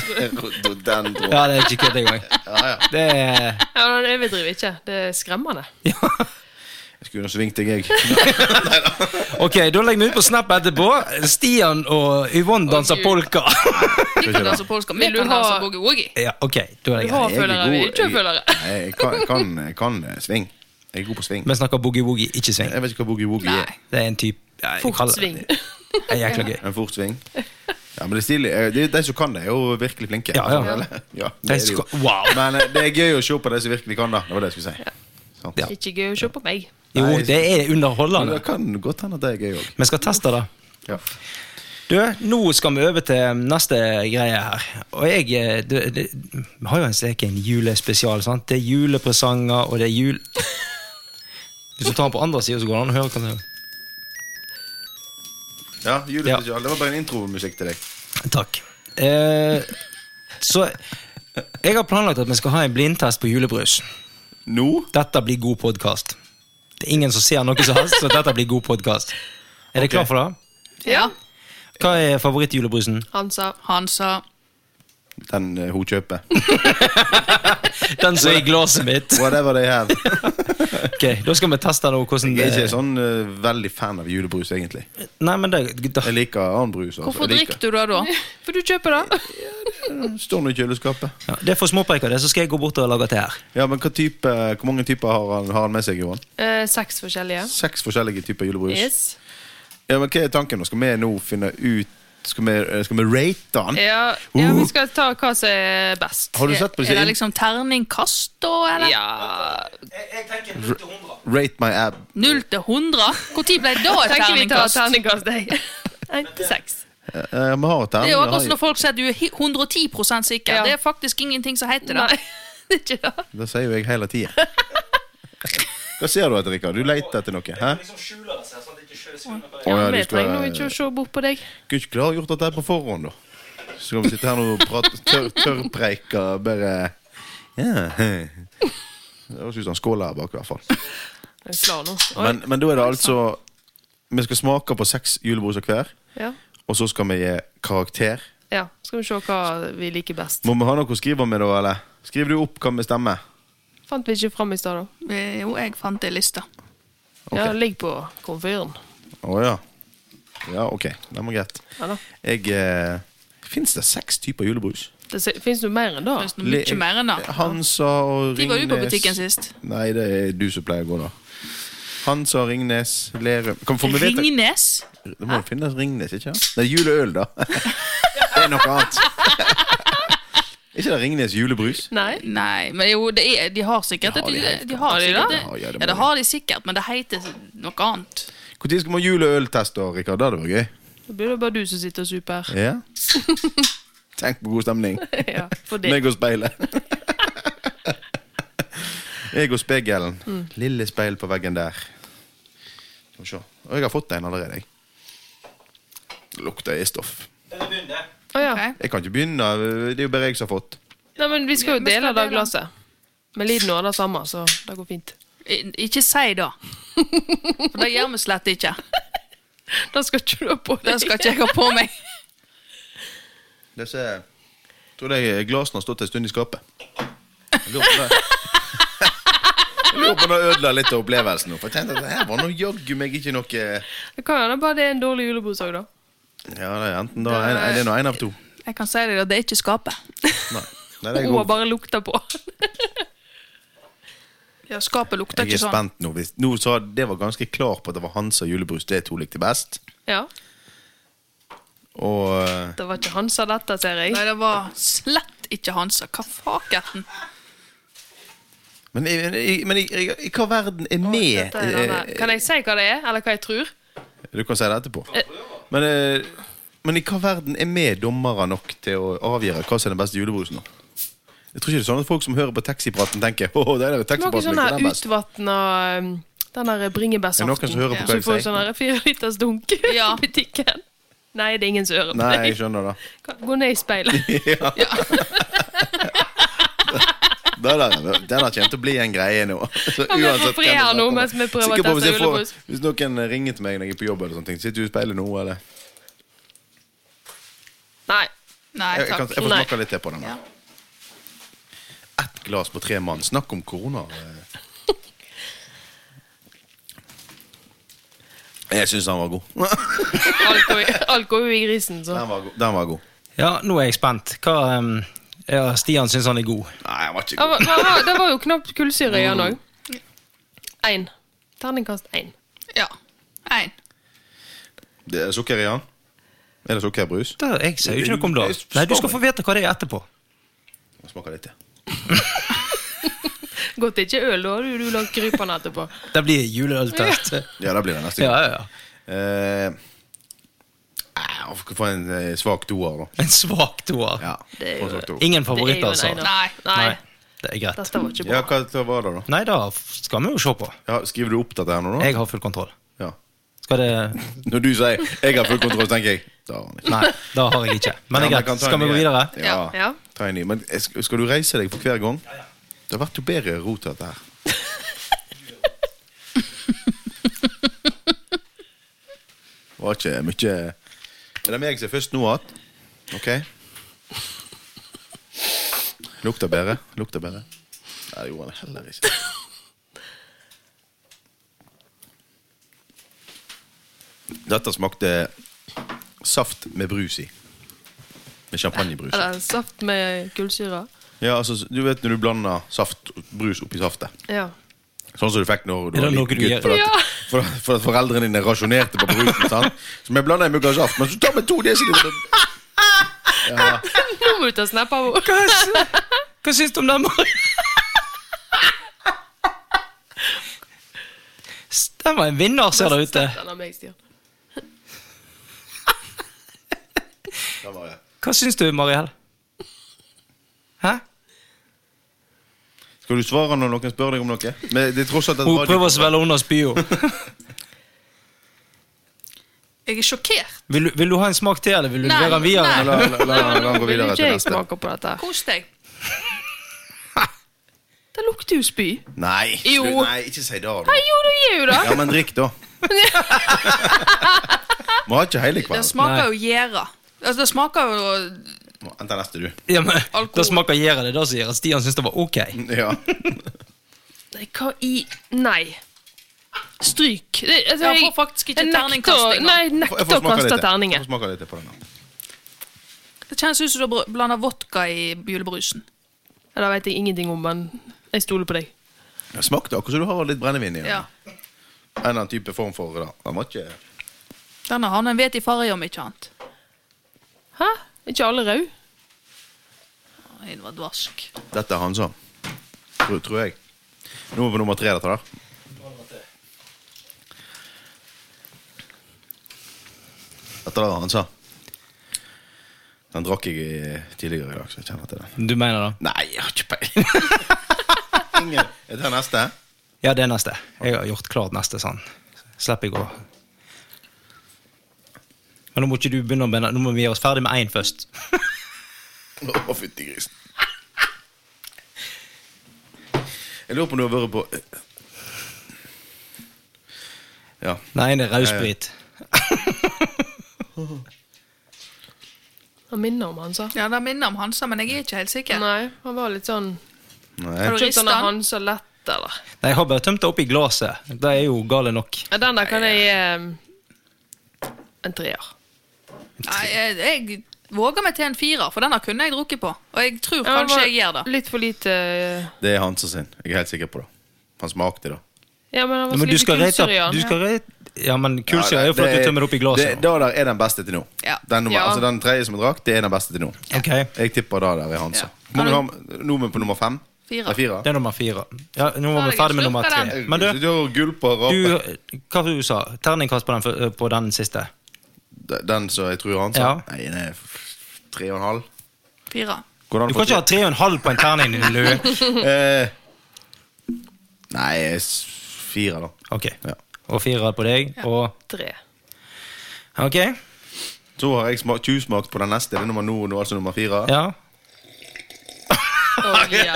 [SPEAKER 2] Rododendron.
[SPEAKER 1] Ja, det er ikke kødd engang.
[SPEAKER 2] Ja, ja.
[SPEAKER 1] Det er
[SPEAKER 4] Ja, men jeg bedriver ikke. Det er skremmende.
[SPEAKER 1] ja.
[SPEAKER 2] Jeg skulle ha svingt deg, jeg.
[SPEAKER 1] Ok, da legger vi ut på Snap etterpå. Stian og Yvonne danser
[SPEAKER 4] Gud.
[SPEAKER 1] polka. [LAUGHS]
[SPEAKER 3] Vi kan danse polska. Vi
[SPEAKER 4] Vil du
[SPEAKER 3] kan
[SPEAKER 4] ha-
[SPEAKER 3] danse boogie-woogie.
[SPEAKER 1] ja, ok, da er det
[SPEAKER 4] Du har
[SPEAKER 1] greit.
[SPEAKER 2] Jeg er
[SPEAKER 4] følgere,
[SPEAKER 2] god-
[SPEAKER 4] vi ikke
[SPEAKER 2] jeg-
[SPEAKER 4] følgere.
[SPEAKER 2] Nei, Jeg kan, jeg kan, jeg kan eh, sving. Jeg er god på sving.
[SPEAKER 1] Vi snakker boogie-woogie, ikke sving.
[SPEAKER 2] Jeg vet ikke hva boogie-woogie er.
[SPEAKER 1] Det er en type ja, jeg kaller det-
[SPEAKER 4] Fortsving.
[SPEAKER 1] Det
[SPEAKER 4] [LAUGHS]
[SPEAKER 1] er jækla gøy.
[SPEAKER 2] En fort sving? [LAUGHS] Ja, men det er stilig. Eh, De, de som kan det, er jo virkelig flinke.
[SPEAKER 1] Ja, ja.
[SPEAKER 2] Eller? [LAUGHS] ja det
[SPEAKER 1] De
[SPEAKER 2] er de
[SPEAKER 1] som
[SPEAKER 2] jo.
[SPEAKER 1] kan- wow.
[SPEAKER 2] Men eh, det er gøy å se på de som virkelig kan det. Det var det jeg skulle si. Sant.
[SPEAKER 1] Ja.
[SPEAKER 4] Ikke gøy å se på meg.
[SPEAKER 1] Jo,
[SPEAKER 2] Nei,
[SPEAKER 1] det er
[SPEAKER 2] Men det
[SPEAKER 1] underholdende.
[SPEAKER 2] kan godt hende at det er gøy òg.
[SPEAKER 1] Vi skal teste det.
[SPEAKER 2] Ja.
[SPEAKER 1] Du, nå skal vi over til neste greie her. Og jeg eh, du, det, Vi har jo en slik en julespesial, sant? Det er julepresanger, og det er [LAUGHS] jul... Hvis du tar den på andre sida, så går det an å høre hva det er.
[SPEAKER 2] Ja, julespesial. Det var bare en intromusikk til deg.
[SPEAKER 1] Takk. Eh, så jeg har planlagt at vi skal ha en blindtest på julebrus.
[SPEAKER 2] Nå?
[SPEAKER 1] Dette blir god podkast. Det er ingen som ser noe som helst, så dette blir god podkast. Er dere klar for det?
[SPEAKER 4] Ja.
[SPEAKER 1] Hva er favorittjulebrusen?
[SPEAKER 4] Han sa
[SPEAKER 3] Han sa
[SPEAKER 2] Den eh, hun kjøper.
[SPEAKER 1] Den som er i glasset mitt.
[SPEAKER 2] Whatever they
[SPEAKER 1] [LAUGHS]
[SPEAKER 2] have.
[SPEAKER 1] Ok, Da skal vi teste da, hvordan
[SPEAKER 2] Jeg er ikke
[SPEAKER 1] det
[SPEAKER 2] sånn eh, veldig fan av julebrus, egentlig.
[SPEAKER 1] Nei, men det, da,
[SPEAKER 2] Jeg liker annen brus. Altså.
[SPEAKER 3] Hvorfor
[SPEAKER 2] Jeg liker-
[SPEAKER 3] drikker du det da?
[SPEAKER 4] For du kjøper det?
[SPEAKER 2] Står nå i kjøleskapet.
[SPEAKER 1] ja, det er for småprekere, så skal jeg gå bort og lage til her.
[SPEAKER 2] Ja, men hva type, Hvor mange typer har han, har han med seg, Johan?
[SPEAKER 4] Eh, seks forskjellige.
[SPEAKER 2] Seks forskjellige typer julebrus.
[SPEAKER 4] Yes.
[SPEAKER 2] Ja, men Hva er tanken? nå? Skal vi nå finne ut Skal vi, eh, skal vi rate han?
[SPEAKER 4] Ja, ja, vi skal ta hva som er best.
[SPEAKER 2] Har du sett på
[SPEAKER 3] Er det
[SPEAKER 2] siden?
[SPEAKER 3] liksom terningkast da, eller?
[SPEAKER 4] Ja
[SPEAKER 1] Jeg tenker 0 til 100.
[SPEAKER 2] Rate my ab.
[SPEAKER 3] Null til 100? Når ble det da et
[SPEAKER 4] Tenker vi tar
[SPEAKER 3] terningkast?
[SPEAKER 4] terningkast, jeg. Én til seks.
[SPEAKER 2] Eh, eh, Vi har et
[SPEAKER 3] Det er jo akkurat som
[SPEAKER 2] terning.
[SPEAKER 3] når folk sier at du er hi- 110 sikker.
[SPEAKER 4] Ja.
[SPEAKER 3] Det er faktisk ingenting som heter det.
[SPEAKER 4] Nei, det er ikke det.
[SPEAKER 2] Det sier jo jeg hele tida.
[SPEAKER 3] [LAUGHS]
[SPEAKER 2] Hva ser du etter, Rikard? Du leter etter noe? Hæ?
[SPEAKER 1] Liksom skjuler det seg, sånn at det ikke skjøres under på
[SPEAKER 2] Å, ja, du
[SPEAKER 4] Vi
[SPEAKER 2] skal-
[SPEAKER 4] trenger nå ikke å se bort på deg.
[SPEAKER 2] Skulle ikke klargjort dette her på forhånd, da. Så kan vi sitte her nå og prate tørr, tørrpreike bare ja. Det høres ut som han skåler her bak, i hvert fall.
[SPEAKER 4] Jeg er klar nå. Oi.
[SPEAKER 2] Men, men da er det altså Vi skal smake på seks julebruser hver,
[SPEAKER 4] Ja.
[SPEAKER 2] og så skal vi gi karakter.
[SPEAKER 4] ja. Skal vi se hva vi liker best.
[SPEAKER 2] Må vi ha noe å skrive med, da? eller? Skriver du opp hva vi stemmer?
[SPEAKER 4] Fant vi ikke fram i stad, da?
[SPEAKER 3] Eh, Jo, jeg fant det i lista.
[SPEAKER 4] Ja, det ligger på komfyren.
[SPEAKER 2] Å ja. Ja, OK. Det var greit.
[SPEAKER 4] Ja da.
[SPEAKER 2] Jeg eh, Fins det seks typer julebrus?
[SPEAKER 4] Det fins jo mer enn det.
[SPEAKER 3] Det er noe mye mer enn det.
[SPEAKER 2] Hansa og Ringnes
[SPEAKER 3] De var jo på butikken sist.
[SPEAKER 2] Nei, det er du som pleier å gå, da. Hansa, Ringnes, Lerum kan, får vi vite-
[SPEAKER 3] Ringnes?
[SPEAKER 2] Det må jo finnes Ringnes, ikke sant? Det er juleøl, da. [LAUGHS] det er noe annet. [LAUGHS] ikke det Ringnes julebrus?
[SPEAKER 4] Nei.
[SPEAKER 3] Nei, men jo, det er, de har sikkert
[SPEAKER 2] Ja, de
[SPEAKER 3] et-
[SPEAKER 2] har det.
[SPEAKER 3] De har sikkert
[SPEAKER 2] Ja, ja, det
[SPEAKER 3] det.
[SPEAKER 2] må
[SPEAKER 3] Ja, det
[SPEAKER 2] de.
[SPEAKER 3] har de sikkert, men det heter noe annet.
[SPEAKER 2] Når skal vi ha juleøltest, da, Rikard? Det hadde vært gøy.
[SPEAKER 4] Da blir det bare du som sitter og super.
[SPEAKER 3] [LAUGHS]
[SPEAKER 2] Ja? Tenk på god stemning.
[SPEAKER 4] [LAUGHS] Ja, for det.
[SPEAKER 2] Meg og speilet. Jeg og spegelen. Lille speil på veggen der. Skal vi se. Og jeg har fått en allerede. jeg. Lukter E-stoff.
[SPEAKER 4] Å ja.
[SPEAKER 3] Ok.
[SPEAKER 2] Jeg kan ikke begynne. Det er jo bare jeg som har fått.
[SPEAKER 4] Nei, men vi skal jo
[SPEAKER 3] Ja, vi skal
[SPEAKER 4] dele det
[SPEAKER 3] dele.
[SPEAKER 4] glasset. Men Liden og Anna samme, så det går fint. [LAUGHS]
[SPEAKER 3] I- Ikke si det. For det gjør vi slett ikke.
[SPEAKER 4] Det skal ikke du ha på deg.
[SPEAKER 3] Det skal ikke jeg ha på meg.
[SPEAKER 2] Disse jeg tror de glasene har stått en stund i skapet. Jeg lurer på det. Jeg lurer på om det ødela litt av opplevelsen. nå, For jeg tenkte at det her var nå jaggu meg ikke noe
[SPEAKER 4] Det kan hende bare det er en dårlig julebrus òg, da.
[SPEAKER 2] Ja, det er enten da en- Det er nå én av to.
[SPEAKER 3] Jeg kan si deg det, det er ikke skapet.
[SPEAKER 2] Nei. Nei, det er
[SPEAKER 4] Hun
[SPEAKER 2] god.
[SPEAKER 4] bare lukter på.
[SPEAKER 3] [LAUGHS]
[SPEAKER 4] [LAUGHS]
[SPEAKER 3] Ja, skapet lukter
[SPEAKER 2] Jeg
[SPEAKER 3] ikke
[SPEAKER 2] er
[SPEAKER 3] sånn.
[SPEAKER 2] spent nå. Hvis, nå sa det var ganske klar på at det var Hansa julebrus det to likte best.
[SPEAKER 4] Ja.
[SPEAKER 2] Og eh,
[SPEAKER 4] Det var ikke han sa dette, ser jeg.
[SPEAKER 3] Nei, det var slett ikke Hansa. Hva fakerten?
[SPEAKER 2] Men, i, i- men i, i, i hva verden er med
[SPEAKER 4] Dette er denne.
[SPEAKER 2] eh,
[SPEAKER 4] Kan jeg si hva det er, eller hva jeg tror?
[SPEAKER 2] Du kan si det etterpå. Men, eh, men i hva verden er med dommere nok til å avgjøre hva som er den beste julebrusen? nå? Jeg tror ikke det er sånn at folk som hører på taxipraten, tenker [LAUGHS] Åh, det er det
[SPEAKER 4] Noe
[SPEAKER 2] taxipraten
[SPEAKER 4] sånn
[SPEAKER 2] likte
[SPEAKER 4] her
[SPEAKER 2] den best.
[SPEAKER 4] utvatna Den der bringebærsaften.
[SPEAKER 2] Er det noen som hører på hva
[SPEAKER 4] Så
[SPEAKER 2] jeg
[SPEAKER 4] du får
[SPEAKER 2] sier?
[SPEAKER 4] sånn her fire liters dunk [LAUGHS] ja.
[SPEAKER 3] Ja.
[SPEAKER 4] i butikken. Nei, det er ingen som hører på
[SPEAKER 2] Nei, jeg
[SPEAKER 4] deg.
[SPEAKER 2] skjønner det.
[SPEAKER 4] Gå ned i speilet. [LAUGHS]
[SPEAKER 2] ja. Det der, det der kommer til å bli en greie nå. Så
[SPEAKER 4] Ja, men jeg får fri
[SPEAKER 2] hvem
[SPEAKER 4] her
[SPEAKER 2] det snakker
[SPEAKER 4] nå
[SPEAKER 2] om.
[SPEAKER 4] mens vi prøver å
[SPEAKER 2] Sikker på
[SPEAKER 4] teste
[SPEAKER 2] hvis jeg får-
[SPEAKER 4] julebrus.
[SPEAKER 2] Hvis noen ringer til meg når jeg er på jobb, eller sånne ting sitter du og speiler nå, eller?
[SPEAKER 4] Nei.
[SPEAKER 3] Nei,
[SPEAKER 2] Jeg, jeg, kan,
[SPEAKER 3] takk.
[SPEAKER 2] jeg får
[SPEAKER 4] Nei.
[SPEAKER 2] smake litt til på den. da.
[SPEAKER 3] Ja.
[SPEAKER 2] Ett glass på tre mann. Snakk om
[SPEAKER 4] [LAUGHS]
[SPEAKER 2] korona. Jeg syns den var
[SPEAKER 4] [LAUGHS]
[SPEAKER 2] god.
[SPEAKER 4] Alt går i- Alt går jo i grisen, så.
[SPEAKER 2] Den var god. Den var god.
[SPEAKER 1] Ja, nå er jeg spent. Hva em, ja, Stian syns han er god.
[SPEAKER 2] Nei, den var ikke
[SPEAKER 4] Det
[SPEAKER 2] god.
[SPEAKER 4] var, det var, det var jo knapt kullsyre i den òg. Én. Terningkast én.
[SPEAKER 3] Ja. Én.
[SPEAKER 2] Det er sukker i den. Er det sukkerbrus?
[SPEAKER 1] Da, jeg sier jo ikke noe om det. Nei, Du skal få vite hva det er etterpå.
[SPEAKER 2] Jeg smaker litt, ja.
[SPEAKER 4] Godt det ikke er øl, da har du, du lagt krypene
[SPEAKER 1] [LAUGHS]
[SPEAKER 4] etterpå.
[SPEAKER 1] Det blir juleøltest.
[SPEAKER 2] Ja, det blir det
[SPEAKER 1] [LAUGHS]
[SPEAKER 2] neste
[SPEAKER 1] Ja,
[SPEAKER 2] gang.
[SPEAKER 1] ja, ja.
[SPEAKER 2] Eh, eh, å få en eh, svak toer, da.
[SPEAKER 1] En svak toer.
[SPEAKER 2] Ja,
[SPEAKER 4] Det er
[SPEAKER 2] få en
[SPEAKER 4] jo-
[SPEAKER 2] svak toer.
[SPEAKER 1] Ingen
[SPEAKER 4] Det er
[SPEAKER 1] favoritt,
[SPEAKER 4] jo en
[SPEAKER 1] altså.
[SPEAKER 4] einer.
[SPEAKER 3] Nei,
[SPEAKER 4] Nei,
[SPEAKER 1] Det er greit.
[SPEAKER 4] dette var ikke bra.
[SPEAKER 2] Ja, hva hva var det, da?
[SPEAKER 1] Nei, da f- skal vi jo se på.
[SPEAKER 2] Ja, skriver du opp dette her nå, da?
[SPEAKER 1] Jeg har full kontroll.
[SPEAKER 2] Ja.
[SPEAKER 1] Skal det
[SPEAKER 2] [LAUGHS] Når du sier 'jeg har full kontroll', tenker jeg Da liksom.
[SPEAKER 1] Nei,
[SPEAKER 2] har han ikke.
[SPEAKER 1] det har jeg ikke. Men det er
[SPEAKER 2] Ja, kan
[SPEAKER 1] greit.
[SPEAKER 2] ta en
[SPEAKER 1] Skal vi gå
[SPEAKER 2] ny.
[SPEAKER 1] videre?
[SPEAKER 2] Ja.
[SPEAKER 4] Ja.
[SPEAKER 2] Ta en ny. Men eh, sk- skal du reise deg for hver gang? Det har vært jo bedre rot
[SPEAKER 1] [LAUGHS]
[SPEAKER 2] til dette her. Det var ikke mye Er det meg som er først nå igjen? OK. Lukter bedre. Lukter bedre. Nei, det gjorde han heller ikke. Dette smakte saft med brus i. Med champagnebrus. i.
[SPEAKER 4] Eller saft med kullsyre.
[SPEAKER 2] Ja, altså, du vet når du blander saft, brus oppi saftet.
[SPEAKER 4] Ja.
[SPEAKER 2] Sånn som du fikk når du
[SPEAKER 1] Er det
[SPEAKER 2] var
[SPEAKER 1] noe
[SPEAKER 2] liten
[SPEAKER 1] du
[SPEAKER 2] gutt.
[SPEAKER 1] gjør?
[SPEAKER 2] For at,
[SPEAKER 4] Ja.
[SPEAKER 2] for, at- for at foreldrene dine rasjonerte på brusen. Sant? Så vi blander en mugg av saft, men så tar vi to desiliter
[SPEAKER 4] Nå må du ta snap av henne.
[SPEAKER 1] Hva, sy- hva syns du om den, Mari? S- Den var en vinner, ser det ut til.
[SPEAKER 4] Den av meg, Stian.
[SPEAKER 2] Ja, Marie.
[SPEAKER 1] Hva syns du, Mariell? Hæ?
[SPEAKER 2] Skal du svare når noen spør deg om noe? Men det er tross alt et
[SPEAKER 1] Hun prøver å
[SPEAKER 2] radio...
[SPEAKER 1] svelge unna spya.
[SPEAKER 3] Jeg er sjokkert.
[SPEAKER 1] Vil, du- vil du ha en smak til, eller vil du
[SPEAKER 3] Nei,
[SPEAKER 1] levere den videre?
[SPEAKER 3] nei.
[SPEAKER 2] La, la, la, la, la han gå
[SPEAKER 4] Vil
[SPEAKER 2] videre
[SPEAKER 4] ikke
[SPEAKER 2] til
[SPEAKER 4] jeg
[SPEAKER 2] neste.
[SPEAKER 4] smake på dette?
[SPEAKER 3] Kos deg.
[SPEAKER 4] Det lukter jo spy.
[SPEAKER 2] Nei,
[SPEAKER 4] Jo.
[SPEAKER 2] slutt. nei, ikke si det. Da.
[SPEAKER 4] Nei, jo, det gjør jo det.
[SPEAKER 2] Ja, men drikk,
[SPEAKER 3] [LAUGHS]
[SPEAKER 2] da. Vi har ikke hele
[SPEAKER 3] Det
[SPEAKER 2] kvelden.
[SPEAKER 1] Nei.
[SPEAKER 3] smaker jo gjæra. Altså, det smaker jo
[SPEAKER 2] Vent til neste, du. [LAUGHS]
[SPEAKER 1] Ja, men,
[SPEAKER 3] Alkohol.
[SPEAKER 1] da smaker gjæra det, da, sier at Stian syns det var ok.
[SPEAKER 2] Ja.
[SPEAKER 4] Nei, hva i Nei. Stryk. Det, altså,
[SPEAKER 3] Jeg får faktisk ikke
[SPEAKER 4] jeg nekter-
[SPEAKER 3] terningkasting nå.
[SPEAKER 4] Nei, jeg
[SPEAKER 2] Jeg får- jeg
[SPEAKER 4] nekter
[SPEAKER 2] får
[SPEAKER 4] å
[SPEAKER 2] smake
[SPEAKER 4] kaste
[SPEAKER 2] litt. Jeg
[SPEAKER 4] terninger.
[SPEAKER 2] får smake litt på den. da.
[SPEAKER 3] Det kjennes ut som du har blanda vodka i julebrusen.
[SPEAKER 4] Ja, Det vet jeg ingenting om, men jeg stoler på deg.
[SPEAKER 2] Det smakte akkurat som du har litt brennevin i. den.
[SPEAKER 3] Ja.
[SPEAKER 2] En eller annen type form for det. Den var ikke
[SPEAKER 3] Denne hannen vet i farge, om ikke annet.
[SPEAKER 4] Hæ? Er ikke alle røde?
[SPEAKER 3] Oi, Det var et vask.
[SPEAKER 2] Dette er han som tror, tror jeg. Nå er vi på nummer tre, dette der. Dette der er han sa. Den drakk jeg i- tidligere i dag, så jeg kjenner til den.
[SPEAKER 1] Du mener det?
[SPEAKER 2] Nei, jeg har ikke [LAUGHS] peiling. Ingen. Jeg tar neste.
[SPEAKER 1] Ja, det er neste. Jeg har gjort klart neste, sånn. Slipper jeg å Men nå må ikke du begynne å begynne. Nå må vi gjøre oss ferdig med én først.
[SPEAKER 2] Å, fytti grisen. Jeg lurer på om du har vært på Ja.
[SPEAKER 1] Nei, det er raussprit.
[SPEAKER 4] Han minner om Hansa.
[SPEAKER 3] Ja, Det minner om Hansa, men jeg er ikke helt sikker.
[SPEAKER 4] Nei, han var litt sånn
[SPEAKER 2] Nei.
[SPEAKER 3] Har du
[SPEAKER 4] Kjøpte han
[SPEAKER 3] ristet
[SPEAKER 4] av
[SPEAKER 3] han?
[SPEAKER 4] Hansa lett, eller?
[SPEAKER 1] Nei, jeg har bare tømt det oppi glasset. Det er jo gale nok.
[SPEAKER 4] Ja, den der kan jeg gi eh, en treer.
[SPEAKER 3] Nei, jeg, jeg våger meg til en firer, for denne kunne jeg drukket på. Og jeg tror
[SPEAKER 4] Ja, men
[SPEAKER 3] kanskje
[SPEAKER 4] var
[SPEAKER 3] jeg gjør det.
[SPEAKER 4] Litt for lite eh,
[SPEAKER 2] Det er Hansa sin. Jeg er helt sikker på det. Han smakte det.
[SPEAKER 4] Ja, men han var
[SPEAKER 1] Men
[SPEAKER 4] så
[SPEAKER 1] du
[SPEAKER 4] lite
[SPEAKER 1] skal rate
[SPEAKER 4] kullsyre i
[SPEAKER 1] opp du
[SPEAKER 4] han.
[SPEAKER 1] skal rate, Ja, men kullsyre er jo for at du tømmer det oppi
[SPEAKER 2] Det,
[SPEAKER 1] glasset.
[SPEAKER 2] det der er den beste til nå.
[SPEAKER 3] Ja.
[SPEAKER 2] Den, nummer,
[SPEAKER 4] Ja.
[SPEAKER 2] altså, den tredje som jeg drakk, det er den beste til nå.
[SPEAKER 1] Ok,
[SPEAKER 2] Jeg tipper det der er Hansa.
[SPEAKER 3] Ja.
[SPEAKER 2] Hvor mange har- Nå er vi på nummer fem.
[SPEAKER 3] Fire.
[SPEAKER 2] Nei, fire.
[SPEAKER 1] Det er nummer fire. Ja, nå var
[SPEAKER 3] Da
[SPEAKER 1] vi
[SPEAKER 3] har jeg
[SPEAKER 1] ferdig med nummer
[SPEAKER 3] slukket
[SPEAKER 1] tre.
[SPEAKER 3] den.
[SPEAKER 1] Men du,
[SPEAKER 2] du har gull på rapen.
[SPEAKER 1] du hva var det du sa Terningkast på den, fø- eh, på den siste.
[SPEAKER 2] Den som jeg tror er Hansa?
[SPEAKER 1] Ja.
[SPEAKER 2] Nei, den er f- tre og en halv.
[SPEAKER 3] Fire.
[SPEAKER 2] Går det an
[SPEAKER 1] Du
[SPEAKER 2] å
[SPEAKER 1] kan
[SPEAKER 2] få
[SPEAKER 1] ikke ha tre og en halv på en terning, din løk.
[SPEAKER 2] tre? Eh, Nei, s- fire, da.
[SPEAKER 1] Ok.
[SPEAKER 2] Ja.
[SPEAKER 1] Og fire på deg, og
[SPEAKER 4] Tre.
[SPEAKER 1] Ok,
[SPEAKER 2] Så har jeg smak- tjuvsmakt på den neste. Det er nummer nå, nå altså nummer fire.
[SPEAKER 1] ja.
[SPEAKER 4] Å, [LAUGHS] ja.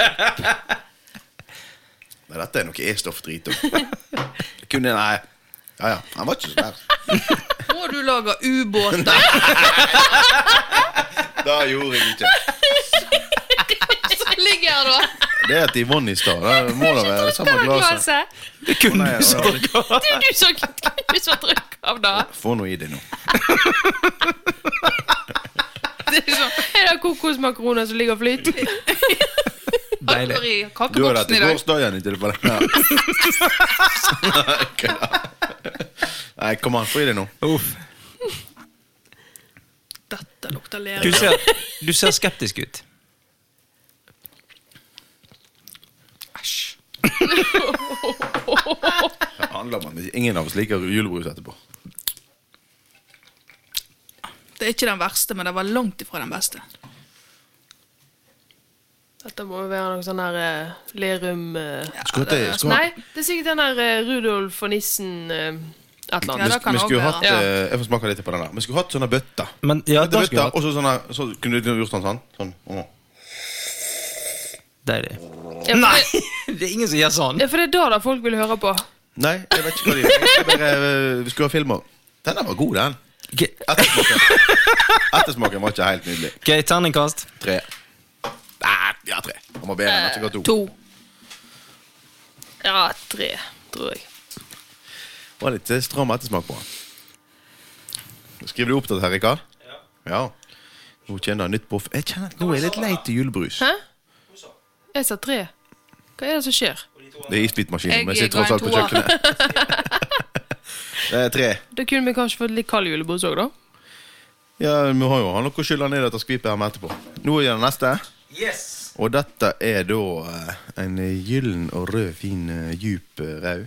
[SPEAKER 2] Nei, dette er noe E-stoff-drit. da. [LAUGHS] Jeg Kunne Nei. Ja ja, han var ikke så verst.
[SPEAKER 3] Må du lage ubåter?
[SPEAKER 2] [LAUGHS] Det gjorde jeg ikke.
[SPEAKER 3] Så ligger jeg her, da.
[SPEAKER 2] Det er at de vant i stad. Det må da være det samme glasset.
[SPEAKER 4] Glasset.
[SPEAKER 1] Det kunne
[SPEAKER 2] Nei,
[SPEAKER 1] du
[SPEAKER 2] ja,
[SPEAKER 1] sagt.
[SPEAKER 4] Du, du som [LAUGHS] du som drakk av det.
[SPEAKER 2] Få noe i deg nå.
[SPEAKER 3] [LAUGHS]
[SPEAKER 4] Det er sånn, Er det kokosmakroner som ligger og flyter?
[SPEAKER 1] Deilig.
[SPEAKER 3] Alvor i
[SPEAKER 2] Du har hatt
[SPEAKER 3] kakeboksen
[SPEAKER 2] i
[SPEAKER 3] i dag.
[SPEAKER 2] gårsdagen i tilfelle. [LAUGHS] Ja. Nei, kødda. Nei, kom an, få i deg nå.
[SPEAKER 1] Uff.
[SPEAKER 3] Det lukter
[SPEAKER 1] Du
[SPEAKER 3] lerring.
[SPEAKER 1] ser, du ser skeptisk ut.
[SPEAKER 3] Æsj.
[SPEAKER 2] Det handler om at Ingen av oss liker julebrus etterpå.
[SPEAKER 3] Det er ikke den verste, men det var langt ifra den beste.
[SPEAKER 4] Dette må jo være noe sånn her eh, Lerum eh.
[SPEAKER 2] Skulle hatt det- skulle
[SPEAKER 4] Nei,
[SPEAKER 2] hatt-
[SPEAKER 4] det er sikkert den der eh, Rudolf og nissen eh, Et eller
[SPEAKER 3] Ja,
[SPEAKER 4] annet.
[SPEAKER 3] det
[SPEAKER 2] vi-
[SPEAKER 3] kan
[SPEAKER 2] vi
[SPEAKER 3] det
[SPEAKER 2] skulle
[SPEAKER 3] også
[SPEAKER 2] hatt
[SPEAKER 4] være.
[SPEAKER 2] eh, Jeg får smake litt på den der. Vi skulle hatt sånne bøtter.
[SPEAKER 1] Men ja,
[SPEAKER 2] Bøtter,
[SPEAKER 1] det skulle jeg
[SPEAKER 2] og så sånne, så kunne du gjort sånn sånn. sånn. og nå.
[SPEAKER 1] hatt. Det er det.
[SPEAKER 4] Ja, for
[SPEAKER 1] Nei!
[SPEAKER 4] det-
[SPEAKER 1] [LAUGHS] Det er ingen som gjør sånn.
[SPEAKER 4] Ja, for det er da da folk vil høre på.
[SPEAKER 2] Nei, jeg vet ikke hva de gjør. Bare, eh, Vi skulle ha filmer. Den der var god, den.
[SPEAKER 1] Ok,
[SPEAKER 2] Ettersmaken Ettersmaken var ikke helt nydelig.
[SPEAKER 1] ok, terningkast.
[SPEAKER 2] Tre. Nei, ja, tre. Han var bedre enn at det ga to.
[SPEAKER 3] Eh, To.
[SPEAKER 4] Ja, tre, tror jeg.
[SPEAKER 2] Det var litt eh, stram ettersmak på den. Skriver du opp dette, her, Rikard? Ja. Nå kjenner jeg nytt boff. Jeg kjenner at nå er jeg litt lei til julebrus.
[SPEAKER 4] Hæ? Jeg sa tre. Hva er det som skjer?
[SPEAKER 2] Det er isbitmaskinen, men jeg
[SPEAKER 3] Jeg
[SPEAKER 2] sitter tross
[SPEAKER 3] ga
[SPEAKER 2] alt
[SPEAKER 3] en
[SPEAKER 2] på kjøkkenet.
[SPEAKER 4] [LAUGHS]
[SPEAKER 2] det er tre.
[SPEAKER 4] Da kunne vi kanskje fått litt kald julebrus òg, da.
[SPEAKER 2] Ja, Vi har jo han noe å skylle ned dette skvipet her med etterpå. Nå er det neste.
[SPEAKER 1] Yes!
[SPEAKER 2] Og dette er da eh, en gyllen og rød, fin, eh, djup eh, rød.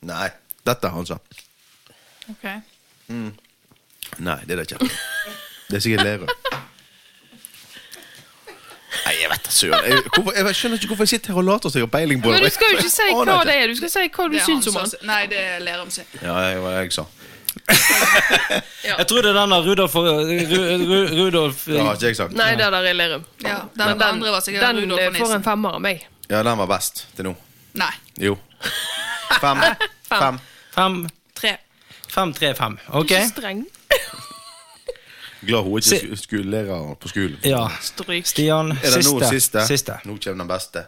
[SPEAKER 2] Nei, dette altså. er han sa.
[SPEAKER 3] Ok.
[SPEAKER 2] Nei, det er det ikke. Det er sikkert Lerøy. Nei, jeg vet da søren. Jeg, hvorfor- jeg skjønner ikke hvorfor jeg sitter her og later som jeg har peiling på det.
[SPEAKER 4] Men du skal jo ikke si
[SPEAKER 2] Jeg aner
[SPEAKER 4] hva
[SPEAKER 2] ikke.
[SPEAKER 4] det er, du skal si hva du
[SPEAKER 3] Det er
[SPEAKER 4] syns
[SPEAKER 3] han
[SPEAKER 4] om han.
[SPEAKER 3] som- Nei, det er Lerum sin.
[SPEAKER 2] Ja, det var det jeg sa.
[SPEAKER 1] Jeg tror det er den der Rudolf eh, Ru, Ru, Rudolf eh,
[SPEAKER 2] Det har ikke jeg sagt.
[SPEAKER 4] Nei, det der er Lerum.
[SPEAKER 3] Ja, den, andre var sikkert
[SPEAKER 4] den
[SPEAKER 3] Rudolf og
[SPEAKER 4] eh, får
[SPEAKER 3] Nissen.
[SPEAKER 4] en femmer av meg.
[SPEAKER 2] Ja, den var best til nå.
[SPEAKER 3] Nei.
[SPEAKER 2] Jo. [LAUGHS] Fem. Fem.
[SPEAKER 1] Fem,
[SPEAKER 3] Tre.
[SPEAKER 1] fem, tre, fem. Ok?
[SPEAKER 4] Ikke streng.
[SPEAKER 2] Glad hun
[SPEAKER 1] Se-
[SPEAKER 2] ikke skulle lære på skolen.
[SPEAKER 1] Ja.
[SPEAKER 4] Stryk.
[SPEAKER 1] Stian,
[SPEAKER 2] Er det
[SPEAKER 1] siste.
[SPEAKER 2] nå siste? Nå kommer den beste.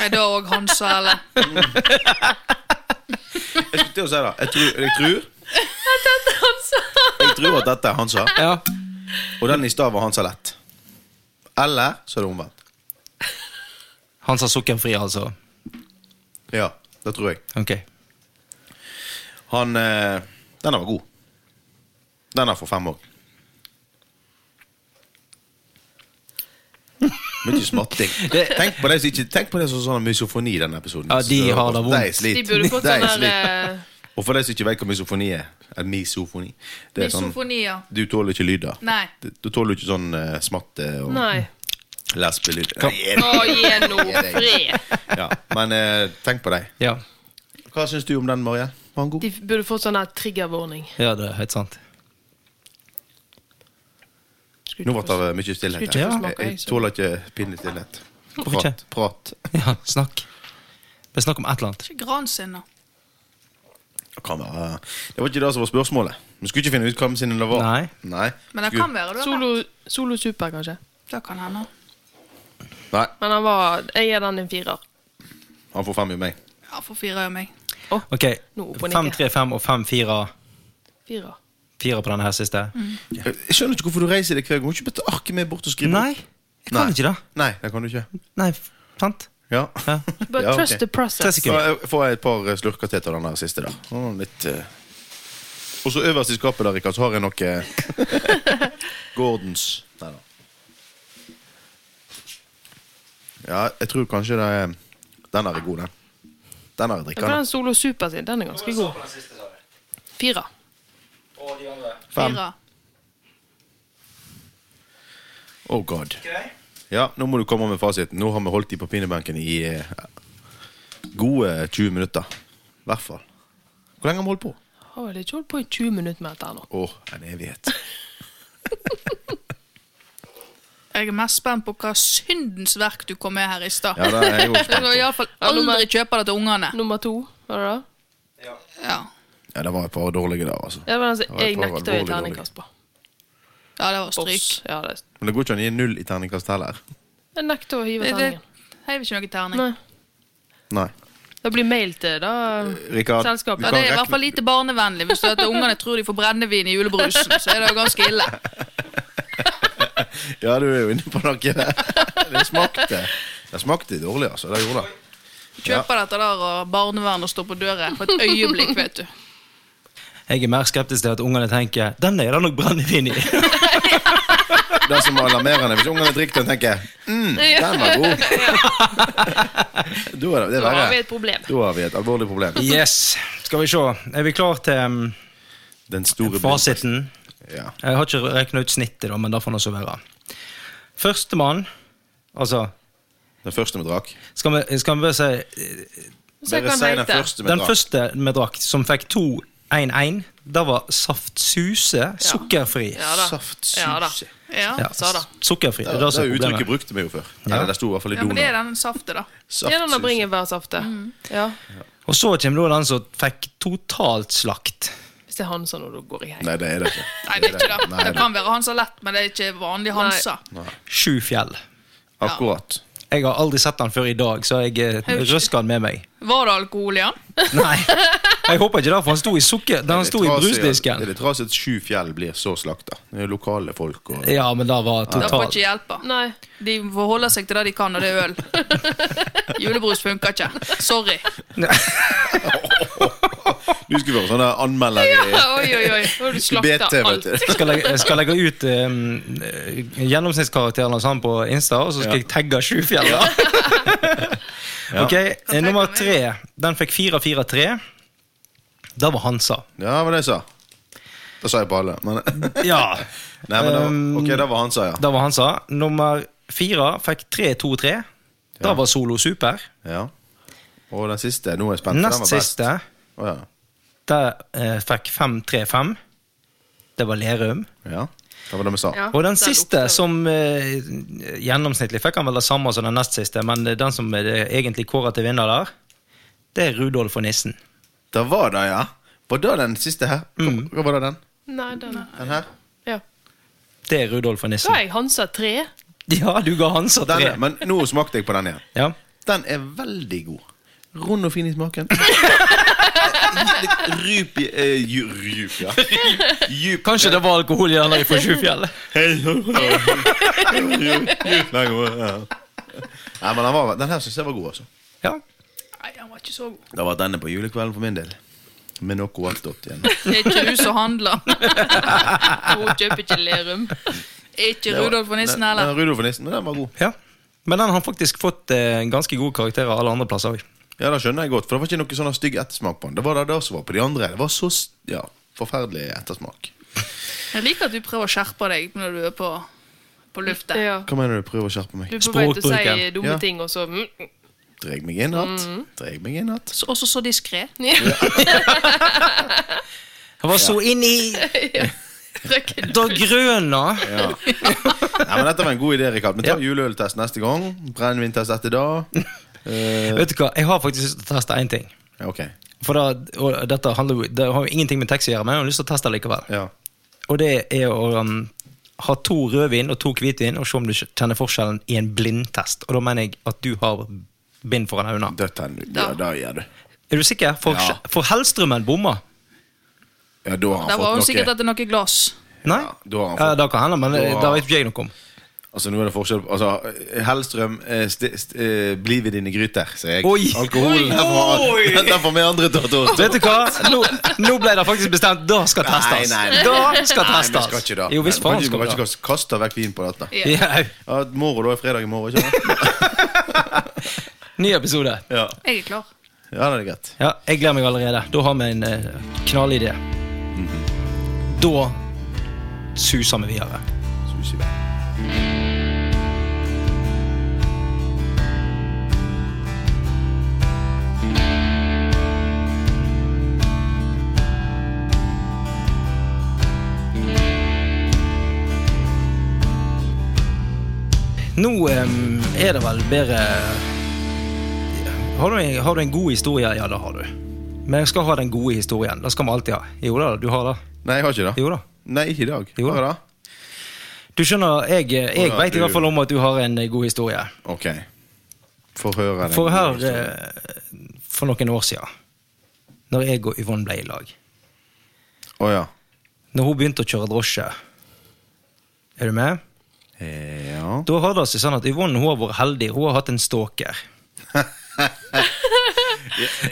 [SPEAKER 3] Er det òg Hansa, eller?
[SPEAKER 2] Jeg skulle til å si det. Jeg tror, jeg tror,
[SPEAKER 4] Han sa
[SPEAKER 2] jeg tror at dette er Hansa.
[SPEAKER 1] Ja.
[SPEAKER 2] Og den i stad var Hansa lett. Eller så er det omvendt.
[SPEAKER 1] Han sa sukkerfri, altså.
[SPEAKER 2] Ja, det tror jeg.
[SPEAKER 1] Ok.
[SPEAKER 2] Han eh, Denne var god. Denne får fem òg. Mye smatting.
[SPEAKER 1] [LAUGHS] Det-
[SPEAKER 2] Tenk på det som ikke Tenk på det som sånn mysofoni i denne episoden.
[SPEAKER 1] Ja, de har det vondt.
[SPEAKER 2] De sliter.
[SPEAKER 4] De burde fått sånn
[SPEAKER 2] De
[SPEAKER 4] der
[SPEAKER 2] sliter.
[SPEAKER 4] eh,
[SPEAKER 2] Og for de som ikke vet hva misofoni er er Misofoni. [LAUGHS] Det er sånn
[SPEAKER 3] Misofonier.
[SPEAKER 2] Du tåler ikke lyder.
[SPEAKER 3] Nei.
[SPEAKER 2] Du, du tåler ikke sånn eh, smatte og
[SPEAKER 4] Nei.
[SPEAKER 2] lespelyd.
[SPEAKER 1] Kom.
[SPEAKER 2] Nei, er det-
[SPEAKER 4] Å, gi nå fred.
[SPEAKER 2] Ja, men eh, tenk på dem.
[SPEAKER 1] Ja.
[SPEAKER 2] Hva syns du om den, Marje? Var han god?
[SPEAKER 4] De burde fått sånn her triggervarning.
[SPEAKER 1] ja, det er helt sant.
[SPEAKER 2] Nå ble det mye stillhet. her.
[SPEAKER 4] Skulle ikke få
[SPEAKER 2] Jeg,
[SPEAKER 4] smake,
[SPEAKER 2] jeg
[SPEAKER 4] jeg, så.
[SPEAKER 2] tåler ikke pinlig stillhet.
[SPEAKER 1] Hvorfor ikke?
[SPEAKER 2] Prat. prat.
[SPEAKER 1] Ja, snakk. Det er snakk om et eller annet.
[SPEAKER 3] Ikke Gran sin, da.
[SPEAKER 2] Det kan være- Det var ikke det som var spørsmålet. Vi skulle ikke finne ut hvem sin det var.
[SPEAKER 1] Nei.
[SPEAKER 2] Nei.
[SPEAKER 3] Men det
[SPEAKER 2] Skulle-
[SPEAKER 3] kan være, du.
[SPEAKER 4] Solo, solo super, kanskje.
[SPEAKER 3] Det kan hende.
[SPEAKER 2] Nei,
[SPEAKER 4] Men han var Jeg gir den en firer.
[SPEAKER 2] han får fem i meg.
[SPEAKER 3] Ja, for fire gjør meg.
[SPEAKER 1] Ok,
[SPEAKER 4] Nå opp og nikke.
[SPEAKER 1] 5-3-5 og 5-4
[SPEAKER 4] Firer.
[SPEAKER 1] Fire på denne her siste.
[SPEAKER 4] Mhm.
[SPEAKER 2] Jeg jeg skjønner ikke hvorfor du reiser deg hver gang. Må ikke bare ta arket med bort og skrive
[SPEAKER 1] Nei,
[SPEAKER 2] opp?
[SPEAKER 1] jeg kan
[SPEAKER 2] Nei.
[SPEAKER 1] ikke det.
[SPEAKER 2] Nei, det kan du ikke.
[SPEAKER 1] Nei, f- sant?
[SPEAKER 2] Ja.
[SPEAKER 1] Ja.
[SPEAKER 4] But
[SPEAKER 2] Ja, ok.
[SPEAKER 4] trust the
[SPEAKER 1] Tre
[SPEAKER 4] process.
[SPEAKER 1] sekunder.
[SPEAKER 2] Så eh, får jeg et par slurker til til den der siste der. Å, Litt eh. Og så øverst i skapet der, Rikard, så har jeg noe eh, Gordons. Nei da. Ja, jeg tror kanskje det er Den her er god, den. Den her
[SPEAKER 4] Ja, for
[SPEAKER 2] drikker den.
[SPEAKER 4] den solo super sin, den er ganske god. Fire.
[SPEAKER 2] Fem.
[SPEAKER 3] Fire.
[SPEAKER 2] Oh god. Ja, nå må du komme med fasiten. Nå har vi holdt de på pinebenken i eh, gode 20 minutter. I hvert fall. Hvor lenge har vi holdt på?
[SPEAKER 4] Har vel ikke holdt på i 20 minutter med dette her nå.
[SPEAKER 2] Å, en evighet.
[SPEAKER 3] Jeg er mest spent på hva syndens verk du kom med her i stad.
[SPEAKER 2] Ja, det er jeg også
[SPEAKER 3] [LAUGHS] Jeg
[SPEAKER 2] spent
[SPEAKER 3] skal
[SPEAKER 2] på.
[SPEAKER 3] iallfall
[SPEAKER 4] [LAUGHS] Ja, nå må-
[SPEAKER 3] aldri kjøpe det til ungene.
[SPEAKER 4] Nummer to, var det da?
[SPEAKER 3] Ja.
[SPEAKER 2] Ja, det var et par dårlige der, altså.
[SPEAKER 4] Det var den
[SPEAKER 2] Det
[SPEAKER 4] som
[SPEAKER 2] var et
[SPEAKER 4] jeg
[SPEAKER 2] par
[SPEAKER 4] nekter å gi
[SPEAKER 2] alvorlig
[SPEAKER 4] terningkast på.
[SPEAKER 3] ja, det var stryk.
[SPEAKER 4] Boss. Ja, det
[SPEAKER 2] Men det går ikke an å gi null i terningkast heller.
[SPEAKER 4] jeg nekter å hive
[SPEAKER 3] Det, det
[SPEAKER 4] terningen.
[SPEAKER 3] heiv ikke noe terning.
[SPEAKER 4] Nei.
[SPEAKER 2] Nei.
[SPEAKER 4] Det blir mail til da um,
[SPEAKER 2] Rikard,
[SPEAKER 4] Selskap.
[SPEAKER 2] vi
[SPEAKER 3] Ja,
[SPEAKER 2] kan
[SPEAKER 3] det er i
[SPEAKER 2] rekke-
[SPEAKER 3] hvert fall lite barnevennlig. Hvis det er at ungene tror de får brennevin i julebrusen, så er det jo ganske ille.
[SPEAKER 2] Ja, du er jo inne på noe. Det smakte. Det smakte dårlig, altså. Det gjorde det.
[SPEAKER 3] Kjøper dette der, og barnevernet står på døra for et øyeblikk, vet du.
[SPEAKER 1] Jeg er mer skeptisk til at ungene tenker 'denne er det nok brennevin i'.
[SPEAKER 2] Det som er alarmerende, hvis ungene drikker den, tenker jeg, mm, den var
[SPEAKER 3] [LAUGHS]
[SPEAKER 2] god. da er det, det er
[SPEAKER 4] Da har
[SPEAKER 2] verre.
[SPEAKER 4] vi et problem.
[SPEAKER 2] Da har vi et alvorlig problem.
[SPEAKER 1] Yes. Skal vi se. Er vi klar til um,
[SPEAKER 2] Den store
[SPEAKER 1] fasiten?
[SPEAKER 2] Ja.
[SPEAKER 1] Jeg har ikke regna ut snittet, da, men det får nå så være. Førstemann Altså,
[SPEAKER 2] Den første med drakk.
[SPEAKER 1] skal vi, skal vi bare si
[SPEAKER 4] Se
[SPEAKER 2] Det
[SPEAKER 4] hva
[SPEAKER 2] vil si
[SPEAKER 4] han
[SPEAKER 2] den
[SPEAKER 4] heter.
[SPEAKER 2] første med
[SPEAKER 1] Den
[SPEAKER 2] drakk.
[SPEAKER 1] første med drakt som fikk to 1-1, det var Saftsuse sukkerfri.
[SPEAKER 3] Ja da.
[SPEAKER 2] Saftsuse.
[SPEAKER 3] Ja da. Ja,
[SPEAKER 1] Ja,
[SPEAKER 3] sa da.
[SPEAKER 1] Sukkerfri.
[SPEAKER 2] Det,
[SPEAKER 1] Det er
[SPEAKER 2] det,
[SPEAKER 1] det som er
[SPEAKER 2] uttrykket
[SPEAKER 1] problemet.
[SPEAKER 2] brukte vi jo før.
[SPEAKER 1] Ja.
[SPEAKER 2] Eller det sto i hvert fall i
[SPEAKER 3] Ja, men det
[SPEAKER 2] doen.
[SPEAKER 3] er den saftet, da.
[SPEAKER 4] Det er denne
[SPEAKER 2] Saftsus.
[SPEAKER 4] bringebærsaftet. Ja.
[SPEAKER 1] Og så kommer da den som fikk totalt slakt.
[SPEAKER 4] Hvis det er Hansa nå, da går jeg hjem.
[SPEAKER 2] Nei, det er det ikke.
[SPEAKER 3] Nei, det er ikke det.
[SPEAKER 2] Nei,
[SPEAKER 3] Det kan være Hansa lett, men det er ikke vanlig Hansa.
[SPEAKER 1] Sju fjell.
[SPEAKER 2] Akkurat.
[SPEAKER 1] Jeg har aldri sett den før i dag, så jeg eh, røsker den med meg.
[SPEAKER 3] Var det alkohol i den?
[SPEAKER 1] Nei, jeg håper ikke det, for han sto i sukker... Den sto i
[SPEAKER 2] Det er litt trasig at-
[SPEAKER 1] brusdisken.
[SPEAKER 2] Det er litt trasig at Sju fjell blir så slakta. Det er jo lokale folk og
[SPEAKER 1] Ja, men det var
[SPEAKER 3] Det får
[SPEAKER 1] totalt
[SPEAKER 3] ikke hjelpe.
[SPEAKER 4] Nei.
[SPEAKER 3] De får holde seg til det de kan, og det er øl. Julebrus funker ikke. Sorry.
[SPEAKER 2] Du skulle være sånn der anmelder i
[SPEAKER 4] [LAUGHS] Oi, oi, oi. Nå har du slakta
[SPEAKER 2] BT, vet
[SPEAKER 4] alt.
[SPEAKER 3] [LAUGHS]
[SPEAKER 2] du.
[SPEAKER 1] skal legge, jeg skal legge ut um, eh, gjennomsnittskarakteren hans han på Insta, og så skal
[SPEAKER 2] Ja.
[SPEAKER 1] jeg tagge Sjufjell. da. [LAUGHS] ok, eh, nummer tre. Den fikk 4-4-3. Det var Hansa.
[SPEAKER 2] Ja, det var det jeg sa. Det sa jeg på alle. Men, [LAUGHS] nei,
[SPEAKER 1] Ja.
[SPEAKER 2] men det
[SPEAKER 1] Um,
[SPEAKER 2] var, ok, det var han, sa ja.
[SPEAKER 1] Det var Hansa. Nummer fire fikk 3-2-3. Det var Solo Super.
[SPEAKER 2] ja. Og den siste. Nå er jeg spent. for den var
[SPEAKER 1] Nest
[SPEAKER 2] best.
[SPEAKER 1] siste,
[SPEAKER 2] Å, ja.
[SPEAKER 1] det eh, fikk 5-3-5. Det var Lerum.
[SPEAKER 2] Ja, det var det vi sa.
[SPEAKER 4] Ja,
[SPEAKER 1] Og den
[SPEAKER 4] der
[SPEAKER 1] siste,
[SPEAKER 4] lukter det.
[SPEAKER 1] som eh, gjennomsnittlig fikk han vel det samme som den nest siste, men den som er det egentlig kåra til vinner der, det er Rudolf og nissen.
[SPEAKER 2] Det var det, ja. Var det den siste her? Hva,
[SPEAKER 1] Mm.
[SPEAKER 2] hva var det den?
[SPEAKER 4] Nei, den
[SPEAKER 2] Den her?
[SPEAKER 4] Ja.
[SPEAKER 1] Det er Rudolf og
[SPEAKER 4] Da
[SPEAKER 1] nissen.
[SPEAKER 4] er jeg Hansa 3.
[SPEAKER 1] Ja, du ga Hansa tre.
[SPEAKER 2] Denne, men nå smakte jeg på den igjen.
[SPEAKER 1] Ja.
[SPEAKER 2] Den er veldig god. Rund og fin i
[SPEAKER 1] [LAUGHS]
[SPEAKER 2] smaken. Ryp i eh, ju- Ryp, ja. Djup
[SPEAKER 1] Kanskje det var alkohol i den der fra Sjufjellet?
[SPEAKER 2] Nei, men den, var, den her syns jeg var god, altså.
[SPEAKER 1] Ja.
[SPEAKER 3] Nei, han var ikke så
[SPEAKER 4] [LAUGHS]
[SPEAKER 3] god.
[SPEAKER 2] Det var denne på julekvelden for min del. Med noe attåt igjen.
[SPEAKER 3] Det er ikke du som handler.
[SPEAKER 4] Hun kjøper ikke Lerum.
[SPEAKER 3] Ikke Rudolf og nissen heller.
[SPEAKER 2] Den, den Rudolf og nissen, men den var god.
[SPEAKER 1] ja. Men den har faktisk fått eh, ganske gode karakterer alle andre plasser òg.
[SPEAKER 2] Ja, det skjønner jeg godt, for det var ikke noe sånn stygg ettersmak på den. Det var det der som var på de andre. Det var så s- ja, forferdelig ettersmak.
[SPEAKER 3] Jeg liker at du prøver å skjerpe deg når du er på, på lufta.
[SPEAKER 4] Ja.
[SPEAKER 2] Hva mener du prøver å skjerpe
[SPEAKER 4] Du
[SPEAKER 2] meg?
[SPEAKER 4] er på vei til å si
[SPEAKER 1] Språkbruken.
[SPEAKER 4] dumme
[SPEAKER 2] Ja.
[SPEAKER 4] ting, og så mm, mm.
[SPEAKER 2] Dreg meg inn hatt. Dreg meg inn hatt.
[SPEAKER 3] Så- Også så diskré.
[SPEAKER 4] [LAUGHS]
[SPEAKER 1] Jeg var så inn i
[SPEAKER 4] Røkken.
[SPEAKER 1] Da grøna!
[SPEAKER 2] Nei, men Dette var en god idé, Rikard. Vi tar
[SPEAKER 1] Ja.
[SPEAKER 2] juleøltest neste gang. Brennevintest etter da. [LAUGHS] Eh,
[SPEAKER 1] Vet du hva, jeg har faktisk lyst til å teste én ting.
[SPEAKER 2] ja, ok.
[SPEAKER 1] For da, og dette handler, jo- det har jo ingenting med taxi å gjøre, men jeg har lyst til å teste likevel.
[SPEAKER 2] Ja.
[SPEAKER 1] Og det er å um, ha to rødvin og to hvitvin, og se om du kjenner forskjellen i en blindtest. Og da mener jeg at du har bind foran øynene.
[SPEAKER 2] Dødt hen. Ja, da gjør du.
[SPEAKER 1] Er du sikker? For,
[SPEAKER 2] Ja.
[SPEAKER 1] for Hellstrømmen bomma.
[SPEAKER 2] Ja, da har han
[SPEAKER 3] Der var hun
[SPEAKER 2] fått
[SPEAKER 3] sikkert
[SPEAKER 2] noe.
[SPEAKER 3] etter noe glass.
[SPEAKER 1] Nei?
[SPEAKER 2] Ja, da har han
[SPEAKER 1] Ja,
[SPEAKER 2] fått-
[SPEAKER 1] det kan hende, men
[SPEAKER 2] da-
[SPEAKER 1] det vet ikke jeg noe om.
[SPEAKER 2] Altså, nå er det forskjell Altså, Hellstrøm, eh, sti, st, eh, bli ved dine gryter, sier jeg.
[SPEAKER 1] Oi.
[SPEAKER 2] Alkoholen, den
[SPEAKER 1] Oi.
[SPEAKER 2] får- [LAUGHS] den får vi andre ta til oss.
[SPEAKER 1] Vet du hva? Nå, nå ble det faktisk bestemt. Da skal
[SPEAKER 2] Nei,
[SPEAKER 1] testes.
[SPEAKER 2] nei, nei.
[SPEAKER 1] Da skal
[SPEAKER 2] Nei, vi
[SPEAKER 1] testes.
[SPEAKER 2] skal ikke det.
[SPEAKER 1] Jo, visst faen
[SPEAKER 2] Vi
[SPEAKER 1] skal vi
[SPEAKER 2] kan ikke
[SPEAKER 1] det.
[SPEAKER 2] kaste vekk vin på dette.
[SPEAKER 3] Ja.
[SPEAKER 1] Ja,
[SPEAKER 2] Ja, Moro, da er fredag i morgen, ikke sant?
[SPEAKER 1] ny episode.
[SPEAKER 2] Ja.
[SPEAKER 3] Jeg er klar.
[SPEAKER 2] ja, det er greit.
[SPEAKER 1] Ja, jeg gleder meg allerede. Da har vi en eh, knallidé.
[SPEAKER 2] Mhm.
[SPEAKER 1] Da suser vi videre.
[SPEAKER 2] Sushi.
[SPEAKER 1] Nå em, er det vel bedre har du, en, har du en god historie? Ja, det har du. Men jeg skal ha den gode historien. Det skal vi alltid ha. Jo da, du har det.
[SPEAKER 2] Nei, jeg har ikke det.
[SPEAKER 1] Jo da.
[SPEAKER 2] Nei, ikke i dag.
[SPEAKER 1] Jo da.
[SPEAKER 2] Har jeg det?
[SPEAKER 1] Du skjønner, jeg, jeg
[SPEAKER 2] Ja,
[SPEAKER 1] veit i
[SPEAKER 2] du-
[SPEAKER 1] hvert fall om at du har en eh, god historie.
[SPEAKER 2] Ok. Få høre den.
[SPEAKER 1] For her, eh, for noen år siden, når jeg og Yvonne ble i lag
[SPEAKER 2] Å ja.
[SPEAKER 1] Når hun begynte å kjøre drosje Er du med?
[SPEAKER 2] Eh, ja. Ja.
[SPEAKER 1] Da har det seg sånn at Yvonne hun har vært heldig. Hun har hatt en
[SPEAKER 2] [LAUGHS]
[SPEAKER 1] stalker.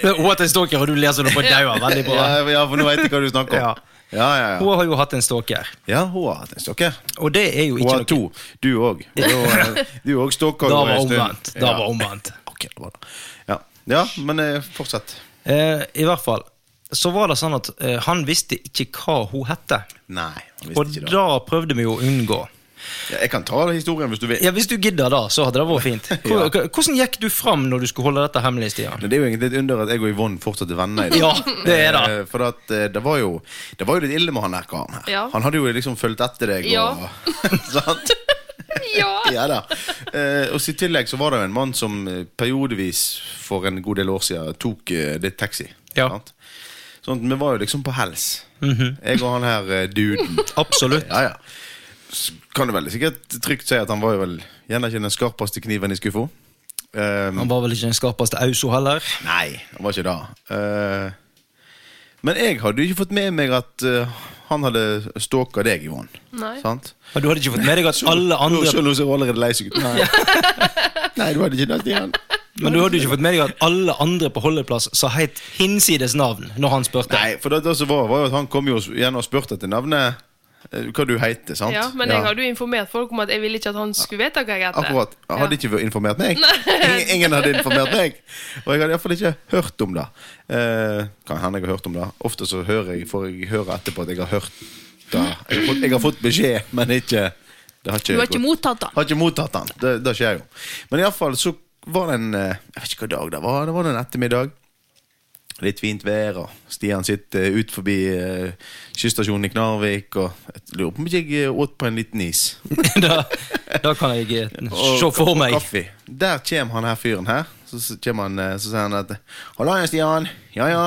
[SPEAKER 1] hun har hatt en stalker, og du ler som du får daua. Veldig bra.
[SPEAKER 2] Ja, ja, for nå vet jeg hva du snakker om. Ja, ja, ja.
[SPEAKER 1] Hun har jo hatt en stalker,
[SPEAKER 2] ja hun har hatt en stokke.
[SPEAKER 1] og det er jo
[SPEAKER 2] Hun
[SPEAKER 1] ikke
[SPEAKER 2] har to. Du òg. Du er- du er òg stokker.
[SPEAKER 1] Da var
[SPEAKER 2] over en stund.
[SPEAKER 1] omvendt. Da
[SPEAKER 2] Ja.
[SPEAKER 1] var omvendt.
[SPEAKER 2] Ok, det var det. Ja. ja, men eh, fortsett.
[SPEAKER 1] [LAUGHS] Eh, I hvert fall så var det sånn at eh, han visste ikke hva hun hette.
[SPEAKER 2] Nei, han visste
[SPEAKER 1] Og
[SPEAKER 2] ikke det.
[SPEAKER 1] da prøvde vi å unngå.
[SPEAKER 2] Ja, Jeg kan ta historien hvis du vil.
[SPEAKER 1] Ja, Hvis du gidder da, så hadde det vært [LAUGHS] fint. Hvor-
[SPEAKER 2] Ja.
[SPEAKER 1] k- Hvordan gikk du fram når du skulle holde dette hemmelig, Stian?
[SPEAKER 2] Men Det er jo egentlig et under at jeg og Yvonne fortsatt er venner. i dag.
[SPEAKER 1] [LAUGHS] Ja, det er det.
[SPEAKER 2] Eh, For at eh, det var jo Det var jo litt ille med han der karen her.
[SPEAKER 4] Ja.
[SPEAKER 2] Han hadde jo liksom fulgt etter deg.
[SPEAKER 4] Ja.
[SPEAKER 2] Og, [LAUGHS] sant?
[SPEAKER 4] [LAUGHS] Ja!
[SPEAKER 2] ja da. Eh, og så I tillegg så var det jo en mann som eh, periodevis for en god del år siden tok eh, litt taxi.
[SPEAKER 1] Ja. Mhm.
[SPEAKER 2] sant? Sånn at vi var jo liksom på hels. Jeg og han her eh, duden.
[SPEAKER 1] Absolutt.
[SPEAKER 2] Ja, ja. S- Kan du vel sikkert trygt si at han var jo vel gjerne ikke den skarpeste kniven i skuffa. Um,
[SPEAKER 1] Han var vel ikke den skarpeste Auso heller.
[SPEAKER 2] Nei, det var ikke det. Eh, men jeg hadde jo ikke fått med meg at eh, han hadde stalka deg, Yvonne.
[SPEAKER 4] Nei.
[SPEAKER 2] Sant?
[SPEAKER 1] Og du hadde ikke fått med deg at alle
[SPEAKER 2] Nå
[SPEAKER 1] andre
[SPEAKER 2] skjønner hun seg allerede lei seg ut. Nei. [LAUGHS] Nei, du hadde ikke det, Stian.
[SPEAKER 1] Men du hadde ikke fått med deg at alle andre på holdeplass sa helt hinsides navn når han spurte.
[SPEAKER 2] Nei, for det, det som var, var jo at han kom jo igjen og spurte etter navnet. eh, Hva du heter, sant?
[SPEAKER 4] Ja, men jeg hadde jo informert folk om at jeg ville ikke at han skulle vite hva jeg heter.
[SPEAKER 2] Akkurat. Jeg hadde
[SPEAKER 4] Ja.
[SPEAKER 2] ikke informert meg. Ingen, ingen hadde informert meg. Og jeg hadde iallfall ikke hørt om det. Eh, kan hende jeg har hørt om det. Ofte så hører jeg, får jeg høre etterpå at jeg har hørt det. Jeg har fått, jeg har fått beskjed, men ikke det har ikke,
[SPEAKER 3] Du har ikke
[SPEAKER 2] gått-
[SPEAKER 3] mottatt den.
[SPEAKER 2] Har ikke mottatt den. Det, det skjer jo. Men iallfall så var det en eh, Jeg vet ikke hva dag det var. Det var en ettermiddag. Litt fint vær, og Stian sitter ut forbi eh, kyststasjonen i Knarvik. Og jeg lurer på om ikke jeg eh, åt på en liten is
[SPEAKER 1] [LAUGHS] da, da kan jeg eh,
[SPEAKER 2] og-
[SPEAKER 1] se for
[SPEAKER 2] og
[SPEAKER 1] meg.
[SPEAKER 2] Kaffe. Der kommer han her fyren her. Så, så, kommer han, eh, så sier han at 'Halla, ja, Stian. Ja, ja.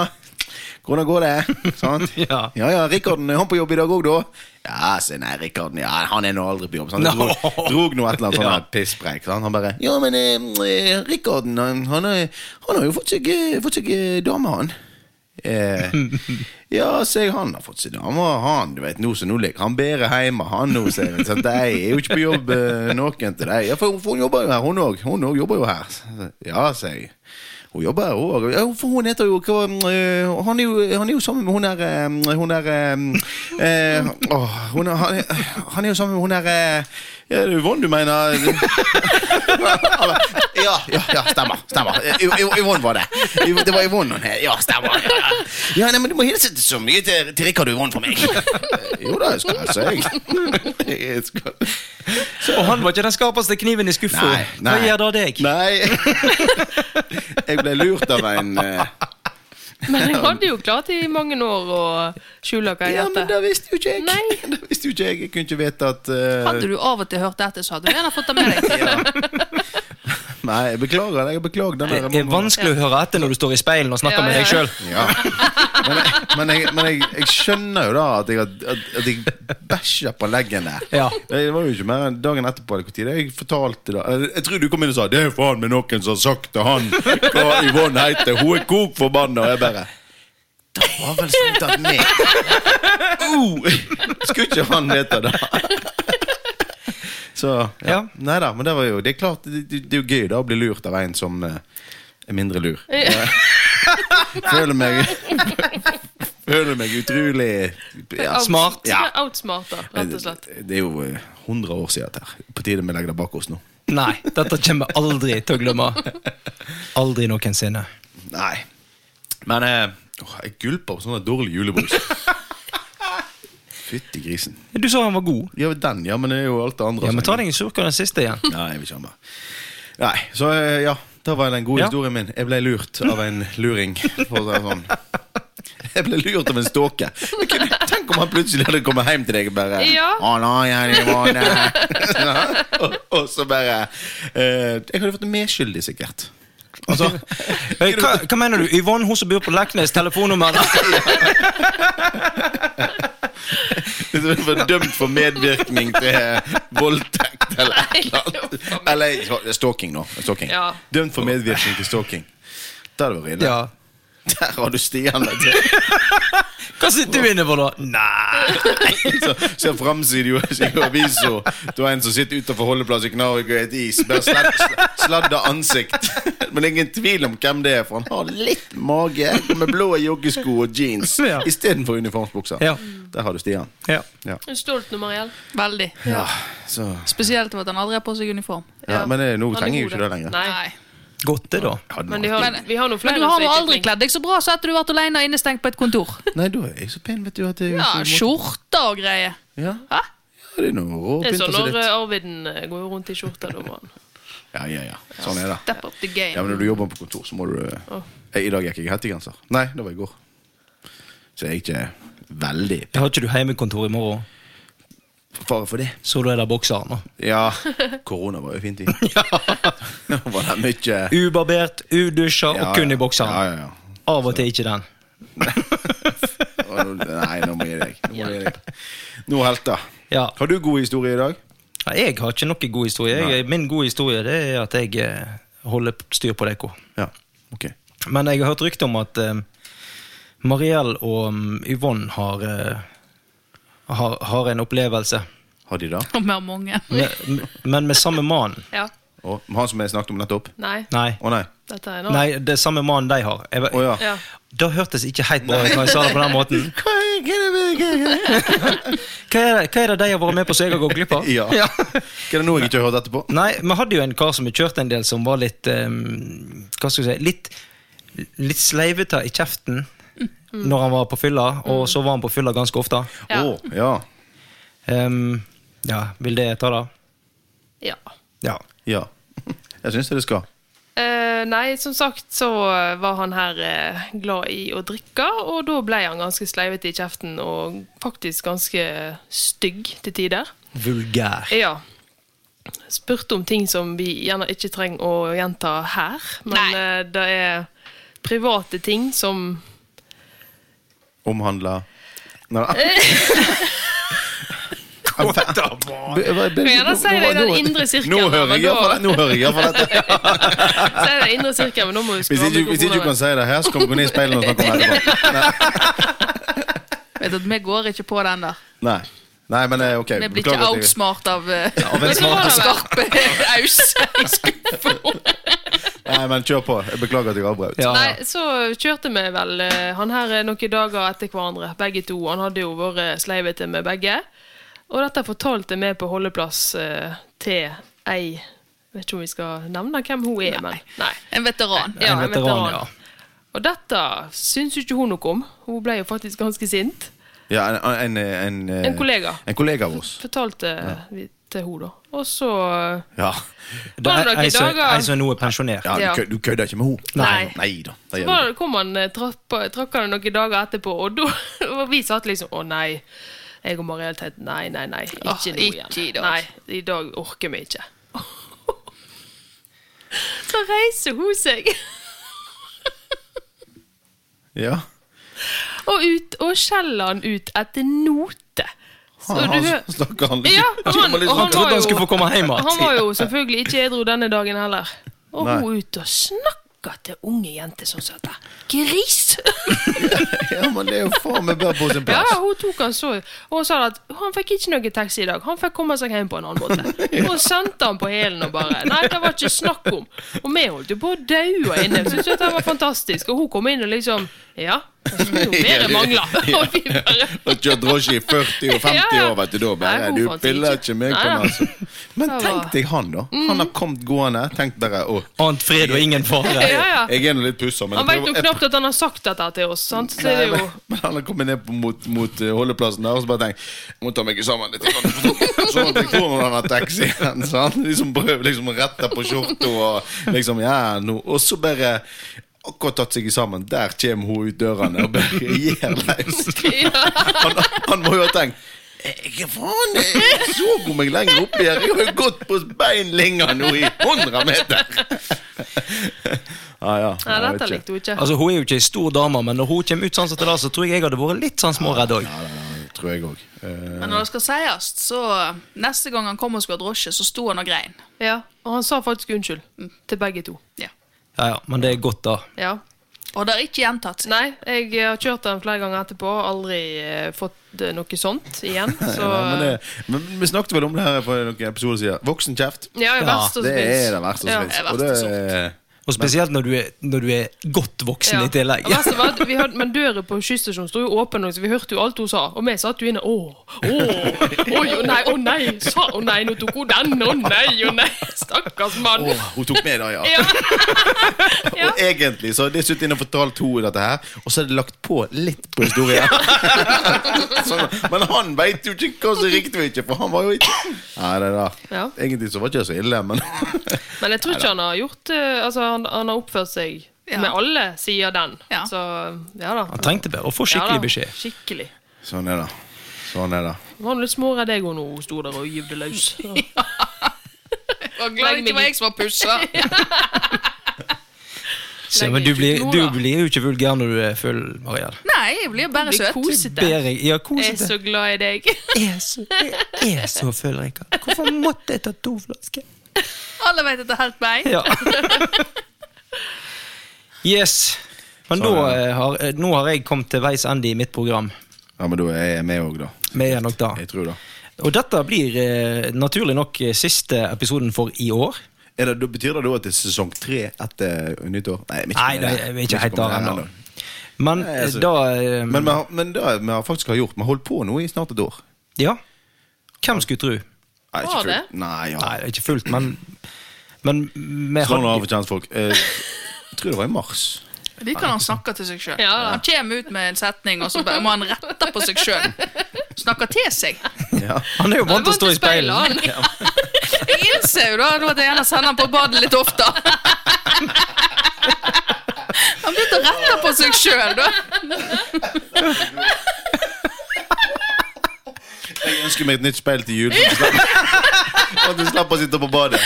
[SPEAKER 2] Hvordan går det?' Sant?
[SPEAKER 1] [LAUGHS] Ja.
[SPEAKER 2] ja, ja. Rikarden, er han på jobb i dag òg, da? Ja, se, nei, Rikarden, ja, han er nå aldri på jobb. Sant?
[SPEAKER 1] No.
[SPEAKER 2] Drog, drog nå et eller annet sånn
[SPEAKER 1] Ja.
[SPEAKER 2] her pisspreik. Sant? Han bare 'Ja, men eh, Rikarden, han, han, er- han har jo fått seg, eh, fått seg eh, dame, han'. Eh, ja, sier jeg, han har fått seg dame, og han du vet, nå så nå ligger han bedre hjemme. Han nå, sier jeg. Så de er jo ikke på jobb, eh, noen til deg. Ja, for, for hun jobber jo her, hun òg. Hun òg jobber jo her. Ja, sier jeg. Hun jobber her hun òg. Ja, for hun heter jo hva, eh, han, er jo han er jo sammen med hun der eh, Hun der eh, eh, åh, hun, er- han, er- han er jo sammen med hun der eh, ja, det er Yvonne, du mener? Ja, ja, ja stemmer. stemmer. Y- Y- Yvonne var det. Y- Det var Yvonne hun het. Ja, stemmer. Ja, ja. ja nei, men Du må hilse til så mye til, til Rikard og Yvonne for meg. Jo da, jeg skal altså jeg. jeg skal.
[SPEAKER 1] Og han var ikke den skarpeste kniven i skuffa. Hva gjør det deg?
[SPEAKER 2] Nei. Jeg ble lurt av en eh,
[SPEAKER 4] Men jeg hadde jo klart i mange år å skjule hva jeg
[SPEAKER 2] Ja, men
[SPEAKER 4] heter.
[SPEAKER 2] det visste jo ikke jeg.
[SPEAKER 4] Nei.
[SPEAKER 2] [LAUGHS] Det visste jo ikke jeg. Jeg kunne ikke vite at eh,
[SPEAKER 3] Hadde du av og til hørt dette, så hadde du gjerne fått
[SPEAKER 2] [LAUGHS]
[SPEAKER 3] det med deg.
[SPEAKER 2] Nei, jeg beklager. det, Jeg beklager den
[SPEAKER 1] Det
[SPEAKER 2] der-
[SPEAKER 1] er vanskelig å høre etter når du står i speilet og snakker
[SPEAKER 4] Ja,
[SPEAKER 1] med
[SPEAKER 4] ja,
[SPEAKER 1] deg sjøl.
[SPEAKER 2] Ja. Men, jeg, men, jeg, men jeg, jeg skjønner jo da at jeg, at, at jeg bæsja på leggen der.
[SPEAKER 1] Ja.
[SPEAKER 2] Det var jo ikke mer enn dagen etterpå. eller hvor tid Jeg fortalte da Jeg- Jeg tror du kom inn og sa 'Det er faen meg noen som har sagt til han hva Yvonne heter'. Hun er kok forbanna. Og jeg bare Det var vel strengt tatt meg. Uh, skulle ikke han hete det? Så ja.
[SPEAKER 1] Ja.
[SPEAKER 2] Nei da, men det var jo Det er klart, det, det, det er jo gøy da å bli lurt av en som eh, er mindre lur. Føler meg Føler meg utrolig ja,
[SPEAKER 4] Out-
[SPEAKER 1] smart.
[SPEAKER 4] Ja. Outsmart, da, rett og slett.
[SPEAKER 2] Det er jo eh, 100 år siden dette. her. På tide vi legger det bak oss nå.
[SPEAKER 1] Nei, dette kommer jeg aldri til å glemme. Aldri noensinne.
[SPEAKER 2] Nei. Men eh, åh, jeg gulper på sånne dårlige julebrus. Fytti grisen.
[SPEAKER 1] Du sa han var god.
[SPEAKER 2] Ja, den, ja, men det er jo alt det andre.
[SPEAKER 1] Ja,
[SPEAKER 2] som-
[SPEAKER 1] men Ta deg en surk av den siste [LAUGHS] igjen.
[SPEAKER 2] [LAUGHS] Nei, jeg vil ikke ha mer. Nei, så eh, ja. Da var den gode
[SPEAKER 1] Ja.
[SPEAKER 2] historien min. Jeg ble lurt av en luring. For å si det sånn. Jeg ble lurt av en stalker. Jeg kunne- Tenk om han plutselig hadde kommet hjem til deg og bare
[SPEAKER 4] Ja.
[SPEAKER 2] «Å, nå er jeg i vannet». [LAUGHS] og, og så bare eh, Jeg hadde fått en medskyldig, sikkert. Altså, [LAUGHS]
[SPEAKER 1] Eh, Hva, hva mener du? Yvonne, hun som bor på Leknes, telefonnummer?
[SPEAKER 2] jeg var dømt for medvirkning til voldtekt eller et eller annet. Eller stalking, nå. Stalking.
[SPEAKER 4] Ja.
[SPEAKER 2] Dømt for medvirkning til stalking. Da hadde det vært ille.
[SPEAKER 1] [LAUGHS] Ja.
[SPEAKER 2] Der har du Stian. vet du.
[SPEAKER 1] Hva sitter du inne på, da? Nei
[SPEAKER 2] Så Ser framsida i avisa. Du har en som sitter utenfor holdeplass i Knarvik og et is. Bare slad, sl- sladda ansikt. Men det er ingen tvil om hvem det er, for han har litt mage med blå joggesko og jeans
[SPEAKER 1] Ja.
[SPEAKER 2] istedenfor uniformsbukser.
[SPEAKER 1] Ja.
[SPEAKER 2] Der har du Stian.
[SPEAKER 1] ja.
[SPEAKER 2] Ja.
[SPEAKER 4] Stolt nå, Mariell.
[SPEAKER 3] Veldig.
[SPEAKER 2] Ja, så.
[SPEAKER 3] Spesielt av at han aldri har på seg uniform.
[SPEAKER 2] Ja, men eh, nå
[SPEAKER 4] Han er
[SPEAKER 2] trenger jeg jo
[SPEAKER 4] god,
[SPEAKER 2] ikke det lenger.
[SPEAKER 4] Nei.
[SPEAKER 1] Godt det, da.
[SPEAKER 2] Hadde
[SPEAKER 4] Men
[SPEAKER 2] man-
[SPEAKER 4] de har,
[SPEAKER 3] Men-
[SPEAKER 4] vi har noen
[SPEAKER 3] Men
[SPEAKER 4] flere.
[SPEAKER 3] du har
[SPEAKER 4] som
[SPEAKER 3] jo
[SPEAKER 4] ikke
[SPEAKER 3] aldri
[SPEAKER 4] trenger-
[SPEAKER 3] kledd deg så bra så at du har vært alene og innestengt på et
[SPEAKER 2] [LAUGHS]
[SPEAKER 3] kontor.
[SPEAKER 2] Nei, da er jeg så pen, vet du. At det er jo
[SPEAKER 3] Ja,
[SPEAKER 2] ikke-
[SPEAKER 3] Skjorte og greier.
[SPEAKER 2] Ja.
[SPEAKER 3] Hæ?
[SPEAKER 2] Ja, det er noe
[SPEAKER 4] Det er sånn
[SPEAKER 2] råpynter
[SPEAKER 4] når
[SPEAKER 2] som
[SPEAKER 4] eh,
[SPEAKER 2] ditt.
[SPEAKER 4] Arviden eh, går jo rundt i skjorta. da må han-
[SPEAKER 2] Ja, ja, ja. Sånn er det.
[SPEAKER 3] Step up the
[SPEAKER 2] Ja,
[SPEAKER 3] [LAUGHS]
[SPEAKER 2] men
[SPEAKER 3] game.
[SPEAKER 2] Når du jobber på kontor, så må du
[SPEAKER 4] Eh. Åh.
[SPEAKER 2] Eh, I dag gikk jeg i hettegenser. Nei, det var i går. Så jeg er ikke veldig
[SPEAKER 1] Jeg har ikke du hjemmekontor i morgen?
[SPEAKER 2] fare for det.
[SPEAKER 1] Så da er det bokseren, [LAUGHS] da.
[SPEAKER 4] [LAUGHS]
[SPEAKER 2] Ja, korona var jo fint. i. [LAUGHS] Nå var det mye
[SPEAKER 1] Ubarbert, udusja og kun i
[SPEAKER 2] Ja,
[SPEAKER 1] bokseren.
[SPEAKER 2] ja, ja.
[SPEAKER 1] Av og til ikke den.
[SPEAKER 2] [LAUGHS] Å, nå- Nei, nå må jeg gi deg. Nå, må jeg gi deg. nå helter.
[SPEAKER 1] Ja.
[SPEAKER 2] Har du god historie i dag?
[SPEAKER 1] Ja, Jeg har ikke noe god historie. Jeg, min gode historie det er at jeg eh, holder styr på dere.
[SPEAKER 2] Ja. Ok.
[SPEAKER 1] Men jeg har hørt rykte om at eh, Mariell og mm, Yvonne har, eh, har, har en opplevelse.
[SPEAKER 2] Har de det?
[SPEAKER 3] Og mer mange.
[SPEAKER 1] Men, men med samme mann.
[SPEAKER 4] Ja.
[SPEAKER 2] Å, han som jeg snakket om nettopp?
[SPEAKER 4] Nei.
[SPEAKER 1] Nei.
[SPEAKER 2] Å nei.
[SPEAKER 4] Dette er nå.
[SPEAKER 1] Nei, det er samme mann de har. Jeg,
[SPEAKER 2] Å ja.
[SPEAKER 4] Ja.
[SPEAKER 1] Da hørtes ikke helt bra ut når jeg sa det på den måten.
[SPEAKER 2] Hva er- hva er det- hva er det-
[SPEAKER 1] Hva er, det- hva er det de har vært med på som jeg har gått glipp
[SPEAKER 2] [LAUGHS]
[SPEAKER 1] av?
[SPEAKER 2] Ja. Hva er det nå jeg ikke har hørt etterpå?
[SPEAKER 1] Nei, vi hadde jo en kar som vi kjørte en del som var litt eh, Hva skal jeg si Litt, litt sleivete i kjeften
[SPEAKER 4] Mm.
[SPEAKER 1] når han var på fylla, og så var han på fylla ganske ofte.
[SPEAKER 4] Ja.
[SPEAKER 2] Å, ja.
[SPEAKER 1] Ehm, ja, vil det ta det?
[SPEAKER 4] Ja.
[SPEAKER 1] Ja.
[SPEAKER 2] Ja. Jeg syns det skal.
[SPEAKER 4] Eh, nei, som sagt så eh, var han her eh, glad i å drikke, og da ble han ganske sleivete i kjeften og faktisk ganske stygg til tider.
[SPEAKER 1] [LAUGHS] Vulgær.
[SPEAKER 4] Ja. Spurte om ting som vi gjerne ikke trenger å gjenta her, men
[SPEAKER 3] Nei.
[SPEAKER 4] eh, det er private ting
[SPEAKER 2] [LAUGHS]
[SPEAKER 4] som
[SPEAKER 2] Omhandla Nei
[SPEAKER 4] Eh,
[SPEAKER 2] Kan
[SPEAKER 4] Kan gjerne si det i den indre sirkelen,
[SPEAKER 2] Nå hører jeg
[SPEAKER 4] men da-
[SPEAKER 2] iallfall det. Nå hører jeg i hvert fall
[SPEAKER 4] [LAUGHS]
[SPEAKER 2] dette.
[SPEAKER 4] Så er det indre sirkel, men nå må du skru
[SPEAKER 2] Hvis
[SPEAKER 4] av
[SPEAKER 2] ikke, hvis ikke du kan
[SPEAKER 4] mikrofonen.
[SPEAKER 2] si det her, så kan vi gå ned i speilet og snakke om det etterpå.
[SPEAKER 3] Vet du, at Vi går ikke på den der.
[SPEAKER 4] [LAUGHS]
[SPEAKER 2] Nei. Nei, men eh, ok.
[SPEAKER 3] Vi blir ikke
[SPEAKER 2] at jeg-
[SPEAKER 3] outsmart av eh,
[SPEAKER 1] av
[SPEAKER 3] [LAUGHS]
[SPEAKER 1] en smart-
[SPEAKER 3] skarpe
[SPEAKER 2] [LAUGHS]
[SPEAKER 3] aus. Jeg skulle få-
[SPEAKER 2] Nei, men kjør på. Jeg beklager at jeg avbrøt.
[SPEAKER 1] Ja, ja.
[SPEAKER 4] Nei, så kjørte vi vel eh, han her eh, noen dager etter hverandre, begge to. Han hadde jo vært sleivete med begge. Og dette fortalte vi på holdeplass eh, til ei Vet ikke om vi skal nevne hvem hun er, men nei.
[SPEAKER 3] En veteran.
[SPEAKER 4] Ja,
[SPEAKER 1] en
[SPEAKER 4] en
[SPEAKER 1] veteran,
[SPEAKER 4] veteran.
[SPEAKER 1] ja.
[SPEAKER 4] Og dette syns jo ikke hun noe om. Hun ble jo faktisk ganske sint.
[SPEAKER 2] Ja, en, en, en, eh,
[SPEAKER 4] En kollega.
[SPEAKER 2] En kollega av oss.
[SPEAKER 4] Fortalte vi til hun da. Og så
[SPEAKER 2] Ja.
[SPEAKER 1] Det
[SPEAKER 4] Var det
[SPEAKER 1] er
[SPEAKER 4] noen
[SPEAKER 1] ei som
[SPEAKER 4] dager?
[SPEAKER 1] ei som nå er pensjonert.
[SPEAKER 2] ja
[SPEAKER 4] Ja.
[SPEAKER 2] du kø- du kødder ikke med henne?
[SPEAKER 4] Nei.
[SPEAKER 2] Nei da. Det
[SPEAKER 4] så
[SPEAKER 2] gjør du
[SPEAKER 4] var, kom han eh, trappa- trakk han noen dager etterpå, og da [LAUGHS] og vi satt liksom Å nei. Jeg og Mariell tenkte nei, nei, nei. Ikke
[SPEAKER 3] Åh,
[SPEAKER 4] nå igjen.
[SPEAKER 3] ikke i dag.
[SPEAKER 4] Nei, i dag orker vi ikke. [LAUGHS] Så reiser hun seg
[SPEAKER 2] ikke. Ja.
[SPEAKER 4] og, ut, og skjeller han ut etter noter. Så
[SPEAKER 2] Han,
[SPEAKER 4] du hø-
[SPEAKER 2] han, snakker han
[SPEAKER 4] Ja, og han, og
[SPEAKER 1] Han trodde han skulle få komme hjem igjen.
[SPEAKER 4] Han var jo selvfølgelig ikke edru denne dagen heller. Og
[SPEAKER 2] Nei.
[SPEAKER 4] hun ut og snakka til unge jenter som satt der. Gris!
[SPEAKER 2] [LAUGHS] Ja, men det er jo faen meg bare på sin
[SPEAKER 4] Ja,
[SPEAKER 2] plass.
[SPEAKER 4] hun tok han så Og hun sa at han fikk ikke noe taxi i dag. Han fikk komme seg hjem på en
[SPEAKER 2] [LAUGHS]
[SPEAKER 4] annen måte. Og sendte han på hælen og bare Nei, det var ikke snakk om. Og vi holdt jo på å daue inne. Vi Syntes jo at det var fantastisk. Og hun kom inn og liksom Ja, det skulle jo mer
[SPEAKER 2] [LAUGHS]
[SPEAKER 4] mangla. Og vi bare
[SPEAKER 2] Har kjørt drosje i 40 og 50
[SPEAKER 4] [LAUGHS] Ja, ja.
[SPEAKER 2] år, vet du. Da
[SPEAKER 4] Nei,
[SPEAKER 2] bare
[SPEAKER 4] hun
[SPEAKER 2] Du
[SPEAKER 4] fant
[SPEAKER 2] piller
[SPEAKER 4] ikke.
[SPEAKER 2] ikke meg på
[SPEAKER 4] Nei,
[SPEAKER 2] den,
[SPEAKER 4] nei.
[SPEAKER 2] altså. Men
[SPEAKER 4] Det var-
[SPEAKER 2] tenk deg han, da.
[SPEAKER 4] Mm.
[SPEAKER 2] Han har kommet gående. Tenk bare Å,
[SPEAKER 1] Ant fred og ingen fare.
[SPEAKER 4] Ja, ja.
[SPEAKER 2] jeg er nå litt pussa, men
[SPEAKER 4] Ah.
[SPEAKER 2] jeg
[SPEAKER 4] Han veit jo
[SPEAKER 2] jeg-
[SPEAKER 4] knapt at han har sagt dette til oss, sant? Så det
[SPEAKER 2] Nei,
[SPEAKER 4] er
[SPEAKER 2] men,
[SPEAKER 4] [LAUGHS] jo
[SPEAKER 2] men han har kommet ned på- mot, mot eh, holdeplassen der og så bare tenkt Jeg må ta meg sammen litt. grann». Sånn at jeg tror når han har taxien. Så han liksom prøver liksom å rette på skjorta og liksom Ja, nå Og så bare Akkurat tatt seg sammen. Der kommer hun ut dørene og bare gir løs. Han, han må jo ha tenkt «Eh, Hva faen? Jeg så hun meg lenger oppi her? Jeg har jo gått på beinlinja nå i 100 meter! Ah, Ja, ja.
[SPEAKER 4] Nei,
[SPEAKER 2] jeg
[SPEAKER 4] dette
[SPEAKER 2] vet ikke.
[SPEAKER 4] likte hun ikke.
[SPEAKER 1] Altså, Hun er jo ikke ei stor dame, men når hun kommer ut sånn som det der, så tror jeg jeg hadde vært litt sånn småredd òg.
[SPEAKER 2] Ja, ja, ja, tror jeg Eh, òg.
[SPEAKER 3] Men når det skal sies, så eh, neste gang han kom og skulle ha drosje, så sto han og grein.
[SPEAKER 2] Altså-
[SPEAKER 4] Ja, og han sa faktisk unnskyld til begge to.
[SPEAKER 3] Ja.
[SPEAKER 1] Ja, ja, men det er godt, da.
[SPEAKER 4] Ja.
[SPEAKER 3] Og det har ikke gjentatt seg.
[SPEAKER 4] Nei, jeg har kjørt den flere ganger etterpå. Aldri eh, fått eh, noe sånt igjen.
[SPEAKER 2] [LAUGHS]
[SPEAKER 4] Så
[SPEAKER 2] Nei, men, det, men Vi snakket vel om det her på noen episoder siden. Voksenkjeft.
[SPEAKER 4] Ja, det er verst å
[SPEAKER 2] det
[SPEAKER 4] spise.
[SPEAKER 2] er det verste
[SPEAKER 4] Ja,
[SPEAKER 2] som fins.
[SPEAKER 3] det er
[SPEAKER 2] og det
[SPEAKER 3] verst å
[SPEAKER 2] er
[SPEAKER 1] Og spesielt når du er, når du er godt voksen i tillegg.
[SPEAKER 4] Og verst var at vi hadde, men døra på skysstasjonen sto jo åpen, så vi hørte jo alt hun sa. Og vi satt jo inne Å, å, oi, å nei, å nei, sa å nei, nå tok hun den, å nei, å nei, stakkars mann.
[SPEAKER 2] Åh, hun tok med det, ja.
[SPEAKER 4] Ja.
[SPEAKER 2] [LAUGHS]
[SPEAKER 4] Ja.
[SPEAKER 2] Og egentlig så har de sittet inne og fortalt to i dette her, og så er det lagt på litt på historien. [LAUGHS] sånn, men han veit jo ikke hva som er riktig og ikke, for han var jo ikke Nei, det er det.
[SPEAKER 4] Ja.
[SPEAKER 2] Egentlig så var det ikke så ille, men [LAUGHS]
[SPEAKER 4] Men jeg tror ikke han har gjort eh, Altså, han, han har oppført seg
[SPEAKER 3] Ja.
[SPEAKER 4] med alle sider den.
[SPEAKER 3] Ja.
[SPEAKER 4] Så ja da.
[SPEAKER 1] Han trengte bare å få
[SPEAKER 4] Ja da,
[SPEAKER 1] skikkelig beskjed.
[SPEAKER 4] Skikkelig.
[SPEAKER 2] Sånn er det. Sånn er det.
[SPEAKER 4] Var han litt småredd jeg og nå hun sto der og gyvde løs?
[SPEAKER 3] Jeg var glad det ikke var jeg som var
[SPEAKER 4] [LAUGHS]
[SPEAKER 3] pusser.
[SPEAKER 1] Se, men du blir, du blir jo ikke vulgær når du er full, Mariell.
[SPEAKER 3] Nei, jeg blir bare
[SPEAKER 4] Blir
[SPEAKER 3] søt.
[SPEAKER 4] kosete.
[SPEAKER 1] Ber jeg Ja,
[SPEAKER 4] Jeg er
[SPEAKER 1] kosete.
[SPEAKER 4] så glad i deg. [LAUGHS]
[SPEAKER 1] Jeg er så, jeg er så full, Rikard. Hvorfor måtte jeg ta to flasker?
[SPEAKER 3] Alle vet at det er helt meg.
[SPEAKER 1] Ja. Yes. Men
[SPEAKER 2] Sånn,
[SPEAKER 1] da
[SPEAKER 2] ja.
[SPEAKER 1] eh, har, eh, nå har jeg kommet til veis ende i mitt program.
[SPEAKER 2] Ja, men da er jeg med òg, da.
[SPEAKER 1] Vi er nok da.
[SPEAKER 2] Jeg tror det.
[SPEAKER 1] Og dette blir eh, naturlig nok eh, siste episoden for i år.
[SPEAKER 2] Er det, da betyr det da at det er sesong tre etter nyttår? Nei, vi er ikke
[SPEAKER 1] Nei,
[SPEAKER 2] kommet
[SPEAKER 1] det
[SPEAKER 2] der.
[SPEAKER 1] er
[SPEAKER 2] Vi
[SPEAKER 1] vi
[SPEAKER 2] er
[SPEAKER 1] ikke helt
[SPEAKER 2] kommet
[SPEAKER 1] der
[SPEAKER 2] der
[SPEAKER 1] ennå. Men
[SPEAKER 2] Nei,
[SPEAKER 1] eh,
[SPEAKER 2] altså.
[SPEAKER 1] da eh,
[SPEAKER 2] Men, vi har, men det vi har faktisk har gjort, vi har holdt på nå i snart et år.
[SPEAKER 1] Ja. Hvem skulle tro?
[SPEAKER 2] Nei,
[SPEAKER 4] Har
[SPEAKER 2] fullt.
[SPEAKER 4] det?
[SPEAKER 2] Nei, ja.
[SPEAKER 1] Nei, det er ikke fullt, men Men vi
[SPEAKER 2] Slå
[SPEAKER 1] hadde
[SPEAKER 2] nå av for kjentfolk. Eh, jeg tror det var i mars.
[SPEAKER 3] De kan han snakke til seg sjøl.
[SPEAKER 4] Ja, da.
[SPEAKER 3] Han kommer ut med en setning, og så bare må han rette på seg sjøl. Snakker til seg.
[SPEAKER 2] Ja.
[SPEAKER 1] Han er jo vant til å stå i speilet. [LAUGHS]
[SPEAKER 4] speilet, han.
[SPEAKER 3] Jeg innser jo da nå at jeg gjerne sender han på badet litt oftere. Han begynte å rette på seg sjøl, da.
[SPEAKER 2] Jeg ønsker meg et nytt speil til jul. så du slapp- [LAUGHS] At du slapp å sitte på badet.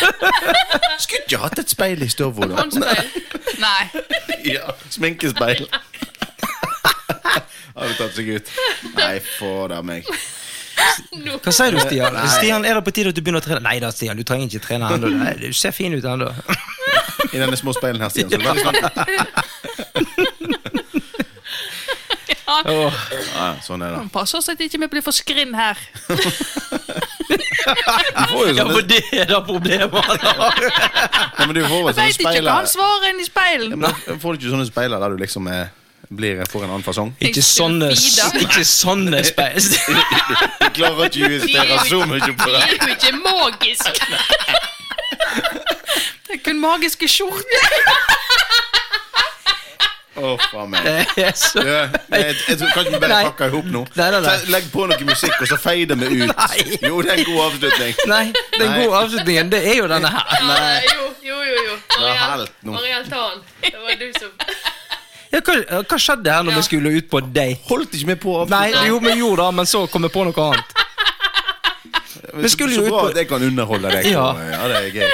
[SPEAKER 2] Skulle ikke hatt et speil i stua, da.
[SPEAKER 4] Håndspeil.
[SPEAKER 3] Nei.
[SPEAKER 2] Ja, sminkespeil. Har du tatt seg ut? Nei, få det av meg.
[SPEAKER 1] Hva sier du, Stian? Stian, Er det på tide at du begynner å trene? Nei da, Stian, du trenger ikke trene ennå. Nei, Du ser fin ut ennå.
[SPEAKER 2] I denne små speilen her, Stian. Så kan du snakke.
[SPEAKER 1] Åh.
[SPEAKER 2] Ja, sånn er det.
[SPEAKER 3] Han passer seg at ikke vi blir for skrinn her.
[SPEAKER 2] Du får jo
[SPEAKER 1] Ja,
[SPEAKER 2] sånne,
[SPEAKER 1] for det er da problemet han har.
[SPEAKER 2] Nei, men du får jo sånne
[SPEAKER 3] Veit ikke hva han
[SPEAKER 2] speiler.
[SPEAKER 3] svarer inn i
[SPEAKER 2] Sånn Ja,
[SPEAKER 3] speilen.
[SPEAKER 2] men Får du ikke sånne speiler der du liksom eh, blir får en annen fasong?
[SPEAKER 1] Ikke sånne, ikke sånne speil. [LAUGHS]
[SPEAKER 2] Du klarer ikke å justere så mye på
[SPEAKER 4] Det
[SPEAKER 2] det.
[SPEAKER 4] er jo ikke magisk.
[SPEAKER 3] Det er kun magiske skjorter.
[SPEAKER 2] Å, faen meg.
[SPEAKER 1] Det er så
[SPEAKER 2] Du, jeg, jeg tror kanskje vi bare
[SPEAKER 1] Nei.
[SPEAKER 2] pakker ihop nå.
[SPEAKER 1] Nei, nei, nei.
[SPEAKER 2] Så Legg på noe musikk, og så feider vi ut.
[SPEAKER 1] Nei.
[SPEAKER 2] Jo, det er en god avslutning.
[SPEAKER 1] Nei, den
[SPEAKER 2] Nei.
[SPEAKER 1] gode avslutningen, det er jo denne her.
[SPEAKER 2] Nei.
[SPEAKER 4] Eh, Jo, jo, jo. jo. Mariell,
[SPEAKER 2] helt nå.
[SPEAKER 4] Mariell, ta han. Det var du som
[SPEAKER 1] Ja, hva, hva skjedde her når vi skulle ut på date?
[SPEAKER 2] Holdt ikke vi på å
[SPEAKER 1] Nei, jo, vi gjorde det, men så kom vi på noe annet. vi skulle jo
[SPEAKER 2] Så
[SPEAKER 1] ut
[SPEAKER 2] bra
[SPEAKER 1] på-
[SPEAKER 2] at jeg kan underholde deg.
[SPEAKER 1] Ja.
[SPEAKER 2] ja det er gøy.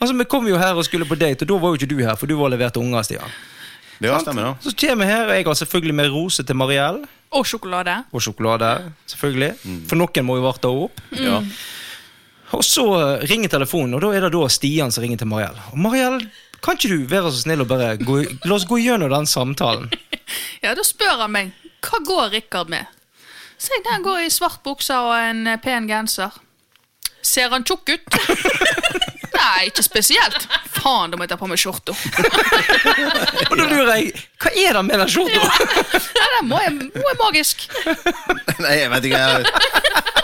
[SPEAKER 1] Altså, Vi kom jo her og skulle på date, og da var jo ikke du her, for du var levert unger. Stian.
[SPEAKER 2] Ja, stemmer det.
[SPEAKER 1] Så kommer jeg her, og jeg har selvfølgelig med rose til Mariell.
[SPEAKER 3] Og sjokolade.
[SPEAKER 1] Og sjokolade, selvfølgelig. For noen må jo varte opp.
[SPEAKER 2] Ja. [LAUGHS]
[SPEAKER 1] Og så eh, ringer telefonen, og da er det da Stian som ringer til Mariell. Og Mariell, kan ikke du være så snill og bare gå, La oss gå gjennom den samtalen.
[SPEAKER 3] [LAUGHS] Ja, Da spør han meg hva går Rikard med. Så jeg, den går i svart bukse og en eh, pen genser. Ser han tjukk ut? [LAUGHS] Nei, ikke spesielt. Faen, da må jeg ta på meg skjorta.
[SPEAKER 1] Og da lurer jeg, hva er det med den skjorta?
[SPEAKER 3] Ja, den må jeg, må jeg magisk.
[SPEAKER 2] Nei, jeg vet ikke jeg,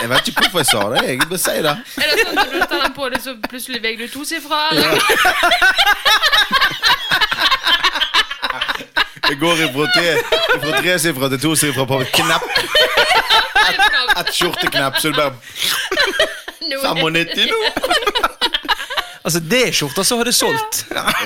[SPEAKER 2] jeg vet ikke hvorfor jeg sa det. Jeg bare sier det.
[SPEAKER 4] Er det sånn at når du tar den på deg, så plutselig veier du tosifra? eller?
[SPEAKER 2] Jeg går ifra tre- ifra tresifra til tosifra på et knepp. Et skjorteknepp, så er det bare
[SPEAKER 4] Nå-
[SPEAKER 2] 95 nå.
[SPEAKER 1] Altså, det er skjorta som hadde solgt.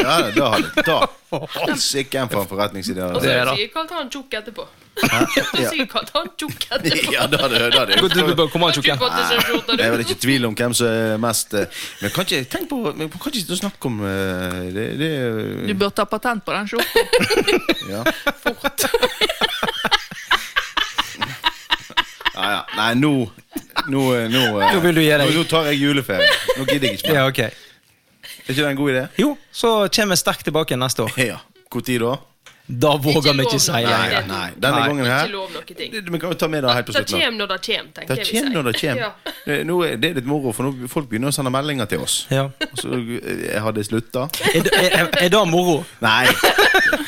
[SPEAKER 2] Ja, da har det. Da.
[SPEAKER 1] [LAUGHS]
[SPEAKER 2] Sikkert en for altså. en forretningsidé.
[SPEAKER 4] Og så
[SPEAKER 1] Det er
[SPEAKER 4] har
[SPEAKER 1] da.
[SPEAKER 4] du sikkert kalt han tjukk etterpå. [LAUGHS] Du
[SPEAKER 2] Ja.
[SPEAKER 4] har sikkert kalt han tjukk
[SPEAKER 2] [LAUGHS]
[SPEAKER 4] etterpå.
[SPEAKER 2] Ja, da hadde jeg
[SPEAKER 1] Gå
[SPEAKER 2] hørt
[SPEAKER 1] til
[SPEAKER 2] det.
[SPEAKER 1] Dubai, kom an,
[SPEAKER 4] Har du
[SPEAKER 1] tjukken.
[SPEAKER 4] fått en sånn skjorte,
[SPEAKER 2] Det er vel
[SPEAKER 4] du?
[SPEAKER 2] ikke tvil om hvem som er mest eh, Men kan ikke tenk på men kan ikke du snakke om eh, det, det
[SPEAKER 3] Du bør ta patent på den skjorta.
[SPEAKER 1] [LAUGHS]
[SPEAKER 2] ja. Ja, ja. Nei, nå Nå, eh, nå, eh,
[SPEAKER 1] Nå vil du gi deg.
[SPEAKER 2] nå- Nå tar jeg juleferie. Nå gidder jeg ikke mer.
[SPEAKER 1] Ja, ok.
[SPEAKER 2] Er ikke det en god idé?
[SPEAKER 1] Jo, så kommer jeg sterkt tilbake neste år.
[SPEAKER 2] Ja. Når da?
[SPEAKER 1] Da våger vi
[SPEAKER 4] lov
[SPEAKER 1] ikke
[SPEAKER 4] noe.
[SPEAKER 1] si det.
[SPEAKER 2] Nei,
[SPEAKER 4] det-
[SPEAKER 2] nei. Denne
[SPEAKER 1] Nei.
[SPEAKER 2] gangen
[SPEAKER 4] Ikke
[SPEAKER 2] her
[SPEAKER 4] lov noen ting.
[SPEAKER 2] Vi kan jo ta med det helt på
[SPEAKER 4] Det
[SPEAKER 2] slutten.
[SPEAKER 4] kjem når det kjem, tenker
[SPEAKER 2] Det
[SPEAKER 4] jeg vi
[SPEAKER 2] kommer
[SPEAKER 4] sier.
[SPEAKER 2] når det
[SPEAKER 4] Ja.
[SPEAKER 2] kommer. Det- Nå er det litt moro, for nå, folk begynner å sende meldinger til oss.
[SPEAKER 1] Ja.
[SPEAKER 2] Og så eh, jeg har det slutta.
[SPEAKER 1] Er, det- er, er det moro?
[SPEAKER 2] Nei!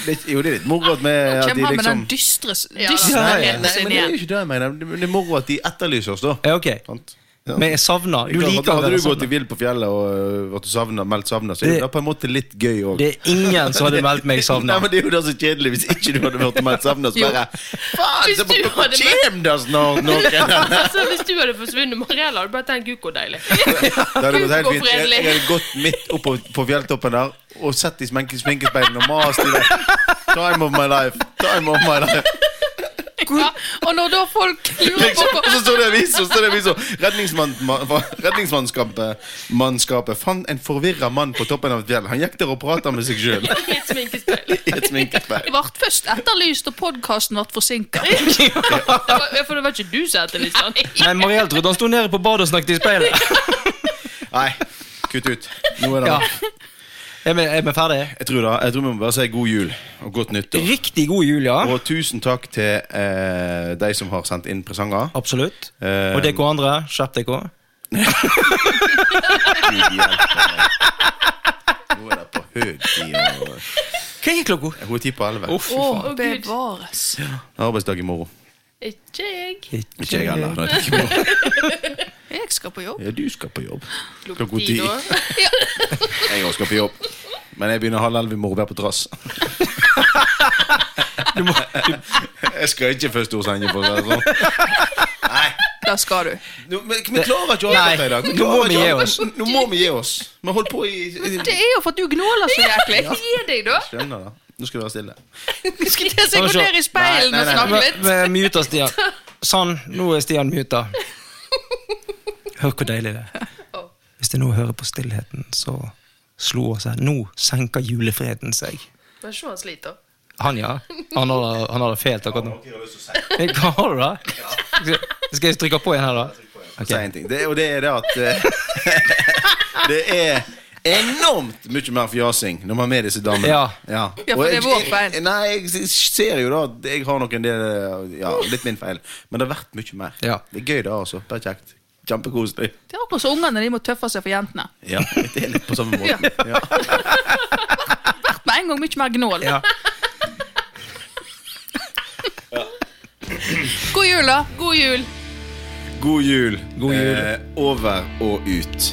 [SPEAKER 2] Det, jo, det er litt moro at, vi, at de
[SPEAKER 3] Hvem har med den
[SPEAKER 2] liksom
[SPEAKER 3] dystre s-
[SPEAKER 4] Ja, da.
[SPEAKER 2] Nei,
[SPEAKER 3] dysterheten
[SPEAKER 2] nei,
[SPEAKER 3] sin
[SPEAKER 2] men det er jo
[SPEAKER 3] igjen?
[SPEAKER 2] ikke det jeg mener. Det det er moro at de etterlyser oss, da.
[SPEAKER 1] Ja, ok.
[SPEAKER 2] Sant? Ja.
[SPEAKER 1] Men jeg savner Du
[SPEAKER 2] Klart,
[SPEAKER 1] liker å
[SPEAKER 2] hadde
[SPEAKER 1] være
[SPEAKER 2] du gått i
[SPEAKER 1] savnet.
[SPEAKER 2] vill på fjellet og øh, vært savna, meldt savna, så er
[SPEAKER 1] Det-
[SPEAKER 2] det da på en måte litt gøy òg. [LAUGHS]
[SPEAKER 1] Det er ingen som hadde meldt meg savna.
[SPEAKER 2] Nei, men Det er jo det som er kjedelig hvis ikke du hadde vært meldt savna. Så
[SPEAKER 4] Jo.
[SPEAKER 2] bare Faen,
[SPEAKER 4] Hvis
[SPEAKER 2] så
[SPEAKER 4] du
[SPEAKER 2] kommer
[SPEAKER 4] hadde meldt-
[SPEAKER 2] det snart
[SPEAKER 4] [LAUGHS]
[SPEAKER 2] noen!
[SPEAKER 4] Altså, hvis du hadde forsvunnet, Mariella, hadde du bare tenkt 'gud, hvor deilig'. [LAUGHS]
[SPEAKER 2] Det hadde gått helt
[SPEAKER 4] Gud, hvor
[SPEAKER 2] fint. Jeg,
[SPEAKER 4] fredelig.
[SPEAKER 2] jeg hadde gått midt oppå på fjelltoppen der og sett i smenkes- sminkespeilet og mast i det. Time of my life. Time of my life.
[SPEAKER 3] [LAUGHS] Ja, og når da folk lurer på
[SPEAKER 2] Liksom. Og så står det i avisa, så står det i avisa. Redningsmann- ma- fa- Redningsmannskapet mannskapet fant en forvirra mann på toppen av et fjell. Han gikk der og prata med seg sjøl
[SPEAKER 4] I et sminkespeil.
[SPEAKER 2] i et sminkespeil.
[SPEAKER 3] Jeg ble først etterlyst, og podkasten ble forsinka.
[SPEAKER 4] Det var- ja, For det sånn. var ikke du som het Elisabeth.
[SPEAKER 1] Nei, Mariell trodde han sto nede på badet og snakket i
[SPEAKER 2] [LAUGHS]
[SPEAKER 1] speilet.
[SPEAKER 2] Nei, kutt ut. Nå er det
[SPEAKER 1] Ja.
[SPEAKER 2] nok.
[SPEAKER 1] Er vi, er vi ferdige?
[SPEAKER 2] Jeg tror, da, jeg tror vi må bare si god jul og godt nyttår.
[SPEAKER 1] Riktig god jul, ja.
[SPEAKER 2] Og tusen takk til eh, de som har sendt inn [LAUGHS] presanger.
[SPEAKER 1] Absolutt.
[SPEAKER 2] Eh,
[SPEAKER 1] Og dere andre, skjerp dere.
[SPEAKER 2] Gud hjelpe meg. Nå er det på høy tid. å-
[SPEAKER 1] Hva er klokka?
[SPEAKER 2] Hun er ti på elleve.
[SPEAKER 1] Uff,
[SPEAKER 3] Å,
[SPEAKER 4] Å, Gud.
[SPEAKER 3] bevares.
[SPEAKER 2] Arbeidsdag i morgen.
[SPEAKER 4] Ikke jeg.
[SPEAKER 2] Ikke jeg heller. Nei, ikke i morgen.
[SPEAKER 3] Jeg skal på jobb.
[SPEAKER 2] Ja, du skal på jobb.
[SPEAKER 4] Klokka ti, da.
[SPEAKER 2] Jeg òg skal på jobb. Men jeg begynner halv elleve i morgen, bare på trass.
[SPEAKER 1] Du må, du,
[SPEAKER 2] Jeg skal ikke først hos henge på det. sånn.
[SPEAKER 3] Der skal du.
[SPEAKER 2] Nå- men Vi klarer ikke å avslutte i dag.
[SPEAKER 1] Nei, nå må
[SPEAKER 2] klarer
[SPEAKER 1] vi
[SPEAKER 2] ikke å-
[SPEAKER 1] gi oss.
[SPEAKER 2] Nå må vi gi oss. Vi holder på i
[SPEAKER 3] Det er jo for at du gnåler så jæklig.
[SPEAKER 4] Gi deg, da.
[SPEAKER 2] Skjønner det. Nå skal vi være stille.
[SPEAKER 3] [LAUGHS] Du skal til seg gå
[SPEAKER 1] Kanskje-
[SPEAKER 3] ned i speilet
[SPEAKER 2] Altså, Nei,
[SPEAKER 3] og
[SPEAKER 2] nei, nei.
[SPEAKER 3] snakke
[SPEAKER 1] vi,
[SPEAKER 3] litt.
[SPEAKER 1] vi muter Stian. Sånn, nå er Stian muta. Hør hvor deilig det er. Hvis du nå hører på stillheten, så slo hun seg. Nå senker julefreden seg.
[SPEAKER 4] Men se, han sliter.
[SPEAKER 1] Han, ja. Han har det- han har det fælt akkurat nå. Hva har du, da? Skal jeg stryke på igjen her, da?
[SPEAKER 2] Si en ting. Det, og det er det at eh, [LAUGHS] Det er enormt mye mer fjasing når man er med disse damene.
[SPEAKER 1] Ja.
[SPEAKER 3] Ja, for
[SPEAKER 2] Og
[SPEAKER 3] det er vår feil.
[SPEAKER 2] Jeg, nei, jeg ser jo da at jeg har nok en del eh, Ja, litt min feil. Men det har vært mye mer.
[SPEAKER 1] Ja.
[SPEAKER 2] Det er gøy, det, altså. Det er kjekt. Kjempekoselig.
[SPEAKER 3] Det er akkurat som ungene de må tøffe seg for jentene.
[SPEAKER 2] Ja, [LAUGHS] det er litt på samme måten. Ja.
[SPEAKER 3] Vært med en gang mye mer gnål.
[SPEAKER 1] Ja.
[SPEAKER 3] [LAUGHS] God jul, da.
[SPEAKER 4] God jul.
[SPEAKER 2] God jul.
[SPEAKER 1] God jul.
[SPEAKER 2] Eh, over og ut.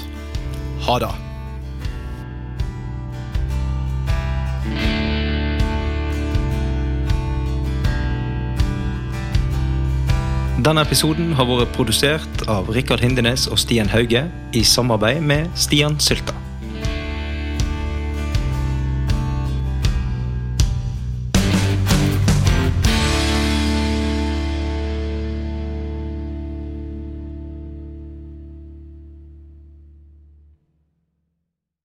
[SPEAKER 1] Ha det. Denne episoden har vært produsert av Rikard Hindenes og Stian Hauge i samarbeid med Stian Sylta.